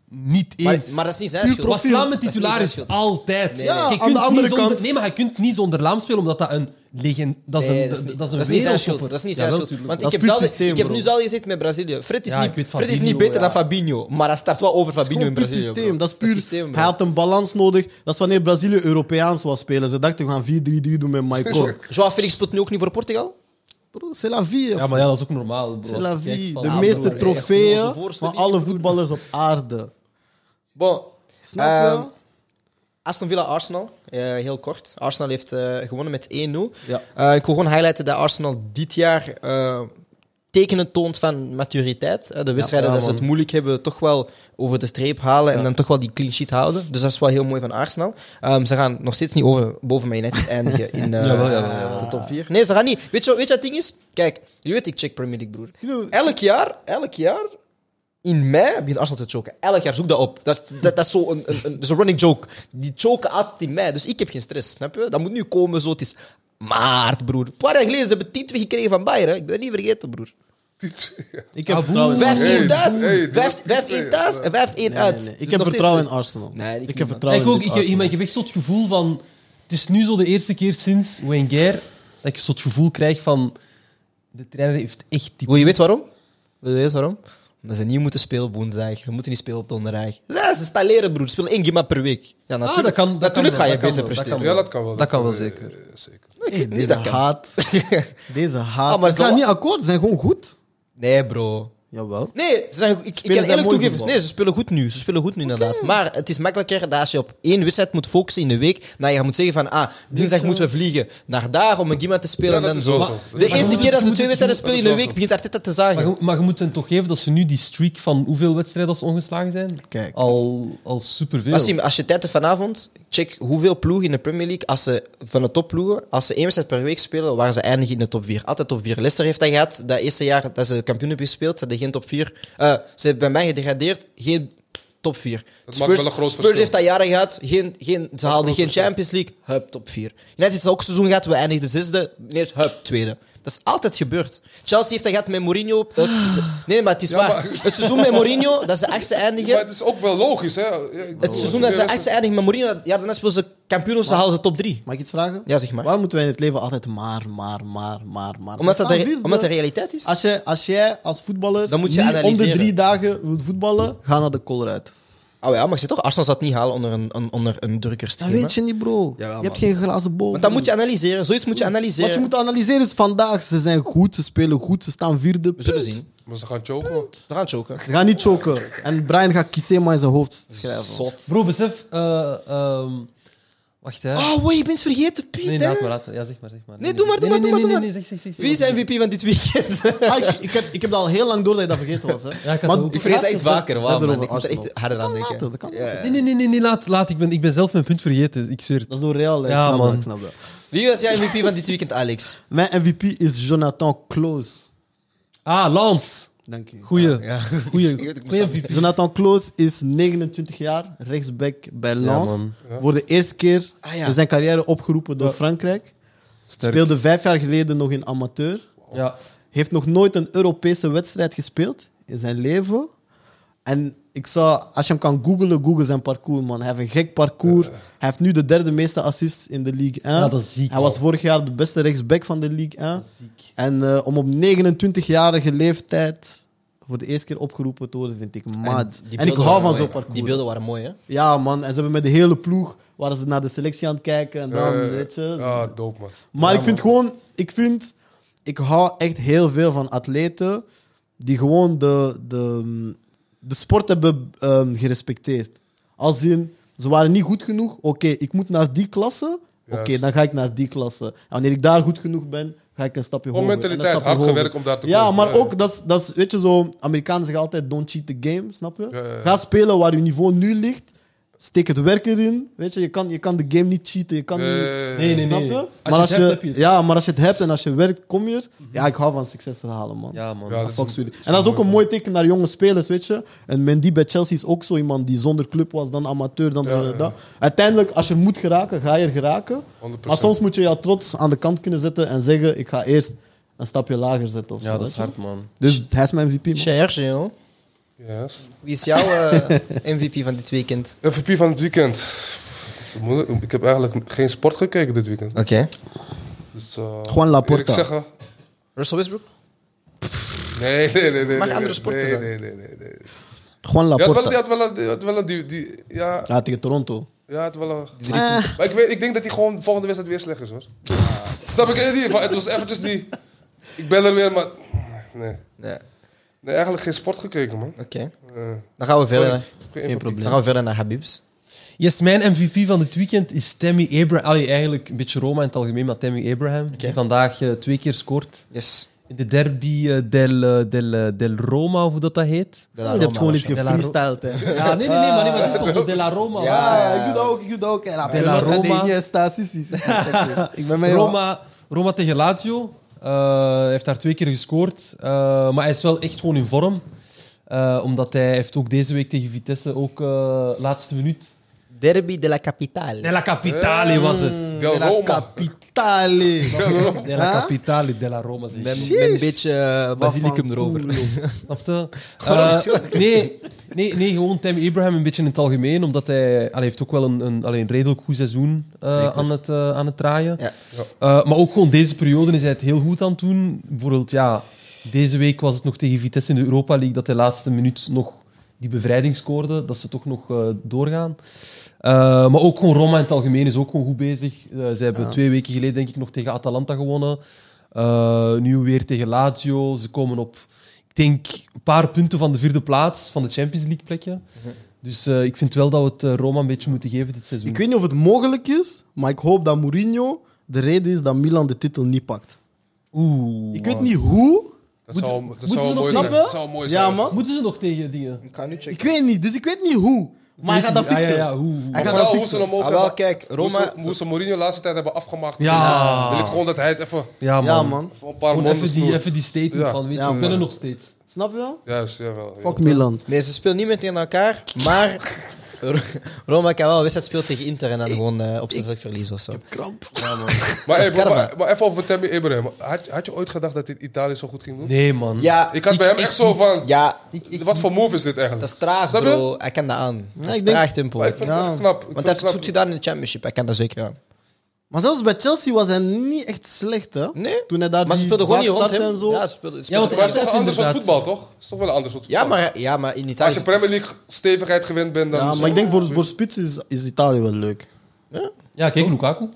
[SPEAKER 2] Niet
[SPEAKER 1] Maar,
[SPEAKER 2] eens.
[SPEAKER 1] maar dat is niet zijn
[SPEAKER 4] Puur
[SPEAKER 1] schuld.
[SPEAKER 2] was Laam een
[SPEAKER 1] Dat is niet
[SPEAKER 2] titularis
[SPEAKER 1] zijn schuld.
[SPEAKER 2] altijd.
[SPEAKER 1] Nee,
[SPEAKER 4] Ja,
[SPEAKER 2] Je
[SPEAKER 4] aan
[SPEAKER 2] kunt
[SPEAKER 4] de andere
[SPEAKER 2] niet zonder-
[SPEAKER 4] kant.
[SPEAKER 2] nee, maar je kunt niet zonder Laam spelen, omdat dat een legend... Dat is
[SPEAKER 1] Nee,
[SPEAKER 2] een,
[SPEAKER 1] dat is
[SPEAKER 2] dat,
[SPEAKER 1] niet-
[SPEAKER 2] is een
[SPEAKER 1] dat is niet zijn schuld.
[SPEAKER 2] wereldtopper.
[SPEAKER 1] Dat is niet zijn
[SPEAKER 2] Jawel,
[SPEAKER 1] schuld.
[SPEAKER 2] tuurlijk.
[SPEAKER 1] Want
[SPEAKER 4] Dat
[SPEAKER 1] ik
[SPEAKER 4] is
[SPEAKER 1] heb,
[SPEAKER 4] puur
[SPEAKER 1] zelden-
[SPEAKER 4] systeem,
[SPEAKER 1] ik heb
[SPEAKER 4] bro.
[SPEAKER 1] nu zelden gezeten met Brazilië. Fred is,
[SPEAKER 2] Ja,
[SPEAKER 1] niet,
[SPEAKER 2] ik weet
[SPEAKER 1] Fred is niet
[SPEAKER 2] Fabinho,
[SPEAKER 1] beter
[SPEAKER 2] ja.
[SPEAKER 1] dan Fabinho, maar hij start wel over Fabinho in
[SPEAKER 4] Dat is
[SPEAKER 1] Brazilië.
[SPEAKER 4] puur
[SPEAKER 1] bro.
[SPEAKER 4] systeem. Dat is puur.
[SPEAKER 1] systeem, bro.
[SPEAKER 4] hij had een balans nodig. Dat is wanneer Brazilië Europeaans was spelen. Ze dachten, we gaan 4-3-3 doen met Michael.
[SPEAKER 1] Joao Felix speelt nu ook niet voor Portugal.
[SPEAKER 4] Bro, c'est la vie. hè.
[SPEAKER 2] Ja, maar ja, dat is ook normaal, bro.
[SPEAKER 4] c'est la
[SPEAKER 2] Als je kijkt
[SPEAKER 4] vie.
[SPEAKER 2] van-
[SPEAKER 4] De
[SPEAKER 2] Ah,
[SPEAKER 1] broer,
[SPEAKER 4] meeste
[SPEAKER 1] echt,
[SPEAKER 4] trofeeën
[SPEAKER 1] onze voorste
[SPEAKER 4] van
[SPEAKER 1] liga,
[SPEAKER 4] alle voetballers op aarde.
[SPEAKER 1] Bon.
[SPEAKER 4] Snap je?
[SPEAKER 1] Ehm, Aston Villa Arsenal, eh, heel kort. Arsenal heeft eh, gewonnen met 1-0.
[SPEAKER 4] Ja.
[SPEAKER 1] Eh, ik wil gewoon highlighten dat Arsenal dit jaar eh, tekenen toont van maturiteit. Eh, de wedstrijden
[SPEAKER 2] Ja,
[SPEAKER 1] dat ze
[SPEAKER 2] man.
[SPEAKER 1] het moeilijk hebben, toch wel over de streep halen en dan toch wel die clean sheet houden. Dus dat is wel heel mooi van Arsenal. Ehm, ze gaan nog steeds niet over, boven mijn net eindigen in eh,
[SPEAKER 2] Jawel, jawel, jawel.
[SPEAKER 1] de top 4. Nee, ze gaan niet. Weet je, wat- weet je wat het ding is? Kijk, je weet, ik check Premier League, broer.
[SPEAKER 4] You know-
[SPEAKER 1] Elk jaar, elk jaar in mei begint Arsenal te choken. Elk jaar zoek dat op. Dat is, dat, dat is zo'n een, een, een, dat is een running joke. Die choken altijd in mei. Dus ik heb geen stress. Snap je? Dat moet nu komen zo. Het is maart, broer. Een paar jaar geleden ze hebben 10 gekregen van Bayern. hè. Ik ben dat niet vergeten, broer.
[SPEAKER 4] Ik heb vertrouwen in Arsenal.
[SPEAKER 1] 5-1 thuis,
[SPEAKER 3] hey, die
[SPEAKER 1] 5-1
[SPEAKER 3] was-
[SPEAKER 1] thuis en 5-1
[SPEAKER 4] Nee,
[SPEAKER 1] uit.
[SPEAKER 4] nee, nee.
[SPEAKER 1] Dus
[SPEAKER 4] Ik heb
[SPEAKER 1] nog
[SPEAKER 4] vertrouwen in
[SPEAKER 1] steeds-
[SPEAKER 4] Arsenal.
[SPEAKER 1] Nee, ik
[SPEAKER 4] ik
[SPEAKER 1] niet,
[SPEAKER 4] heb
[SPEAKER 1] man.
[SPEAKER 4] vertrouwen
[SPEAKER 2] ik
[SPEAKER 4] in
[SPEAKER 2] ook.
[SPEAKER 4] dit
[SPEAKER 2] Ik, ik,
[SPEAKER 4] Arsenal.
[SPEAKER 2] ik heb echt zo'n gevoel van... Het is nu zo de eerste keer sinds Wenger dat ik zo'n gevoel krijg van... De trainer heeft echt die...
[SPEAKER 1] Wil je weten waarom? Wil je weten waarom? Omdat ze niet moeten spelen op woensdag. Ze moeten niet spelen op donderdag. Ze, ze stalleren, broer. Ze spelen één game per week. Ja, natuurlijk,
[SPEAKER 2] dat kan- dat
[SPEAKER 1] natuurlijk
[SPEAKER 2] kan
[SPEAKER 1] ga je
[SPEAKER 2] wel, dat
[SPEAKER 1] beter
[SPEAKER 2] kan wel, dat
[SPEAKER 1] presteren.
[SPEAKER 2] kan
[SPEAKER 3] Ja, dat kan wel.
[SPEAKER 2] Dat kan wel
[SPEAKER 3] eh,
[SPEAKER 2] zeker.
[SPEAKER 3] eh, zeker.
[SPEAKER 4] Hey,
[SPEAKER 1] Nee,
[SPEAKER 4] deze
[SPEAKER 1] dat kan.
[SPEAKER 4] haat. Deze haat.
[SPEAKER 1] Ah, maar
[SPEAKER 4] ik ga
[SPEAKER 1] zo-
[SPEAKER 4] niet akkoord. Ze zijn gewoon goed.
[SPEAKER 1] Nee, bro.
[SPEAKER 4] Jawel.
[SPEAKER 1] Nee, ze zijn, ik, ik kan
[SPEAKER 4] Spelen zij
[SPEAKER 1] eerlijk
[SPEAKER 4] mooi
[SPEAKER 1] toegeven.
[SPEAKER 4] voetbal?
[SPEAKER 1] Nee, ze spelen goed nu. Ze spelen goed nu, inderdaad. Maar het is makkelijker dat als je op één wedstrijd moet focussen in de week. Dan je moet zeggen van, ah, dinsdag moeten we vliegen naar daar om een gima te spelen.
[SPEAKER 3] Ja,
[SPEAKER 1] en
[SPEAKER 3] dat
[SPEAKER 1] dan
[SPEAKER 3] is
[SPEAKER 1] zo.
[SPEAKER 3] wel zo. Dat
[SPEAKER 1] De
[SPEAKER 3] is wel
[SPEAKER 1] eerste
[SPEAKER 2] zo.
[SPEAKER 1] keer dat ze
[SPEAKER 2] Dat
[SPEAKER 1] twee
[SPEAKER 2] is
[SPEAKER 1] wedstrijden spelen in de
[SPEAKER 3] wel
[SPEAKER 1] week,
[SPEAKER 3] zo.
[SPEAKER 1] begint Arteta te
[SPEAKER 2] Maar,
[SPEAKER 1] zagen.
[SPEAKER 2] je- maar je moet hen toch geven dat ze nu die streak van hoeveel wedstrijden dat ze ongeslagen zijn?
[SPEAKER 4] Kijk.
[SPEAKER 2] Al, al superveel.
[SPEAKER 1] Wassim, als je tijd hebt vanavond, check hoeveel ploegen in de Premier League, als ze, van de topploegen, als ze één wedstrijd per week spelen, waar ze eindigen in de top 4. Altijd top 4. Leicester heeft dat gehad, dat eerste jaar dat ze kampioen hebben gespeeld, ze hadden geen top 4. Eh, ze hebben bij mij gedegradeerd, geen top 4.
[SPEAKER 3] maakt wel een groot
[SPEAKER 1] Spurs
[SPEAKER 3] verschil.
[SPEAKER 1] heeft dat jaren gehad, geen, geen, ze haalden
[SPEAKER 3] groot
[SPEAKER 1] geen
[SPEAKER 3] verschil.
[SPEAKER 1] Champions League, hup, top 4. Net heeft dat ook seizoen gehad, we eindigden zesde, ineens hup, tweede. Dat is altijd gebeurd. Chelsea heeft dat gehad met Mourinho. dat is- nee, maar het is
[SPEAKER 3] Ja,
[SPEAKER 1] waar.
[SPEAKER 3] maar-
[SPEAKER 1] Het seizoen met Mourinho, dat ze achtste eindigen.
[SPEAKER 3] Maar het is ook wel logisch, hè? Ja, ik bedoel,
[SPEAKER 1] Het seizoen dat ze echt eindigen met Mourinho, het jaar daarna speelden ze kampioen, ze halen ze top 3.
[SPEAKER 4] Mag ik iets vragen?
[SPEAKER 1] Ja, zeg maar.
[SPEAKER 4] Waarom moeten wij in het leven altijd maar, maar, maar, maar,
[SPEAKER 1] Omdat
[SPEAKER 4] maar? Ze
[SPEAKER 1] dat de,
[SPEAKER 4] staan
[SPEAKER 1] re-
[SPEAKER 4] vierde.
[SPEAKER 1] omdat de realiteit is.
[SPEAKER 4] Als, jij, als jij als voetballer
[SPEAKER 1] Dan moet je
[SPEAKER 4] niet om de
[SPEAKER 1] analyseren.
[SPEAKER 4] drie dagen wilt voetballen, ga naar de koolruit.
[SPEAKER 1] Oh ja, maar ik zeg toch, Arsenal zat niet halen onder een, een, onder een drukker
[SPEAKER 4] Dat
[SPEAKER 1] stream.
[SPEAKER 4] weet je niet, bro.
[SPEAKER 1] Jawel,
[SPEAKER 4] je hebt geen glazen bol.
[SPEAKER 1] Want dan
[SPEAKER 4] bro.
[SPEAKER 1] moet je analyseren, zoiets moet je analyseren.
[SPEAKER 4] Wat je moet analyseren is vandaag. Ze zijn goed, ze spelen goed, ze staan vierde.
[SPEAKER 1] We zullen
[SPEAKER 4] punt.
[SPEAKER 1] zien.
[SPEAKER 3] Maar ze gaan choken. man.
[SPEAKER 1] We gaan choken.
[SPEAKER 4] Ze gaan niet choken. En Brian gaat Kisema in zijn hoofd schrijven.
[SPEAKER 1] Zot.
[SPEAKER 2] Bro, besef... eh, ehm, wacht, hè.
[SPEAKER 1] Oh, wait, je bent vergeten, Piet.
[SPEAKER 2] nee,
[SPEAKER 1] hè?
[SPEAKER 2] laat maar, laat maar. Ja, zeg maar, zeg maar.
[SPEAKER 1] Nee, doe maar, doe maar,
[SPEAKER 2] nee,
[SPEAKER 1] doe
[SPEAKER 2] nee,
[SPEAKER 1] maar,
[SPEAKER 2] Nee, nee,
[SPEAKER 1] doe
[SPEAKER 2] nee, zeg, zeg, zeg.
[SPEAKER 1] Wie is de MVP van dit weekend?
[SPEAKER 4] Ah, ik, ik, heb, ik heb dat al heel lang door dat je dat vergeten was. Hè.
[SPEAKER 2] Ja, ik had ook.
[SPEAKER 1] ik vergeet dat iets vaker, wauw,
[SPEAKER 4] Verder
[SPEAKER 1] man.
[SPEAKER 4] over
[SPEAKER 1] Ik moet er
[SPEAKER 4] Arsenal.
[SPEAKER 1] echt harder aan
[SPEAKER 4] Kan
[SPEAKER 1] denken.
[SPEAKER 4] later, dat kan
[SPEAKER 1] Ja, ja.
[SPEAKER 2] Nee, nee, nee, nee, nee, laat, laat. Ik ben, ik ben zelf mijn punt vergeten, ik zweer het.
[SPEAKER 4] Dat is door Real. hè. Ik
[SPEAKER 2] Ja,
[SPEAKER 4] snap dat,
[SPEAKER 2] man.
[SPEAKER 4] ik snap dat.
[SPEAKER 1] Wie was jouw MVP van dit weekend, Alex?
[SPEAKER 4] Mijn MVP is Jonathan Close.
[SPEAKER 2] Ah, Lance.
[SPEAKER 4] Dank je.
[SPEAKER 2] Goeie.
[SPEAKER 1] Ja.
[SPEAKER 2] Goeie.
[SPEAKER 1] Ik weet, ik moest
[SPEAKER 2] Goeie
[SPEAKER 1] aan-
[SPEAKER 2] MVP.
[SPEAKER 4] Jonathan Kloos is 29 jaar, rechtsback bij Lens.
[SPEAKER 2] man.
[SPEAKER 4] Voor de eerste keer
[SPEAKER 1] Ah, ja.
[SPEAKER 4] in zijn carrière opgeroepen door Frankrijk. Speelde vijf jaar geleden nog in amateur.
[SPEAKER 2] Ja.
[SPEAKER 4] Heeft nog nooit een Europese wedstrijd gespeeld in zijn leven. En ik zou, als je hem kan googlen, google zijn parcours, man. Hij heeft een gek parcours. Hij heeft nu de derde meeste assists in de League 1.
[SPEAKER 2] Ja, dat is ziek,
[SPEAKER 4] Hij was vorig jaar de beste rechtsback van de League 1. En eh, om op 29-jarige leeftijd voor de eerste keer opgeroepen te worden, vind ik mad.
[SPEAKER 1] die
[SPEAKER 4] En, ik
[SPEAKER 1] beelden waren
[SPEAKER 4] hou van zo'n
[SPEAKER 1] mooi.
[SPEAKER 4] parcours.
[SPEAKER 1] Die beelden waren mooi, hè?
[SPEAKER 4] Ja, man. En ze hebben met de hele ploeg waren ze naar de selectie aan het kijken. En dan,
[SPEAKER 3] Eh,
[SPEAKER 4] weet je.
[SPEAKER 3] Ja, dope man.
[SPEAKER 4] Maar ik vind gewoon, ik vind, ik hou echt heel veel van atleten die gewoon de, de, de sport hebben ehm, gerespecteerd. Als in, ze waren niet goed genoeg, oké, ik moet naar die klasse, oké,
[SPEAKER 3] Juist.
[SPEAKER 4] dan ga ik naar die klasse. En wanneer ik daar goed genoeg ben, ga ik een stapje
[SPEAKER 3] Gewoon
[SPEAKER 4] hoger. en een
[SPEAKER 3] mentaliteit,
[SPEAKER 4] stapje
[SPEAKER 3] hard
[SPEAKER 4] hoger.
[SPEAKER 3] gewerkt om daar te
[SPEAKER 4] Ja,
[SPEAKER 3] komen.
[SPEAKER 4] maar
[SPEAKER 3] Ja, ja.
[SPEAKER 4] ook, dat is- dat is, weet je zo, Amerikanen zeggen altijd, don't cheat the game, snap je?
[SPEAKER 3] Ja, ja, ja.
[SPEAKER 4] Ga spelen waar je niveau nu ligt, steek het werk erin, weet je, je kan, je kan de game niet cheaten, je kan
[SPEAKER 3] Ja,
[SPEAKER 4] niet...
[SPEAKER 3] ja, ja.
[SPEAKER 2] Nee, nee,
[SPEAKER 4] Snap
[SPEAKER 2] nee.
[SPEAKER 4] je?
[SPEAKER 2] Als
[SPEAKER 4] maar
[SPEAKER 2] je het hebt, heb je het.
[SPEAKER 4] Ja, maar als je het hebt en als je werkt, kom je er. Ja, ik hou van succesverhalen, man.
[SPEAKER 2] Ja, man.
[SPEAKER 3] Ja, dat is
[SPEAKER 4] Fuck
[SPEAKER 3] een-
[SPEAKER 4] jullie. En dat is ook een
[SPEAKER 3] mooi
[SPEAKER 4] mooi teken naar jonge spelers, weet je. En Mendy bij Chelsea is ook zo iemand die zonder club was, dan amateur, dan
[SPEAKER 3] Ja, ja, ja.
[SPEAKER 4] dat. Uiteindelijk, als je moet geraken, ga je er geraken.
[SPEAKER 3] 100%.
[SPEAKER 4] Maar soms moet je jou trots aan de kant kunnen zetten en zeggen, ik ga eerst een stapje lager zetten of zo,
[SPEAKER 2] Ja, dat
[SPEAKER 4] weet
[SPEAKER 2] is
[SPEAKER 4] je.
[SPEAKER 2] hard, man.
[SPEAKER 4] Dus hij is mijn MVP, man.
[SPEAKER 1] Serge, joh.
[SPEAKER 3] Yes.
[SPEAKER 1] Wie is jouw eh, MVP van dit weekend?
[SPEAKER 3] MVP van het weekend. Moeilijk. Ik heb eigenlijk geen sport gekeken dit weekend.
[SPEAKER 1] Oké.
[SPEAKER 3] Dus, eh,
[SPEAKER 4] Juan Laporta.
[SPEAKER 3] eerlijk zeggen,
[SPEAKER 1] Russell Westbrook?
[SPEAKER 3] nee, nee, nee. nee, nee
[SPEAKER 1] Mag
[SPEAKER 3] nee,
[SPEAKER 1] andere sporten
[SPEAKER 3] nee,
[SPEAKER 1] zijn.
[SPEAKER 3] Nee, nee, nee. nee.
[SPEAKER 4] Juan
[SPEAKER 3] Die had wel,
[SPEAKER 4] Laporta.
[SPEAKER 3] die had wel, een- die had wel een, die, die, ja,
[SPEAKER 4] Ja, tegen Toronto.
[SPEAKER 3] ja, had wel een,
[SPEAKER 1] Die drie-
[SPEAKER 3] Maar ik, weet, ik denk dat hij gewoon volgende wedstrijd weer slecht is hoor. Snap ik? eh, Die, van, het was eventjes die, ik ben er weer, maar nee.
[SPEAKER 1] Ja,
[SPEAKER 3] Nee, eigenlijk geen sport gekeken man.
[SPEAKER 1] Oké.
[SPEAKER 3] Eh,
[SPEAKER 1] Dan gaan we verder.
[SPEAKER 3] sorry,
[SPEAKER 1] naar-
[SPEAKER 3] ik heb geen
[SPEAKER 4] Geen
[SPEAKER 3] MVP.
[SPEAKER 1] Dan
[SPEAKER 4] probleem.
[SPEAKER 1] gaan we verder naar Habibs.
[SPEAKER 2] Yes, mijn MVP van dit weekend is Tammy Abraham. Allee, eigenlijk een beetje Roma in het algemeen, maar Tammy Abraham. Die vandaag eh, twee keer scoort.
[SPEAKER 1] Yes.
[SPEAKER 2] In de derby eh, del, eh, del, eh, del Roma, of hoe dat, dat heet.
[SPEAKER 1] De La
[SPEAKER 4] Je hebt
[SPEAKER 1] Roma
[SPEAKER 4] gewoon
[SPEAKER 1] was
[SPEAKER 4] iets
[SPEAKER 1] dat.
[SPEAKER 2] De La Ro-
[SPEAKER 4] gefreestyled, hè.
[SPEAKER 2] Ja, nee, nee, nee, maar, nee, maar dat is toch zo de la Roma.
[SPEAKER 4] Ja,
[SPEAKER 1] Ah.
[SPEAKER 4] ik doe dat ook, ik doe dat ook. En La Pelota de
[SPEAKER 2] Roma.
[SPEAKER 4] Iniesta, si, si, si. Ik ben met jou.
[SPEAKER 2] Roma, Roma tegen Lazio. Eh, Hij heeft daar twee keer gescoord. Eh, maar hij is wel echt gewoon in vorm. Eh, omdat hij heeft ook deze week tegen Vitesse ook eh, laatste minuut.
[SPEAKER 1] Derby de la Capitale.
[SPEAKER 2] Nella Capitale was het.
[SPEAKER 3] Del
[SPEAKER 4] La
[SPEAKER 3] Roma.
[SPEAKER 4] Capitale.
[SPEAKER 2] Nella Capitale della Roma. Zeg.
[SPEAKER 1] Met, met een beetje eh, basilicum erover.
[SPEAKER 2] Snap je? Eh, nee, nee, nee, gewoon Tim Abraham een beetje in het algemeen. Omdat hij allee, heeft ook wel een, een, allee, een redelijk goed seizoen eh, aan, het, eh, aan het draaien.
[SPEAKER 1] Ja.
[SPEAKER 2] Eh, maar ook gewoon deze periode is hij het heel goed aan het doen. Bijvoorbeeld, ja, deze week was het nog tegen Vitesse in de Europa League dat hij laatste minuut nog die bevrijding scoorde. Dat ze toch nog eh, doorgaan. Eh, maar ook gewoon Roma in het algemeen is ook gewoon goed bezig. Eh, ze hebben twee weken geleden denk ik nog tegen Atalanta gewonnen. Eh, nu weer tegen Lazio. Ze komen op, ik denk, een paar punten van de vierde plaats van de Champions League plekje. Dus eh, ik vind wel dat we het eh, Roma een beetje moeten geven dit seizoen.
[SPEAKER 4] Ik weet niet of het mogelijk is, maar ik hoop dat Mourinho de reden is dat Milan de titel niet pakt.
[SPEAKER 2] Oeh.
[SPEAKER 4] Ik weet niet hoe.
[SPEAKER 3] Dat zou, dat
[SPEAKER 2] moeten
[SPEAKER 3] zou
[SPEAKER 2] we nog
[SPEAKER 3] mooi zijn.
[SPEAKER 4] Snap
[SPEAKER 3] Dat zou
[SPEAKER 4] je?
[SPEAKER 3] mooi zijn.
[SPEAKER 4] Ja, man.
[SPEAKER 2] Moeten ze nog tegen dingen?
[SPEAKER 1] Ik ga nu checken.
[SPEAKER 4] Ik weet niet, dus ik weet niet hoe. Maar hij gaat dat
[SPEAKER 2] Ah, Ja,
[SPEAKER 4] fixen.
[SPEAKER 2] ja, ja, hoe, hoe.
[SPEAKER 4] Hij
[SPEAKER 3] Maar
[SPEAKER 4] gaat dat
[SPEAKER 3] vooral hoe ze
[SPEAKER 4] fixen.
[SPEAKER 3] hem ook
[SPEAKER 1] Ah, wel,
[SPEAKER 3] hebben-
[SPEAKER 1] kijk, Roma-
[SPEAKER 3] hoe ze- Hoe ze Mourinho de laatste tijd hebben afgemaakt.
[SPEAKER 2] Ja.
[SPEAKER 3] Wil ik gewoon dat hij het even
[SPEAKER 2] Ja, man.
[SPEAKER 4] Ja, man.
[SPEAKER 3] voor een paar
[SPEAKER 2] Gewoon
[SPEAKER 3] monden
[SPEAKER 2] even die,
[SPEAKER 3] snoert.
[SPEAKER 2] even die statement
[SPEAKER 3] Ja.
[SPEAKER 2] van, weet
[SPEAKER 4] Ja,
[SPEAKER 2] je, we
[SPEAKER 4] man.
[SPEAKER 2] kunnen nog steeds.
[SPEAKER 4] Snap je wel?
[SPEAKER 3] Juist, jawel.
[SPEAKER 4] Fuck Milan.
[SPEAKER 1] Nee, ze speelt niet meer tegen elkaar, maar Ro- Roma kan wel een wedstrijd spelen tegen Inter en dan gewoon eh opzettelijk verliezen of zo.
[SPEAKER 4] Kramp.
[SPEAKER 3] Maar,
[SPEAKER 1] Dat
[SPEAKER 3] hey,
[SPEAKER 1] is
[SPEAKER 3] maar,
[SPEAKER 1] karma.
[SPEAKER 3] maar- maar even over Tammy Abraham. Had, had je ooit gedacht dat dit Italië zo goed ging doen?
[SPEAKER 2] Nee, man.
[SPEAKER 1] Ja,
[SPEAKER 3] Ik had bij hem echt zo van...
[SPEAKER 1] ja,
[SPEAKER 3] wat voor move is dit eigenlijk?
[SPEAKER 1] dat is traag,
[SPEAKER 3] Snap je?
[SPEAKER 1] bro. Hij kan dat aan. Dat is
[SPEAKER 4] ik denk-
[SPEAKER 1] traag tempo.
[SPEAKER 3] Maar ik vond
[SPEAKER 4] Ja.
[SPEAKER 3] het echt knap. Ik
[SPEAKER 1] Want
[SPEAKER 3] vond
[SPEAKER 1] hij
[SPEAKER 3] het
[SPEAKER 1] heeft het
[SPEAKER 3] knap.
[SPEAKER 1] goed gedaan in de championship. Hij kan dat zeker aan.
[SPEAKER 4] Maar zelfs bij Chelsea was hij niet echt slecht, hè?
[SPEAKER 1] Nee.
[SPEAKER 4] Toen hij daar
[SPEAKER 1] Maar ze
[SPEAKER 4] die
[SPEAKER 1] speelden gewoon niet rond
[SPEAKER 4] vaak startte
[SPEAKER 1] hem.
[SPEAKER 4] en zo.
[SPEAKER 1] Ja, ze speelden, ze
[SPEAKER 2] Ja, want
[SPEAKER 1] speelden-
[SPEAKER 3] Maar het is toch
[SPEAKER 2] Inderdaad,
[SPEAKER 3] een ander soort
[SPEAKER 2] inderdaad.
[SPEAKER 3] voetbal, toch? Het is toch wel een ander soort voetbal.
[SPEAKER 1] ja, maar, ja, maar in
[SPEAKER 3] Als
[SPEAKER 1] Italië...
[SPEAKER 3] je Premier League stevigheid gewend bent, dan...
[SPEAKER 4] Ja, maar ik denk voor, voor spits is, is Italië wel leuk.
[SPEAKER 2] Ja, kijk, Lukaku.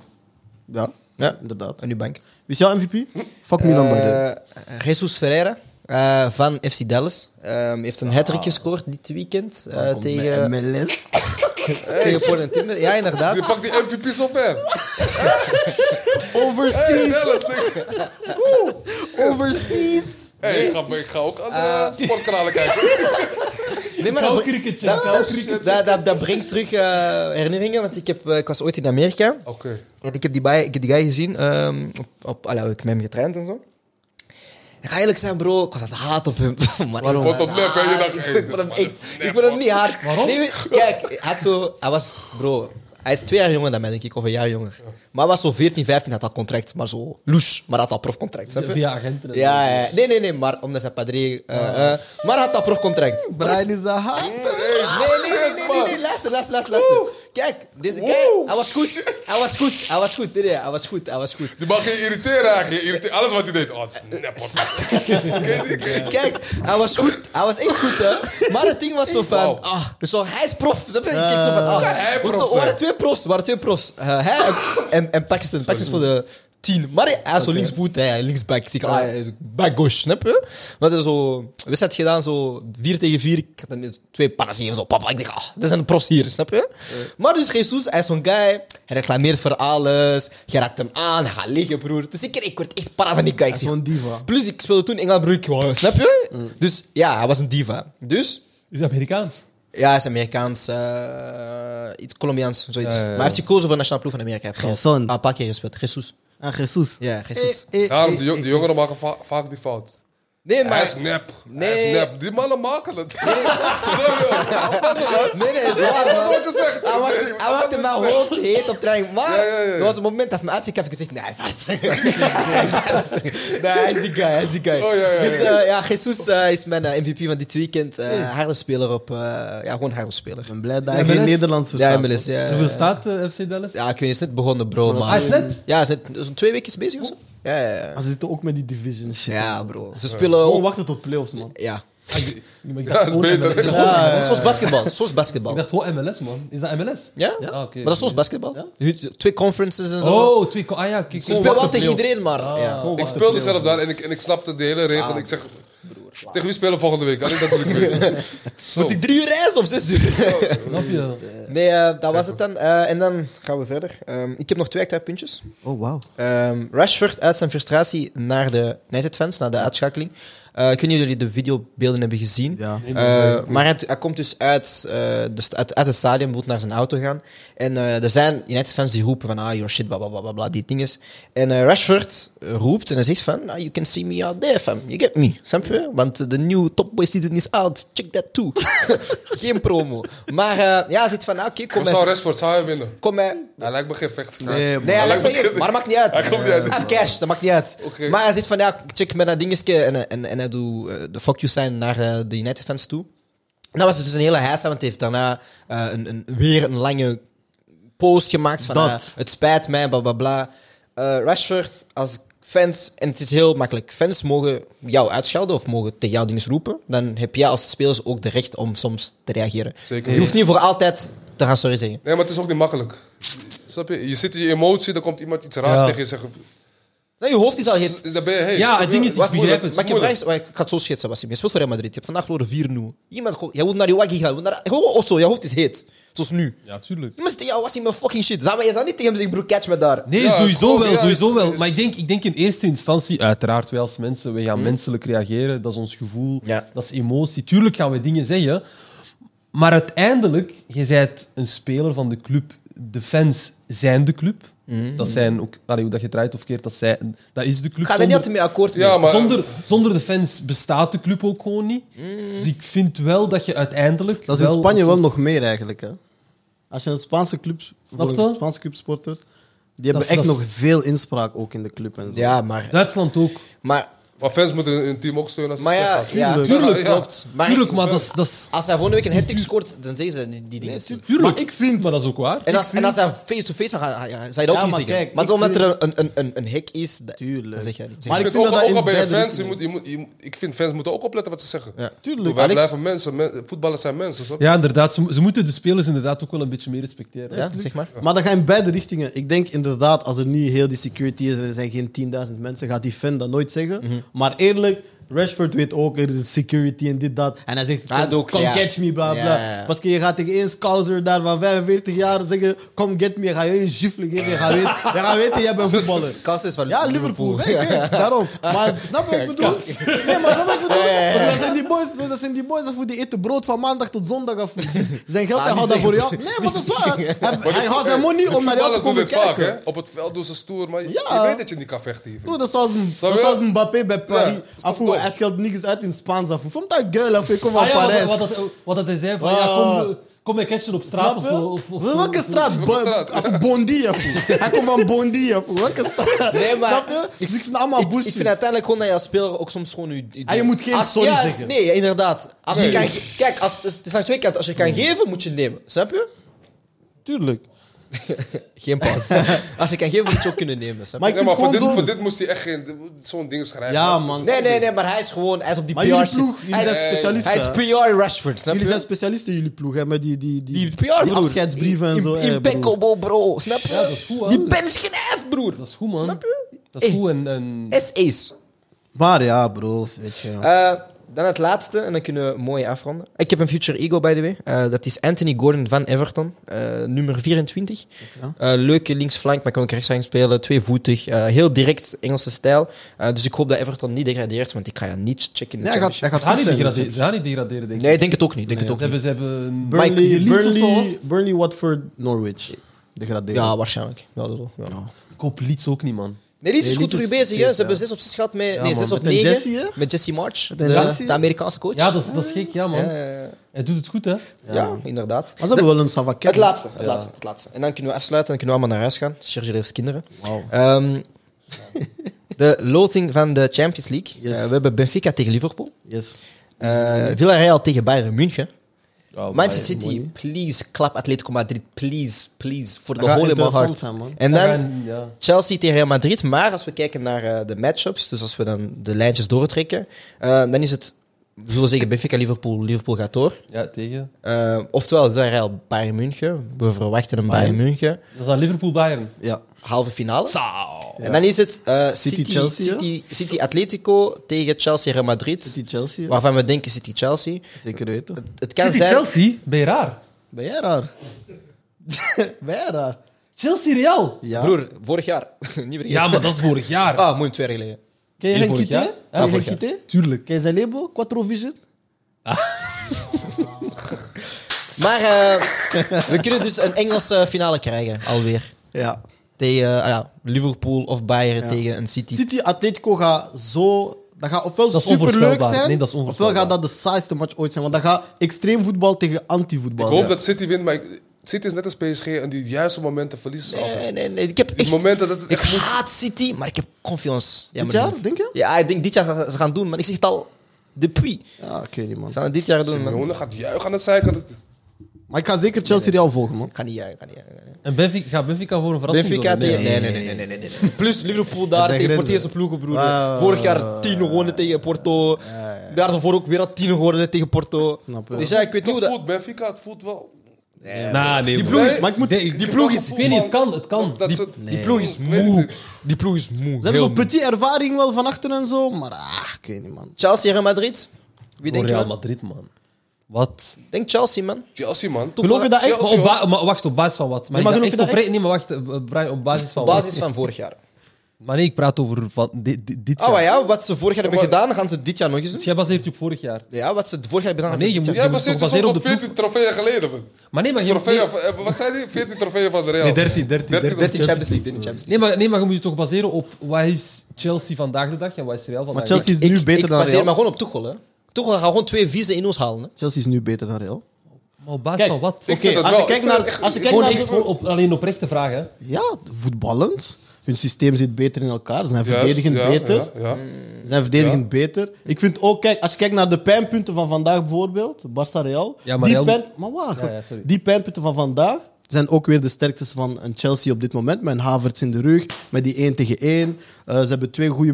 [SPEAKER 4] Ja,
[SPEAKER 1] Ja,
[SPEAKER 4] inderdaad.
[SPEAKER 1] aan uw bank.
[SPEAKER 4] Wie is jouw MVP? Fuck Milan bij de.
[SPEAKER 1] Eh, Jesus Ferreira eh, van FC Dallas. Ehm, heeft een
[SPEAKER 2] Ah.
[SPEAKER 1] hat gescoord dit weekend eh, tegen,
[SPEAKER 4] MLS.
[SPEAKER 1] tegen Portland Timber. Ja, inderdaad.
[SPEAKER 3] Je pakt die MVP zo ver.
[SPEAKER 4] Overseas.
[SPEAKER 3] eh, Hey, Dallas, denk ik.
[SPEAKER 4] Overseas.
[SPEAKER 3] Hey, ik, ga, ik ga ook andere sportkanalen kijken.
[SPEAKER 1] Nee, maar
[SPEAKER 2] Kou
[SPEAKER 1] br-
[SPEAKER 2] cricketje,
[SPEAKER 1] dat-
[SPEAKER 2] kou cricketje.
[SPEAKER 1] dat- dat- dat brengt terug eh, herinneringen, want ik, heb, eh, ik was ooit in Amerika.
[SPEAKER 3] Oké.
[SPEAKER 1] En ik heb die, bij, ik heb die guy gezien, ehm, op, op, allee, ik heb met hem getraind en zo. Ik ga eerlijk zijn, bro, ik was aan het haat op hem. Maar
[SPEAKER 3] Waarom?
[SPEAKER 1] ik was aan
[SPEAKER 3] Vond hem
[SPEAKER 1] het
[SPEAKER 3] leuk, hè? Je
[SPEAKER 1] haat.
[SPEAKER 3] dacht, hey,
[SPEAKER 1] Ik
[SPEAKER 3] dit
[SPEAKER 1] vond hem
[SPEAKER 3] man
[SPEAKER 1] echt-
[SPEAKER 3] is nep,
[SPEAKER 1] ik vond hem
[SPEAKER 3] man.
[SPEAKER 1] niet hard. Waarom? kijk, hij had zo, hij was, bro, hij is twee jaar jonger dan mij, denk ik, of een jaar jonger. Maar hij was zo 14, 15, had dat contract, maar zo loes, maar had dat profcontract. snap je?
[SPEAKER 2] Via agenten. en zo.
[SPEAKER 1] Ja, ja, nee, nee, nee, maar omdat zijn padre. eh eh, maar hij had dat profcontract.
[SPEAKER 4] Brian is een hater.
[SPEAKER 3] Ah,
[SPEAKER 1] Nee, nee, nee, nee, nee, nee, luister, luister, luister. luister. Kijk, deze guy, hij was goed. Hij was goed, hij was goed. Nee, nee, hij was goed, hij was goed.
[SPEAKER 3] Die mag je irriteren eigenlijk. Je irriteert- alles wat hij deed. Oh, het is nep, man.
[SPEAKER 1] Kijk, hij was goed. Hij was echt goed, hè. Maar het ding was zo
[SPEAKER 3] Wauw.
[SPEAKER 1] van... Ah, dus zo, hij is prof. Ze hebben gekeken zo van... Ah,
[SPEAKER 3] hij
[SPEAKER 1] want
[SPEAKER 3] prof
[SPEAKER 1] er waren
[SPEAKER 3] zijn.
[SPEAKER 1] twee profs. Er waren twee profs. Eh, hij en, en, en Pakistan. Pakistan speelde tien. Maar hij hij was zo linksvoet, hij linksback. Ik zie, ah, hij is back gauche, snap je? We hadden zo... We hadden gedaan zo vier tegen vier. Ik had hem met twee pannen gegeven, zo. Papa, ik dacht, ah, dit zijn de profs hier, snap je? Maar dus Jesus, hij is zo'n guy. Hij reclameert voor alles. Je raakt hem aan, hij gaat liggen, broer. Dus ik, ik word echt para van die guy. Ik zeg,
[SPEAKER 4] Zo'n diva.
[SPEAKER 1] Plus, ik speelde toen Engeland Broek, wow, snap je? Dus ja, hij was een diva. Dus,
[SPEAKER 2] Is dat Amerikaans?
[SPEAKER 1] ja, hij is Amerikaans, eh, iets Colombiaans, zoiets. Maar hij heeft gekozen voor de nationale ploeg van Amerika. Hij heeft al
[SPEAKER 4] Gezond.
[SPEAKER 1] Een paar keer gespeeld. Jesus.
[SPEAKER 4] Ah, Jesus.
[SPEAKER 1] Ja, Jesus.
[SPEAKER 4] Eh, eh,
[SPEAKER 3] Daarom,
[SPEAKER 4] eh,
[SPEAKER 3] de, jong-
[SPEAKER 4] eh.
[SPEAKER 3] de jongeren maken va- vaak die fout.
[SPEAKER 1] Nee,
[SPEAKER 3] Hij
[SPEAKER 1] maar...
[SPEAKER 3] is nep. Hij
[SPEAKER 1] Nee.
[SPEAKER 3] is nep. Die mannen maken het. Zo, joh.
[SPEAKER 1] Nee, nee, zo
[SPEAKER 3] Dat is wat je zegt.
[SPEAKER 1] Hij maakte, hij maakte mijn hoofd heet op training. Maar
[SPEAKER 3] Ja, ja, ja.
[SPEAKER 1] er was een moment dat mijn uitzicht heb ik gezegd: Nee, hij is hard. hij is hard. Nee, hij is die guy. Hij is die guy.
[SPEAKER 3] Oh, ja, ja,
[SPEAKER 1] dus
[SPEAKER 3] ja.
[SPEAKER 1] eh, ja, Jesus eh, is mijn eh, MVP van dit weekend. eh Haarlem-speler op. eh, ja, gewoon Haarlem-speler.
[SPEAKER 4] Ik ben blij dat hij
[SPEAKER 2] MLS?
[SPEAKER 4] geen Nederlands
[SPEAKER 1] Ja,
[SPEAKER 4] verstaat.
[SPEAKER 1] MLS. Ja, ja,
[SPEAKER 2] Hoeveel
[SPEAKER 1] ja.
[SPEAKER 2] staat eh, FC Dallas?
[SPEAKER 1] Ja, ik weet niet, het is net begonnen, bro. Maar...
[SPEAKER 2] Ah, is net?
[SPEAKER 1] Ja, ze zijn zo'n twee weken bezig of zo. Ja, ja, ja.
[SPEAKER 4] Maar ze zitten ook met die division shit.
[SPEAKER 1] Ja, bro. Ze spelen
[SPEAKER 4] Gewoon
[SPEAKER 1] ook...
[SPEAKER 4] wachten tot playoffs, man.
[SPEAKER 1] Ja.
[SPEAKER 2] Ik
[SPEAKER 3] Ja, dat is
[SPEAKER 2] gewoon
[SPEAKER 3] beter.
[SPEAKER 2] MLS.
[SPEAKER 1] Zoals, zoals basketbal. Zoals
[SPEAKER 2] Ik
[SPEAKER 1] basketbal.
[SPEAKER 2] dacht gewoon MLS, man. Is dat MLS?
[SPEAKER 1] Ja?
[SPEAKER 2] Ah,
[SPEAKER 1] Maar
[SPEAKER 2] oké.
[SPEAKER 1] dat is zoals basketbal. Huurt Twee conferences en zo.
[SPEAKER 2] Oh, twee... ko- Ah ja, kijk.
[SPEAKER 1] Ze spelen wel tegen iedereen, maar...
[SPEAKER 2] Ah.
[SPEAKER 1] Ja.
[SPEAKER 3] Ik speelde zelf daar en ik, en ik snapte de hele
[SPEAKER 1] Ah,
[SPEAKER 3] regel. Ik zeg, tegen wie spelen we volgende week? Alleen dat wil ik weten. Zo.
[SPEAKER 1] Moet ik drie uur reizen of zes uur?
[SPEAKER 2] Snap je?
[SPEAKER 1] Nee, eh, dat was het dan. Eh, en dan gaan we verder. Ehm, ik heb nog twee extra puntjes.
[SPEAKER 4] Oh, wauw.
[SPEAKER 1] Ehm, Rashford uit zijn frustratie naar de United fans, naar de uitschakeling. Eh, ik weet niet of jullie de videobeelden hebben gezien.
[SPEAKER 4] Ja.
[SPEAKER 1] Eh, maar het- hij komt dus uit, eh, de sta- uit, uit het stadion, moet naar zijn auto gaan. En eh, er zijn United fans die roepen van, ah, your shit, bla bla bla, bla, bla die dingen. En eh, Rashford eh, roept en hij zegt van, ah, you can see me out there, fam. You get me, snap je? Want eh, de nieuwe Top Boy season is out, check that too. Geen promo. Maar eh, ja, hij zegt van, ah, oké, kom
[SPEAKER 3] Hoe zou
[SPEAKER 1] mij...
[SPEAKER 3] Rashford, zou hij winnen?
[SPEAKER 1] Kom mij
[SPEAKER 3] Hij lijkt me geen vechter.
[SPEAKER 4] Nee, man.
[SPEAKER 1] Nee, hij lijkt me niet, maar dat maakt niet uit.
[SPEAKER 3] Hij komt niet uit.
[SPEAKER 1] Hij heeft cash, dat maakt niet uit.
[SPEAKER 3] Oké.
[SPEAKER 1] Maar hij zit van, ja, check met dat dingetje en, en, en hij doet eh, de fuck you sign naar eh, de United fans toe. En dat was het dus een hele heisa, want hij heeft daarna eh, een, een, weer een lange post gemaakt van
[SPEAKER 4] Dat.
[SPEAKER 1] eh, het spijt mij, bla bla bla. Eh, Rashford, als fans, en het is heel makkelijk, fans mogen jou uitschelden of mogen tegen jou dingen roepen, dan heb jij als spelers ook de recht om soms te reageren.
[SPEAKER 3] Zeker.
[SPEAKER 1] Je hoeft niet voor altijd te gaan sorry zeggen.
[SPEAKER 3] Nee, maar het is ook niet makkelijk. Snap je? Je zit in je emotie, dan komt iemand iets raars
[SPEAKER 2] Ja.
[SPEAKER 3] tegen je zeggen.
[SPEAKER 1] Nou, je hoofd is al hit.
[SPEAKER 3] Dan ben je hey,
[SPEAKER 2] Ja,
[SPEAKER 3] snap
[SPEAKER 2] het
[SPEAKER 3] je?
[SPEAKER 2] ding is, ik
[SPEAKER 3] Wat
[SPEAKER 2] begrijp het.
[SPEAKER 3] moeilijk,
[SPEAKER 1] Maar ik, heb
[SPEAKER 3] moeilijk.
[SPEAKER 1] vraag, maar ik ga het zo schetsen, Wassim. Je speelt voor Real Madrid. Je hebt vandaag verloren 4-0. Iemand komt... Jij moet naar Iwagi gaan. je moet Naar, gewoon of zo. Jouw hoofd is heet. Zoals nu.
[SPEAKER 2] Ja, tuurlijk.
[SPEAKER 1] Iemand zegt, ja, Wassim, mijn fucking shit. Zou, je zou niet tegen hem zeggen, broer, catch me daar.
[SPEAKER 2] Nee,
[SPEAKER 3] Ja, het is
[SPEAKER 2] sowieso
[SPEAKER 3] gewoon-
[SPEAKER 2] wel,
[SPEAKER 3] ja,
[SPEAKER 2] sowieso
[SPEAKER 3] het is-
[SPEAKER 2] wel. Maar ik denk, ik denk in eerste instantie, uiteraard, wij als mensen, wij gaan menselijk reageren. Dat is ons gevoel,
[SPEAKER 1] Hm. Ja.
[SPEAKER 2] dat is emotie. Tuurlijk gaan we dingen zeggen. Maar uiteindelijk, je bent een speler van de club. De fans zijn de club. Dat zijn ook, allee, hoe dat je het draait of keert, dat, zijn, dat is de club.
[SPEAKER 1] Hm. Ik ga daar niet
[SPEAKER 2] zonder-
[SPEAKER 1] altijd mee akkoord.
[SPEAKER 3] Ja,
[SPEAKER 1] mee.
[SPEAKER 3] maar
[SPEAKER 2] zonder, zonder de fans bestaat de club ook gewoon niet. Dus ik vind wel dat je uiteindelijk.
[SPEAKER 4] Dat is in
[SPEAKER 2] wel-
[SPEAKER 4] Spanje wel nog meer eigenlijk. Hè? Als je een Spaanse club, volgt,
[SPEAKER 2] je?
[SPEAKER 4] Spaanse clubsporters, die hebben
[SPEAKER 2] is-
[SPEAKER 4] echt
[SPEAKER 2] dat
[SPEAKER 4] nog
[SPEAKER 2] is-
[SPEAKER 4] veel inspraak ook in de club en zo.
[SPEAKER 1] Ja, maar...
[SPEAKER 2] Duitsland ook.
[SPEAKER 1] Maar,
[SPEAKER 3] Maar fans moeten hun hun team ook steunen als ze
[SPEAKER 1] maar ja,
[SPEAKER 3] slecht
[SPEAKER 1] ja,
[SPEAKER 4] tuurlijk.
[SPEAKER 2] Tuurlijk,
[SPEAKER 3] ja.
[SPEAKER 2] klopt.
[SPEAKER 1] Maar
[SPEAKER 2] tuurlijk,
[SPEAKER 1] ik-
[SPEAKER 2] maar dat is- dat is.
[SPEAKER 1] Als hij volgende week een hat scoort, dan zeggen ze die, die dingen.
[SPEAKER 4] tuurlijk.
[SPEAKER 2] Tuurlijk.
[SPEAKER 4] Maar ik vind-
[SPEAKER 2] Maar dat is ook waar.
[SPEAKER 1] en, als,
[SPEAKER 4] ik
[SPEAKER 1] en als hij face-to-face gaat, ga- ga- zou je dat
[SPEAKER 4] Ja,
[SPEAKER 1] ook niet
[SPEAKER 4] maar
[SPEAKER 1] zeggen.
[SPEAKER 4] kijk,
[SPEAKER 1] maar
[SPEAKER 4] ik
[SPEAKER 1] omdat
[SPEAKER 4] vind-
[SPEAKER 1] er een, een, een, een hek is, dat-
[SPEAKER 4] Tuurlijk.
[SPEAKER 1] dan zeg jij niet.
[SPEAKER 4] Maar
[SPEAKER 3] Ik
[SPEAKER 4] ik
[SPEAKER 3] vind
[SPEAKER 4] vind
[SPEAKER 3] ook,
[SPEAKER 4] dat dat
[SPEAKER 3] ook al
[SPEAKER 4] in
[SPEAKER 3] bij je
[SPEAKER 4] beide
[SPEAKER 3] fans, je
[SPEAKER 4] richtingen
[SPEAKER 3] moet, je moet, je moet- ik vind fans moeten ook opletten wat ze zeggen.
[SPEAKER 1] Ja.
[SPEAKER 4] Tuurlijk.
[SPEAKER 3] Wij
[SPEAKER 1] Alex-
[SPEAKER 3] blijven mensen, men- voetballers zijn mensen. Snap je?
[SPEAKER 2] Ja, inderdaad. Ze, ze moeten de spelers inderdaad ook wel een beetje meer respecteren.
[SPEAKER 1] Ja, zeg maar.
[SPEAKER 4] Maar dat gaat in beide richtingen. Ik denk
[SPEAKER 1] Mhm.
[SPEAKER 4] inderdaad, als er niet heel die security is en er zijn geen 10.000 mensen, gaat die fan dat nooit zeggen. Maar eerlijk, Rashford weet ook, er is security en dit, dat. En hij zegt,
[SPEAKER 1] Hij
[SPEAKER 4] come,
[SPEAKER 1] doet Ah, ook,
[SPEAKER 4] come
[SPEAKER 1] ja.
[SPEAKER 4] catch me, bla,
[SPEAKER 1] Ja,
[SPEAKER 4] bla.
[SPEAKER 1] ja, ja.
[SPEAKER 4] Pas keer je gaat tegen één scouser daar van 45 jaar zeggen, come get me. Ga je een gifling geven, je gaat weten, je gaat weten, jij bent voetballer.
[SPEAKER 1] Kast is van
[SPEAKER 4] Ja, Liverpool. Nee, ik weet, daarom. Maar snap je wat ik bedoel? Nee, maar snap je wat ik bedoel? Want Dat zijn die boys, dat zijn die boys af, die eten brood van maandag tot zondag af. Zijn geld,
[SPEAKER 1] Ah,
[SPEAKER 4] hij
[SPEAKER 1] die
[SPEAKER 4] houdt dat
[SPEAKER 1] zijn-
[SPEAKER 4] voor jou. Nee, maar dat is waar. Hij, hij houdt zijn money om naar jou te
[SPEAKER 3] Voetballers doen
[SPEAKER 4] komen
[SPEAKER 3] dit vaak, hè?
[SPEAKER 4] kijken.
[SPEAKER 3] Op het veld doen ze stoer, maar je-
[SPEAKER 4] Ja.
[SPEAKER 3] je weet dat je niet kan vechten hier.
[SPEAKER 4] Bro, dat is zoals, een-
[SPEAKER 3] Snap
[SPEAKER 4] dat is
[SPEAKER 3] je?
[SPEAKER 4] zoals Mbappé bij Paris.
[SPEAKER 3] Ja, snap
[SPEAKER 4] Afu,
[SPEAKER 3] toch?
[SPEAKER 4] hij scheldt niks uit in Spaans. Afu, vond dat geil, af, ik kom van
[SPEAKER 2] Ah, ja,
[SPEAKER 4] Parijs.
[SPEAKER 2] wat, wat, dat- wat dat hij zei van, ja,
[SPEAKER 4] Ah.
[SPEAKER 2] kom, eh, kom mij catchen op straat
[SPEAKER 4] Snap
[SPEAKER 2] of
[SPEAKER 4] je?
[SPEAKER 2] zo. Of, of zo.
[SPEAKER 4] welke straat? Bo-
[SPEAKER 3] straat?
[SPEAKER 4] Afu, Bondi, afu. Hij komt van Bondi, afu. Welke straat?
[SPEAKER 1] Nee, maar-
[SPEAKER 4] Snap je? Dus ik vind het allemaal
[SPEAKER 1] Ik, ik
[SPEAKER 4] bullshit.
[SPEAKER 1] vind uiteindelijk gewoon dat je als speler ook soms gewoon... Je,
[SPEAKER 4] En Ah, je moet geen
[SPEAKER 1] Als-
[SPEAKER 4] sorry
[SPEAKER 1] ja,
[SPEAKER 4] zeggen.
[SPEAKER 1] Nee, inderdaad. Als je
[SPEAKER 4] Nee.
[SPEAKER 1] kan, ge- kijk, als, het is aan twee kanten. Als je kan geven, moet je nemen. Snap je?
[SPEAKER 4] Tuurlijk.
[SPEAKER 1] Geen pas. als je kan geven, moet je ook kunnen nemen. Snap je?
[SPEAKER 4] Maar ik
[SPEAKER 3] Nee,
[SPEAKER 4] vind
[SPEAKER 3] maar voor
[SPEAKER 4] gewoon
[SPEAKER 3] dit, voor
[SPEAKER 4] zo...
[SPEAKER 3] dit moest hij echt geen zo'n ding schrijven.
[SPEAKER 4] Ja, man.
[SPEAKER 1] Nee, nee, nee, maar hij is gewoon... Hij is op die
[SPEAKER 4] Maar
[SPEAKER 1] PR
[SPEAKER 4] jullie
[SPEAKER 1] shit.
[SPEAKER 4] ploeg, jullie
[SPEAKER 1] Hij is-
[SPEAKER 4] zijn specialisten.
[SPEAKER 1] Hij is PR Rashford, snap
[SPEAKER 4] jullie zijn
[SPEAKER 1] je?
[SPEAKER 4] specialisten, jullie ploeg, hè, met die, die, die,
[SPEAKER 1] Die PR, broer.
[SPEAKER 4] afscheidsbrieven en
[SPEAKER 1] I-
[SPEAKER 4] zo. hè, broer.
[SPEAKER 1] Impeccable, bro. Snap je?
[SPEAKER 2] Ja, dat is goed, hè.
[SPEAKER 1] Die ben is geen F, broer.
[SPEAKER 2] Dat is goed, man.
[SPEAKER 1] Snap je?
[SPEAKER 2] Dat is
[SPEAKER 1] Eh.
[SPEAKER 2] goed. En, en...
[SPEAKER 1] S-Ace.
[SPEAKER 4] Maar ja, bro, weet je.
[SPEAKER 1] Eh, dan het laatste, en dan kunnen we mooi afronden. Ik heb een future ego, by the way. Eh, dat is Anthony Gordon van Everton, eh, nummer 24. Eh, leuke linksflank, maar kan ook rechtsflank spelen. Tweevoetig, eh, heel direct, Engelse stijl. Eh, dus ik hoop dat Everton niet degradeert, want ik ga ja niet checken. in de
[SPEAKER 4] nee, hij gaat,
[SPEAKER 1] Championship.
[SPEAKER 4] hij gaat
[SPEAKER 2] Ze gaan
[SPEAKER 4] goed
[SPEAKER 2] niet
[SPEAKER 4] zijn.
[SPEAKER 2] degraderen, ze gaan niet degraderen, denk ik.
[SPEAKER 1] Nee, ik denk het ook niet. ik Denk het
[SPEAKER 2] Ze
[SPEAKER 1] ook niet.
[SPEAKER 2] hebben, ze hebben een...
[SPEAKER 1] Burnley-
[SPEAKER 4] Burnley,
[SPEAKER 2] Leeds of zo
[SPEAKER 4] Burnley,
[SPEAKER 2] was?
[SPEAKER 4] Burnley, Watford, Norwich. Degraderen.
[SPEAKER 1] Ja, waarschijnlijk. Ja, dat wel, ja.
[SPEAKER 2] Ik hoop Leeds ook niet, man.
[SPEAKER 1] Nee, die is dus
[SPEAKER 4] Nee,
[SPEAKER 1] goed
[SPEAKER 4] Leeds
[SPEAKER 1] terug
[SPEAKER 4] is
[SPEAKER 1] bezig. hè.
[SPEAKER 4] fit,
[SPEAKER 1] Ze hebben
[SPEAKER 4] ja.
[SPEAKER 1] 6 op 6 gehad met...
[SPEAKER 2] Ja,
[SPEAKER 1] nee,
[SPEAKER 2] man.
[SPEAKER 1] 6 op
[SPEAKER 4] Met een
[SPEAKER 1] 9.
[SPEAKER 4] Jesse, hè?
[SPEAKER 1] met Jesse March, de,
[SPEAKER 4] een Jesse,
[SPEAKER 1] de
[SPEAKER 4] hè?
[SPEAKER 1] Amerikaanse coach.
[SPEAKER 2] Ja, dat is, dat is gek, ja, man.
[SPEAKER 1] Eh,
[SPEAKER 2] Hij doet het goed, hè.
[SPEAKER 1] ja, inderdaad.
[SPEAKER 4] Maar ze hebben wel een Savaket.
[SPEAKER 1] Het laatste, het, laatste, het laatste. En dan kunnen we afsluiten en kunnen we allemaal naar huis gaan. Sergio heeft kinderen. Ehm, de loting van de Champions League.
[SPEAKER 4] Yes.
[SPEAKER 1] Eh, we hebben Benfica tegen Liverpool.
[SPEAKER 4] Yes.
[SPEAKER 1] Eh, Villarreal tegen Bayern München. Oh, Manchester City,
[SPEAKER 4] mooi.
[SPEAKER 1] please. Klap Atletico Madrid, please, please. For the
[SPEAKER 4] gaat
[SPEAKER 1] whole of my
[SPEAKER 4] interessant
[SPEAKER 1] heart.
[SPEAKER 4] zijn, man.
[SPEAKER 1] en
[SPEAKER 2] Ja,
[SPEAKER 1] dan
[SPEAKER 2] en- ja.
[SPEAKER 1] Chelsea tegen Real Madrid. Maar als we kijken naar eh, de matchups, dus als we dan de lijntjes doortrekken, eh, dan is het, we zullen zeggen, Benfica-Liverpool, Liverpool gaat door.
[SPEAKER 2] ja, tegen.
[SPEAKER 1] Eh, oftewel, Villarreal, Bayern München. We verwachten een Bayern München.
[SPEAKER 2] Dat is dan Liverpool-Bayern.
[SPEAKER 4] Ja.
[SPEAKER 1] halve finale.
[SPEAKER 2] Ciao.
[SPEAKER 1] En dan is het eh, City,
[SPEAKER 4] City
[SPEAKER 1] City,
[SPEAKER 4] Chelsea, ja?
[SPEAKER 1] City, Atletico tegen Chelsea Real Madrid.
[SPEAKER 4] City Chelsea.
[SPEAKER 1] Waarvan we denken City Chelsea.
[SPEAKER 4] Zeker weten.
[SPEAKER 1] Het kan zijn.
[SPEAKER 2] City-Chelsea? Ben je raar?
[SPEAKER 4] Ben jij raar? ben jij raar?
[SPEAKER 2] Chelsea-Real?
[SPEAKER 4] Ja.
[SPEAKER 1] Broer, vorig jaar. Niet vergeten.
[SPEAKER 2] Ja, maar dat is vorig jaar.
[SPEAKER 1] Ah, moet je twee jaar geleden.
[SPEAKER 4] Ken je
[SPEAKER 2] Nee,
[SPEAKER 4] geen
[SPEAKER 2] vorig jaar?
[SPEAKER 4] Kité?
[SPEAKER 2] Ja,
[SPEAKER 4] Ken je geen
[SPEAKER 1] vorig jaar.
[SPEAKER 4] Kité?
[SPEAKER 2] Tuurlijk.
[SPEAKER 4] Ken je zijn label? Quattro Vision?
[SPEAKER 1] Maar eh, we kunnen dus een Engelse finale krijgen, alweer.
[SPEAKER 4] Ja.
[SPEAKER 1] Tegen eh, ja, Liverpool of Bayern tegen een City.
[SPEAKER 4] City Atletico gaat zo. Dat gaat ofwel
[SPEAKER 2] Dat is
[SPEAKER 4] superleuk
[SPEAKER 2] onvoorspelbaar.
[SPEAKER 4] zijn,
[SPEAKER 2] Nee, dat is
[SPEAKER 4] ofwel
[SPEAKER 2] onvoorspelbaar.
[SPEAKER 4] gaat dat de saaiste match ooit zijn. Want dat gaat extreem voetbal tegen anti-voetbal.
[SPEAKER 3] Ik hoop
[SPEAKER 4] zijn.
[SPEAKER 3] dat City wint, maar ik- City is net als PSG en die juiste momenten verliezen ze altijd.
[SPEAKER 1] Nee, nee, nee. Ik heb
[SPEAKER 3] Die
[SPEAKER 1] echt...
[SPEAKER 3] momenten dat het
[SPEAKER 1] Ik
[SPEAKER 3] echt moet.
[SPEAKER 1] haat City, maar ik heb confiance. Ja,
[SPEAKER 4] Dit
[SPEAKER 1] maar-
[SPEAKER 4] jaar, denk je?
[SPEAKER 1] Ja, ik denk dit jaar gaan ze gaan doen. Maar ik zeg het al, Depuis.
[SPEAKER 4] Ja, ik weet niet, man.
[SPEAKER 1] Ze gaan het dit jaar doen. man.
[SPEAKER 3] Simeone gaat juichen aan de zijkant. Het is-
[SPEAKER 4] Maar ik ga zeker Chelsea Real volgen, man.
[SPEAKER 1] Ik ga niet juichen, ik ga niet juichen. ik ga niet
[SPEAKER 2] En Benfica, gaat Benfica voor een verrassing
[SPEAKER 1] Benfica
[SPEAKER 2] zorgen?
[SPEAKER 1] tegen...
[SPEAKER 2] Nee,
[SPEAKER 1] Nee, nee, nee, nee, nee, nee, nee. Plus Liverpool daar
[SPEAKER 4] zijn
[SPEAKER 1] tegen
[SPEAKER 4] grenzen.
[SPEAKER 1] Portugese ploegen, broer.
[SPEAKER 4] Ah.
[SPEAKER 1] Vorig jaar 10 gewonnen tegen Porto. Daarvoor ook weer 10 geworden tegen Porto.
[SPEAKER 4] Snap je.
[SPEAKER 1] Dus ja, ik weet niet
[SPEAKER 3] Toch
[SPEAKER 1] hoe dat...
[SPEAKER 3] voelt Benfica, het voelt wel...
[SPEAKER 2] nee. Nah, nee,
[SPEAKER 3] Die
[SPEAKER 2] bro.
[SPEAKER 3] ploeg is-
[SPEAKER 2] Nee,
[SPEAKER 4] maar ik moet-
[SPEAKER 2] nee,
[SPEAKER 3] Ik heb
[SPEAKER 1] ploeg
[SPEAKER 3] wel
[SPEAKER 1] is-
[SPEAKER 3] gevoel
[SPEAKER 2] Ik weet niet, het
[SPEAKER 3] van-
[SPEAKER 2] kan, het kan.
[SPEAKER 3] dat
[SPEAKER 1] Die,
[SPEAKER 3] ze-
[SPEAKER 1] die ploeg is
[SPEAKER 3] Weet
[SPEAKER 1] moe.
[SPEAKER 3] ik.
[SPEAKER 1] Die ploeg is moe.
[SPEAKER 4] Ze hebben
[SPEAKER 1] Heel
[SPEAKER 4] zo'n
[SPEAKER 1] moe.
[SPEAKER 4] petit ervaring wel van achter en zo, maar ah, ik weet niet, man.
[SPEAKER 1] Chelsea, Real Madrid? Wie
[SPEAKER 2] Voor
[SPEAKER 1] denk
[SPEAKER 2] Real
[SPEAKER 1] je?
[SPEAKER 2] Madrid, man. Wat?
[SPEAKER 1] Denk Chelsea, man.
[SPEAKER 3] Chelsea, man.
[SPEAKER 4] Geloof je dat echt?
[SPEAKER 3] Chelsea,
[SPEAKER 2] Maar, op
[SPEAKER 3] hoor.
[SPEAKER 2] ba- maar wacht, op basis van wat? Maar
[SPEAKER 4] Nee, maar
[SPEAKER 2] ik
[SPEAKER 4] geloof
[SPEAKER 2] echt
[SPEAKER 4] je dat
[SPEAKER 2] op re- Nee, maar wacht, eh, Brian, op basis van
[SPEAKER 1] Op basis
[SPEAKER 2] wat?
[SPEAKER 1] van vorig jaar.
[SPEAKER 2] Maar nee, ik praat over van di- di- dit jaar.
[SPEAKER 1] Oh ja, wat ze vorig jaar hebben
[SPEAKER 3] Maar-
[SPEAKER 1] gedaan, gaan ze dit jaar nog eens
[SPEAKER 2] Dus
[SPEAKER 1] doen?
[SPEAKER 2] jij baseert je op vorig jaar.
[SPEAKER 1] Ja, wat ze vorig jaar hebben gedaan, gaan
[SPEAKER 2] Maar nee,
[SPEAKER 1] ze
[SPEAKER 2] je
[SPEAKER 1] dit jaar
[SPEAKER 2] moet-
[SPEAKER 3] Jij
[SPEAKER 2] je
[SPEAKER 3] baseert
[SPEAKER 2] toch
[SPEAKER 3] dus
[SPEAKER 2] baseren
[SPEAKER 3] op
[SPEAKER 2] op de
[SPEAKER 3] 14 trofeeën geleden, man.
[SPEAKER 2] Maar nee, maar je
[SPEAKER 3] Trofeeën,
[SPEAKER 2] nee,
[SPEAKER 3] of- eh, wat zijn die? 14 trofeeën van de Real.
[SPEAKER 2] Nee, 13, 13,
[SPEAKER 1] 13 Champions League, 13 Champions League.
[SPEAKER 2] nee, maar, nee, maar je moet je toch baseren op wat is Chelsea vandaag de dag en wat is Real vandaag
[SPEAKER 4] Maar Chelsea
[SPEAKER 2] de
[SPEAKER 4] is nu beter
[SPEAKER 1] ik
[SPEAKER 4] dan
[SPEAKER 1] baseer
[SPEAKER 4] Real.
[SPEAKER 1] maar gewoon op Tuchel, hè. Tuchel gaat gewoon twee vieze in ons halen, hè.
[SPEAKER 4] Chelsea is nu beter dan Real.
[SPEAKER 2] dag? Maar op basis
[SPEAKER 4] Kijk,
[SPEAKER 2] van wat?
[SPEAKER 3] Ik vind
[SPEAKER 4] Oké,
[SPEAKER 3] dat
[SPEAKER 4] als je
[SPEAKER 3] wel.
[SPEAKER 4] kijkt
[SPEAKER 3] Ik vind dat
[SPEAKER 4] naar-
[SPEAKER 3] echt-
[SPEAKER 4] als je kijkt
[SPEAKER 2] Gewoon
[SPEAKER 4] naar
[SPEAKER 2] echt voor- op, alleen oprechte vragen. hè.
[SPEAKER 4] Ja, voetballend. Hun systeem zit beter in elkaar. Ze zijn
[SPEAKER 3] Juist,
[SPEAKER 4] verdedigend
[SPEAKER 3] ja,
[SPEAKER 4] beter.
[SPEAKER 3] ja, ja.
[SPEAKER 4] Ze zijn verdedigend beter. Ik vind ook, kijk, als je kijkt naar de pijnpunten van vandaag bijvoorbeeld, Barça Real.
[SPEAKER 2] Ja, maar
[SPEAKER 4] die
[SPEAKER 2] Real-
[SPEAKER 4] pijn- maar wacht,
[SPEAKER 2] Ja, ja, sorry.
[SPEAKER 4] die pijnpunten van vandaag zijn ook weer de sterktes van een Chelsea op dit moment. Met een Havertz in de rug, met die 1 tegen 1. ze hebben twee goede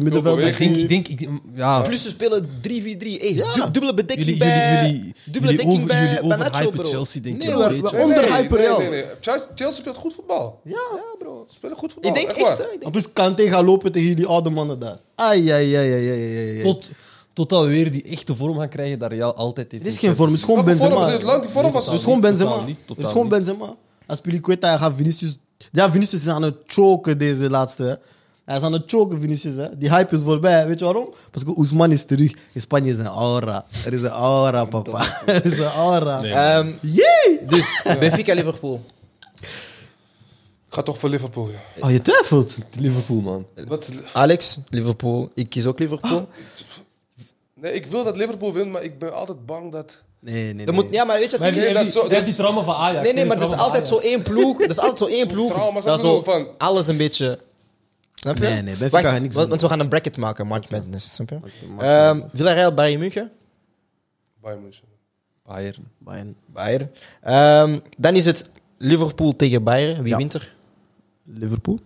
[SPEAKER 2] Ik
[SPEAKER 4] middenvelders.
[SPEAKER 2] denk, ik denk, ik, ja.
[SPEAKER 1] Plus ze spelen 3-4-3. Hey,
[SPEAKER 4] Ja.
[SPEAKER 1] du- dubbele bedekking
[SPEAKER 2] jullie,
[SPEAKER 1] bij...
[SPEAKER 2] jullie, jullie,
[SPEAKER 1] dubbele
[SPEAKER 2] jullie,
[SPEAKER 1] dekking
[SPEAKER 2] over,
[SPEAKER 1] bij
[SPEAKER 2] jullie
[SPEAKER 1] bij Nacho,
[SPEAKER 2] overhypen
[SPEAKER 1] bro.
[SPEAKER 2] Chelsea, denk ik.
[SPEAKER 4] Nee,
[SPEAKER 2] nog
[SPEAKER 4] waar-
[SPEAKER 2] steeds,
[SPEAKER 4] waar-
[SPEAKER 2] hè.
[SPEAKER 4] Onder hype Real.
[SPEAKER 3] Chelsea Chelsea speelt goed voetbal.
[SPEAKER 4] Ja.
[SPEAKER 3] bro. Ze spelen goed voetbal.
[SPEAKER 1] Ik denk echt,
[SPEAKER 3] waar.
[SPEAKER 1] hè. ik denk-
[SPEAKER 4] En plus Kante gaat lopen tegen jullie oude mannen daar. Ai, ai, ai, ai, ai, ai, ai.
[SPEAKER 2] Tot, Totdat we weer die echte vorm gaan krijgen dat Real altijd heeft.
[SPEAKER 4] Er is geen vorm, het is gewoon
[SPEAKER 3] Welke vorm?
[SPEAKER 4] Benzema.
[SPEAKER 3] Het land- die vorm was-
[SPEAKER 4] Het is gewoon Benzema.
[SPEAKER 2] Totaal niet, totaal
[SPEAKER 4] Het is gewoon
[SPEAKER 2] niet.
[SPEAKER 4] Benzema. Als Piliqueta gaat Vinicius... Ja, Vinicius is aan het choken deze laatste. hè. Hij is aan het choken, Vinicius. Hè. Die hype is voorbij. Weet je waarom? Parce que Ousmane is terug. In Spanje is een aura. Er is een aura, papa. er is een aura.
[SPEAKER 1] Ehm,
[SPEAKER 4] Jee!
[SPEAKER 1] dus, Benfica Liverpool.
[SPEAKER 3] Ga toch voor Liverpool, ja.
[SPEAKER 4] Oh, je twijfelt?
[SPEAKER 2] Liverpool, man.
[SPEAKER 3] Wat,
[SPEAKER 1] Alex, Liverpool. Ik kies ook Liverpool.
[SPEAKER 4] Ah.
[SPEAKER 3] nee, ik wil dat Liverpool wint, maar ik ben altijd bang dat...
[SPEAKER 4] Nee, nee,
[SPEAKER 1] Dat
[SPEAKER 4] nee.
[SPEAKER 1] moet, ja, maar weet je wat
[SPEAKER 2] Maar
[SPEAKER 1] het
[SPEAKER 2] die,
[SPEAKER 1] is?
[SPEAKER 3] dat zo-
[SPEAKER 2] dat
[SPEAKER 3] dat
[SPEAKER 2] is die trauma van Ajax.
[SPEAKER 1] Nee, nee,
[SPEAKER 2] hè,
[SPEAKER 1] maar
[SPEAKER 2] de
[SPEAKER 1] er is
[SPEAKER 2] trauma van
[SPEAKER 1] altijd zo één ploeg. Er is altijd zo één ploeg. dat
[SPEAKER 3] trauma's, wat
[SPEAKER 1] zo
[SPEAKER 3] bedoel je van?
[SPEAKER 1] alles een beetje... Snap je?
[SPEAKER 4] Nee, nee, Benfica
[SPEAKER 1] Wacht,
[SPEAKER 4] gaat niks
[SPEAKER 1] want,
[SPEAKER 4] doen.
[SPEAKER 1] want we gaan een bracket maken, March Madness. Snap je?
[SPEAKER 4] Match
[SPEAKER 1] Ehm Villarreal, Bayern München.
[SPEAKER 3] Bayern München.
[SPEAKER 2] Bayern.
[SPEAKER 4] Bayern.
[SPEAKER 1] Bayern. Ehm, dan is het Liverpool tegen Bayern. Wie
[SPEAKER 4] Ja.
[SPEAKER 1] wint er?
[SPEAKER 4] Liverpool.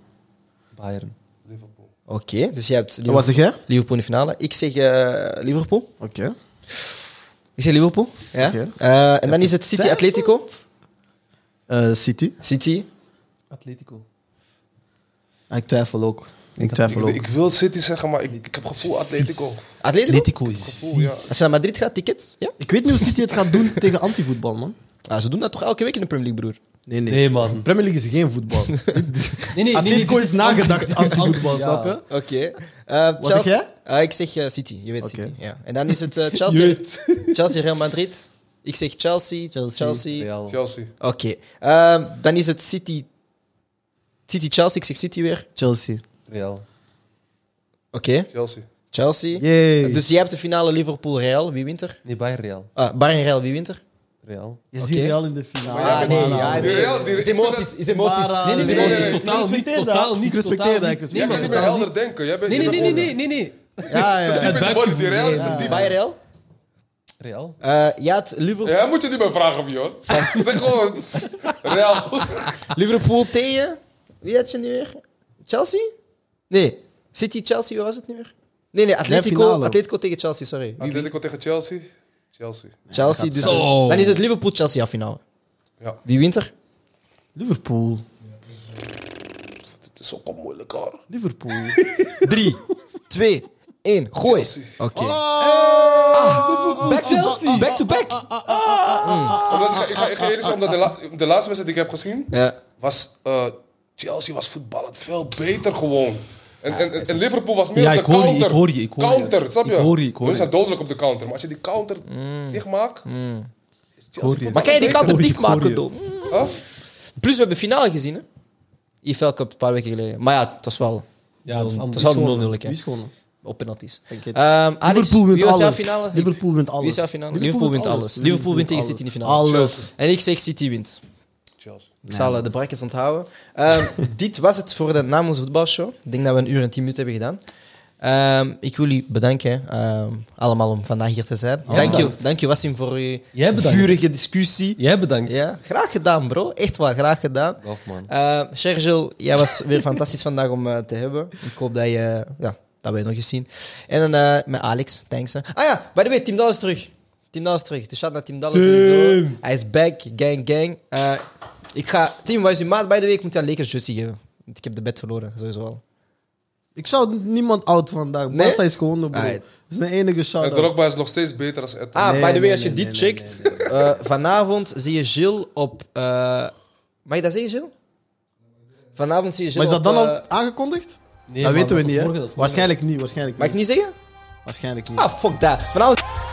[SPEAKER 2] Bayern.
[SPEAKER 3] Liverpool.
[SPEAKER 1] Oké, dus je hebt
[SPEAKER 4] Dat was
[SPEAKER 1] Liverpool,
[SPEAKER 4] zeg jij?
[SPEAKER 1] Liverpool in de finale. Ik zeg eh, Liverpool.
[SPEAKER 4] Oké.
[SPEAKER 1] Ik zeg Liverpool. Ja.
[SPEAKER 4] Oké.
[SPEAKER 1] Eh, en dan is het City Atletico.
[SPEAKER 4] Eh, City.
[SPEAKER 1] City.
[SPEAKER 2] Atletico.
[SPEAKER 4] Ik twijfel ook. Ik twijfel
[SPEAKER 3] Ik,
[SPEAKER 4] ook.
[SPEAKER 3] ik wil City zeggen, maar ik, ik heb gevoel Atletico.
[SPEAKER 1] Atletico?
[SPEAKER 4] Atletico is...
[SPEAKER 3] Gevoel, ja.
[SPEAKER 1] Als je naar Madrid gaat, tickets? Ja.
[SPEAKER 4] Ik weet niet hoe City het gaat doen tegen antivoetbal, man.
[SPEAKER 1] Ah, ze doen dat toch elke week in de Premier League, broer?
[SPEAKER 4] Nee, nee.
[SPEAKER 2] Nee, man.
[SPEAKER 4] Premier League is geen voetbal.
[SPEAKER 2] Nee, nee, nee,
[SPEAKER 4] Atletico
[SPEAKER 2] dit
[SPEAKER 4] is nagedacht
[SPEAKER 2] Ja.
[SPEAKER 4] anti-voetbal, snap je?
[SPEAKER 1] Oké. Eh,
[SPEAKER 4] Wat zeg
[SPEAKER 1] Chelsea- Eh, ik zeg eh, City. Je weet
[SPEAKER 4] Oké.
[SPEAKER 1] City. Ja. En dan is het eh,
[SPEAKER 2] Je
[SPEAKER 1] Chelsea,
[SPEAKER 2] weet.
[SPEAKER 1] Chelsea, Real Madrid. Ik zeg Chelsea, Chelsea.
[SPEAKER 2] Real.
[SPEAKER 3] Chelsea.
[SPEAKER 1] Oké. Ehm, dan is het City, City, Chelsea. Ik zeg City weer.
[SPEAKER 4] Chelsea.
[SPEAKER 2] Real.
[SPEAKER 1] Oké.
[SPEAKER 3] Chelsea.
[SPEAKER 1] Chelsea.
[SPEAKER 4] Yay.
[SPEAKER 1] Dus je hebt de finale Liverpool-Real. Wie wint er?
[SPEAKER 2] Nee, Bayern Real.
[SPEAKER 1] Eh, Bayern-Real, wie wint er?
[SPEAKER 2] Real.
[SPEAKER 4] je
[SPEAKER 1] Oké.
[SPEAKER 4] ziet Real in de finale.
[SPEAKER 1] Ah, nee, ja,
[SPEAKER 3] Die Real, die-
[SPEAKER 1] Is
[SPEAKER 3] ik vind
[SPEAKER 1] emoties,
[SPEAKER 3] dat-
[SPEAKER 1] is emoties.
[SPEAKER 4] Maar,
[SPEAKER 1] Nee, nee, nee,
[SPEAKER 3] nee,
[SPEAKER 1] nee,
[SPEAKER 3] nee,
[SPEAKER 1] nee.
[SPEAKER 2] Totaal niet,
[SPEAKER 3] nee.
[SPEAKER 4] respecteer dat.
[SPEAKER 2] totaal niet.
[SPEAKER 4] Ik respecteer
[SPEAKER 2] totaal
[SPEAKER 4] dat, ik
[SPEAKER 2] niet. Nee,
[SPEAKER 3] Jij
[SPEAKER 4] respecteer
[SPEAKER 3] kan
[SPEAKER 2] maar
[SPEAKER 3] niet meer
[SPEAKER 2] totaal
[SPEAKER 3] helder
[SPEAKER 2] niet.
[SPEAKER 3] denken. Jij bent
[SPEAKER 2] Nee, nee, nee, nee, nee, nee, nee.
[SPEAKER 4] Ja, ja.
[SPEAKER 3] Diep in de body, die Real is
[SPEAKER 1] Nee,
[SPEAKER 3] te diep.
[SPEAKER 1] Bayern-Real.
[SPEAKER 2] Real.
[SPEAKER 1] Eh, je had Liverpool,
[SPEAKER 3] Ja, moet je niet meer vragen, Bjorn. Zeg gewoon, Real.
[SPEAKER 1] Liverpool tegen... Wie had je nu weer? Chelsea? Nee. City-Chelsea, wie was het nu weer? Nee, nee, Atletico,
[SPEAKER 4] finale.
[SPEAKER 1] Atletico tegen Chelsea, sorry. Wie wint?
[SPEAKER 3] Atletico tegen Chelsea. Chelsea.
[SPEAKER 1] Chelsea, dus
[SPEAKER 2] Zo.
[SPEAKER 1] dan is het Liverpool-Chelsea finale.
[SPEAKER 3] Ja.
[SPEAKER 1] Wie wint er?
[SPEAKER 4] Liverpool.
[SPEAKER 3] Het is ook al moeilijk hoor.
[SPEAKER 4] Liverpool.
[SPEAKER 1] 3, 2, 1, gooi.
[SPEAKER 3] Chelsea.
[SPEAKER 4] Oh.
[SPEAKER 1] Oké. Ah, back to back. Back to
[SPEAKER 4] Ah,
[SPEAKER 1] back.
[SPEAKER 3] Omdat ik, ga- ik, ga, ik ga eerlijk zijn, omdat de, la- de laatste wedstrijd die ik heb gezien,
[SPEAKER 1] Ja.
[SPEAKER 3] was eh, Chelsea was voetballend veel beter gewoon. En, en, en- en Liverpool was meer
[SPEAKER 2] Ja,
[SPEAKER 3] op de
[SPEAKER 2] ik hoor je,
[SPEAKER 3] counter.
[SPEAKER 2] ik hoor je, ik hoor je.
[SPEAKER 3] counter, snap je?
[SPEAKER 2] Ik hoor je, ik hoor
[SPEAKER 3] Hun
[SPEAKER 2] je. Mm.
[SPEAKER 3] zijn dodelijk op de counter. Maar als je die counter
[SPEAKER 1] Mm.
[SPEAKER 3] dichtmaakt... is Chelsea
[SPEAKER 2] hoor je.
[SPEAKER 3] voetballend
[SPEAKER 1] Maar kan je die
[SPEAKER 3] beter.
[SPEAKER 1] kant op
[SPEAKER 2] Goeie,
[SPEAKER 1] dicht maken,
[SPEAKER 2] goeie.
[SPEAKER 1] Dom?
[SPEAKER 3] Huh?
[SPEAKER 1] Plus, we hebben de finale gezien, hè? IFL Cup een paar weken geleden. Maar ja, het was wel...
[SPEAKER 2] Ja, dat is
[SPEAKER 1] het was
[SPEAKER 2] anders.
[SPEAKER 1] wel 0-0, hè?
[SPEAKER 4] Wie is gewonnen?
[SPEAKER 1] Op penalties.
[SPEAKER 4] Ik weet-
[SPEAKER 1] Ehm, Alex,
[SPEAKER 4] Liverpool wint
[SPEAKER 1] wie was jouw
[SPEAKER 4] alles.
[SPEAKER 1] finale?
[SPEAKER 4] Liverpool wint
[SPEAKER 1] Wie is jouw
[SPEAKER 4] alles.
[SPEAKER 1] finale? Liverpool wint alles. Liverpool wint tegen City in de finale.
[SPEAKER 4] Alles.
[SPEAKER 1] En ik zeg City wint.
[SPEAKER 3] Chelsea.
[SPEAKER 1] Ik zal eh, de brackets onthouden. Ehm, dit was het voor de Namens Voetbalshow. Ik denk dat we een uur en tien minuten hebben gedaan. Ehm, ik wil jullie bedanken ehm, allemaal om vandaag hier te zijn. dank, je, dank je, Wassim, voor je
[SPEAKER 2] Jij bedankt.
[SPEAKER 1] vurige discussie.
[SPEAKER 2] Jij bedankt.
[SPEAKER 1] Ja, graag gedaan, bro. Echt waar, graag gedaan.
[SPEAKER 2] Dag, man.
[SPEAKER 1] Eh, Sergio, jij was weer fantastisch vandaag om eh, te hebben. Ik hoop dat je... Ja, dat wij nog eens zien. En dan eh, met Alex, thanks. hè. Ah ja, by the way, Tim Dall is terug. Tim Dall is terug. De shout naar Tim Dall
[SPEAKER 2] Tim.
[SPEAKER 1] sowieso. Hij is back, gang, gang. Eh, ik ga... Tim, wat is je maat? By the way, ik moet jou een Lakers jersey geven. Want ik heb de bet verloren, sowieso al.
[SPEAKER 4] Ik zou niemand out vandaag.
[SPEAKER 1] Nee?
[SPEAKER 4] Barca is gewonnen, bro.
[SPEAKER 1] Alright.
[SPEAKER 4] Dat is de enige
[SPEAKER 2] Ah,
[SPEAKER 3] En
[SPEAKER 4] shout-out.
[SPEAKER 3] Drogba is nog steeds beter als Eto'o.
[SPEAKER 1] Ah,
[SPEAKER 4] Nee,
[SPEAKER 1] by the way,
[SPEAKER 4] nee,
[SPEAKER 1] als je dit
[SPEAKER 4] nee, nee,
[SPEAKER 1] checkt... eh, vanavond zie je Gilles op... eh, mag je dat zeggen, Gilles? Vanavond zie je
[SPEAKER 4] Maar
[SPEAKER 1] Gilles
[SPEAKER 4] is dat
[SPEAKER 1] op,
[SPEAKER 4] dan
[SPEAKER 1] eh,
[SPEAKER 4] al aangekondigd?
[SPEAKER 2] Nee,
[SPEAKER 4] dat
[SPEAKER 2] man,
[SPEAKER 4] weten we
[SPEAKER 2] is
[SPEAKER 4] niet,
[SPEAKER 2] morgen,
[SPEAKER 4] hè?
[SPEAKER 2] dat is morgen.
[SPEAKER 4] Waarschijnlijk niet, waarschijnlijk
[SPEAKER 1] Mag ik
[SPEAKER 4] niet.
[SPEAKER 1] niet zeggen?
[SPEAKER 4] Waarschijnlijk niet.
[SPEAKER 1] Ah, fuck dat. Vanavond...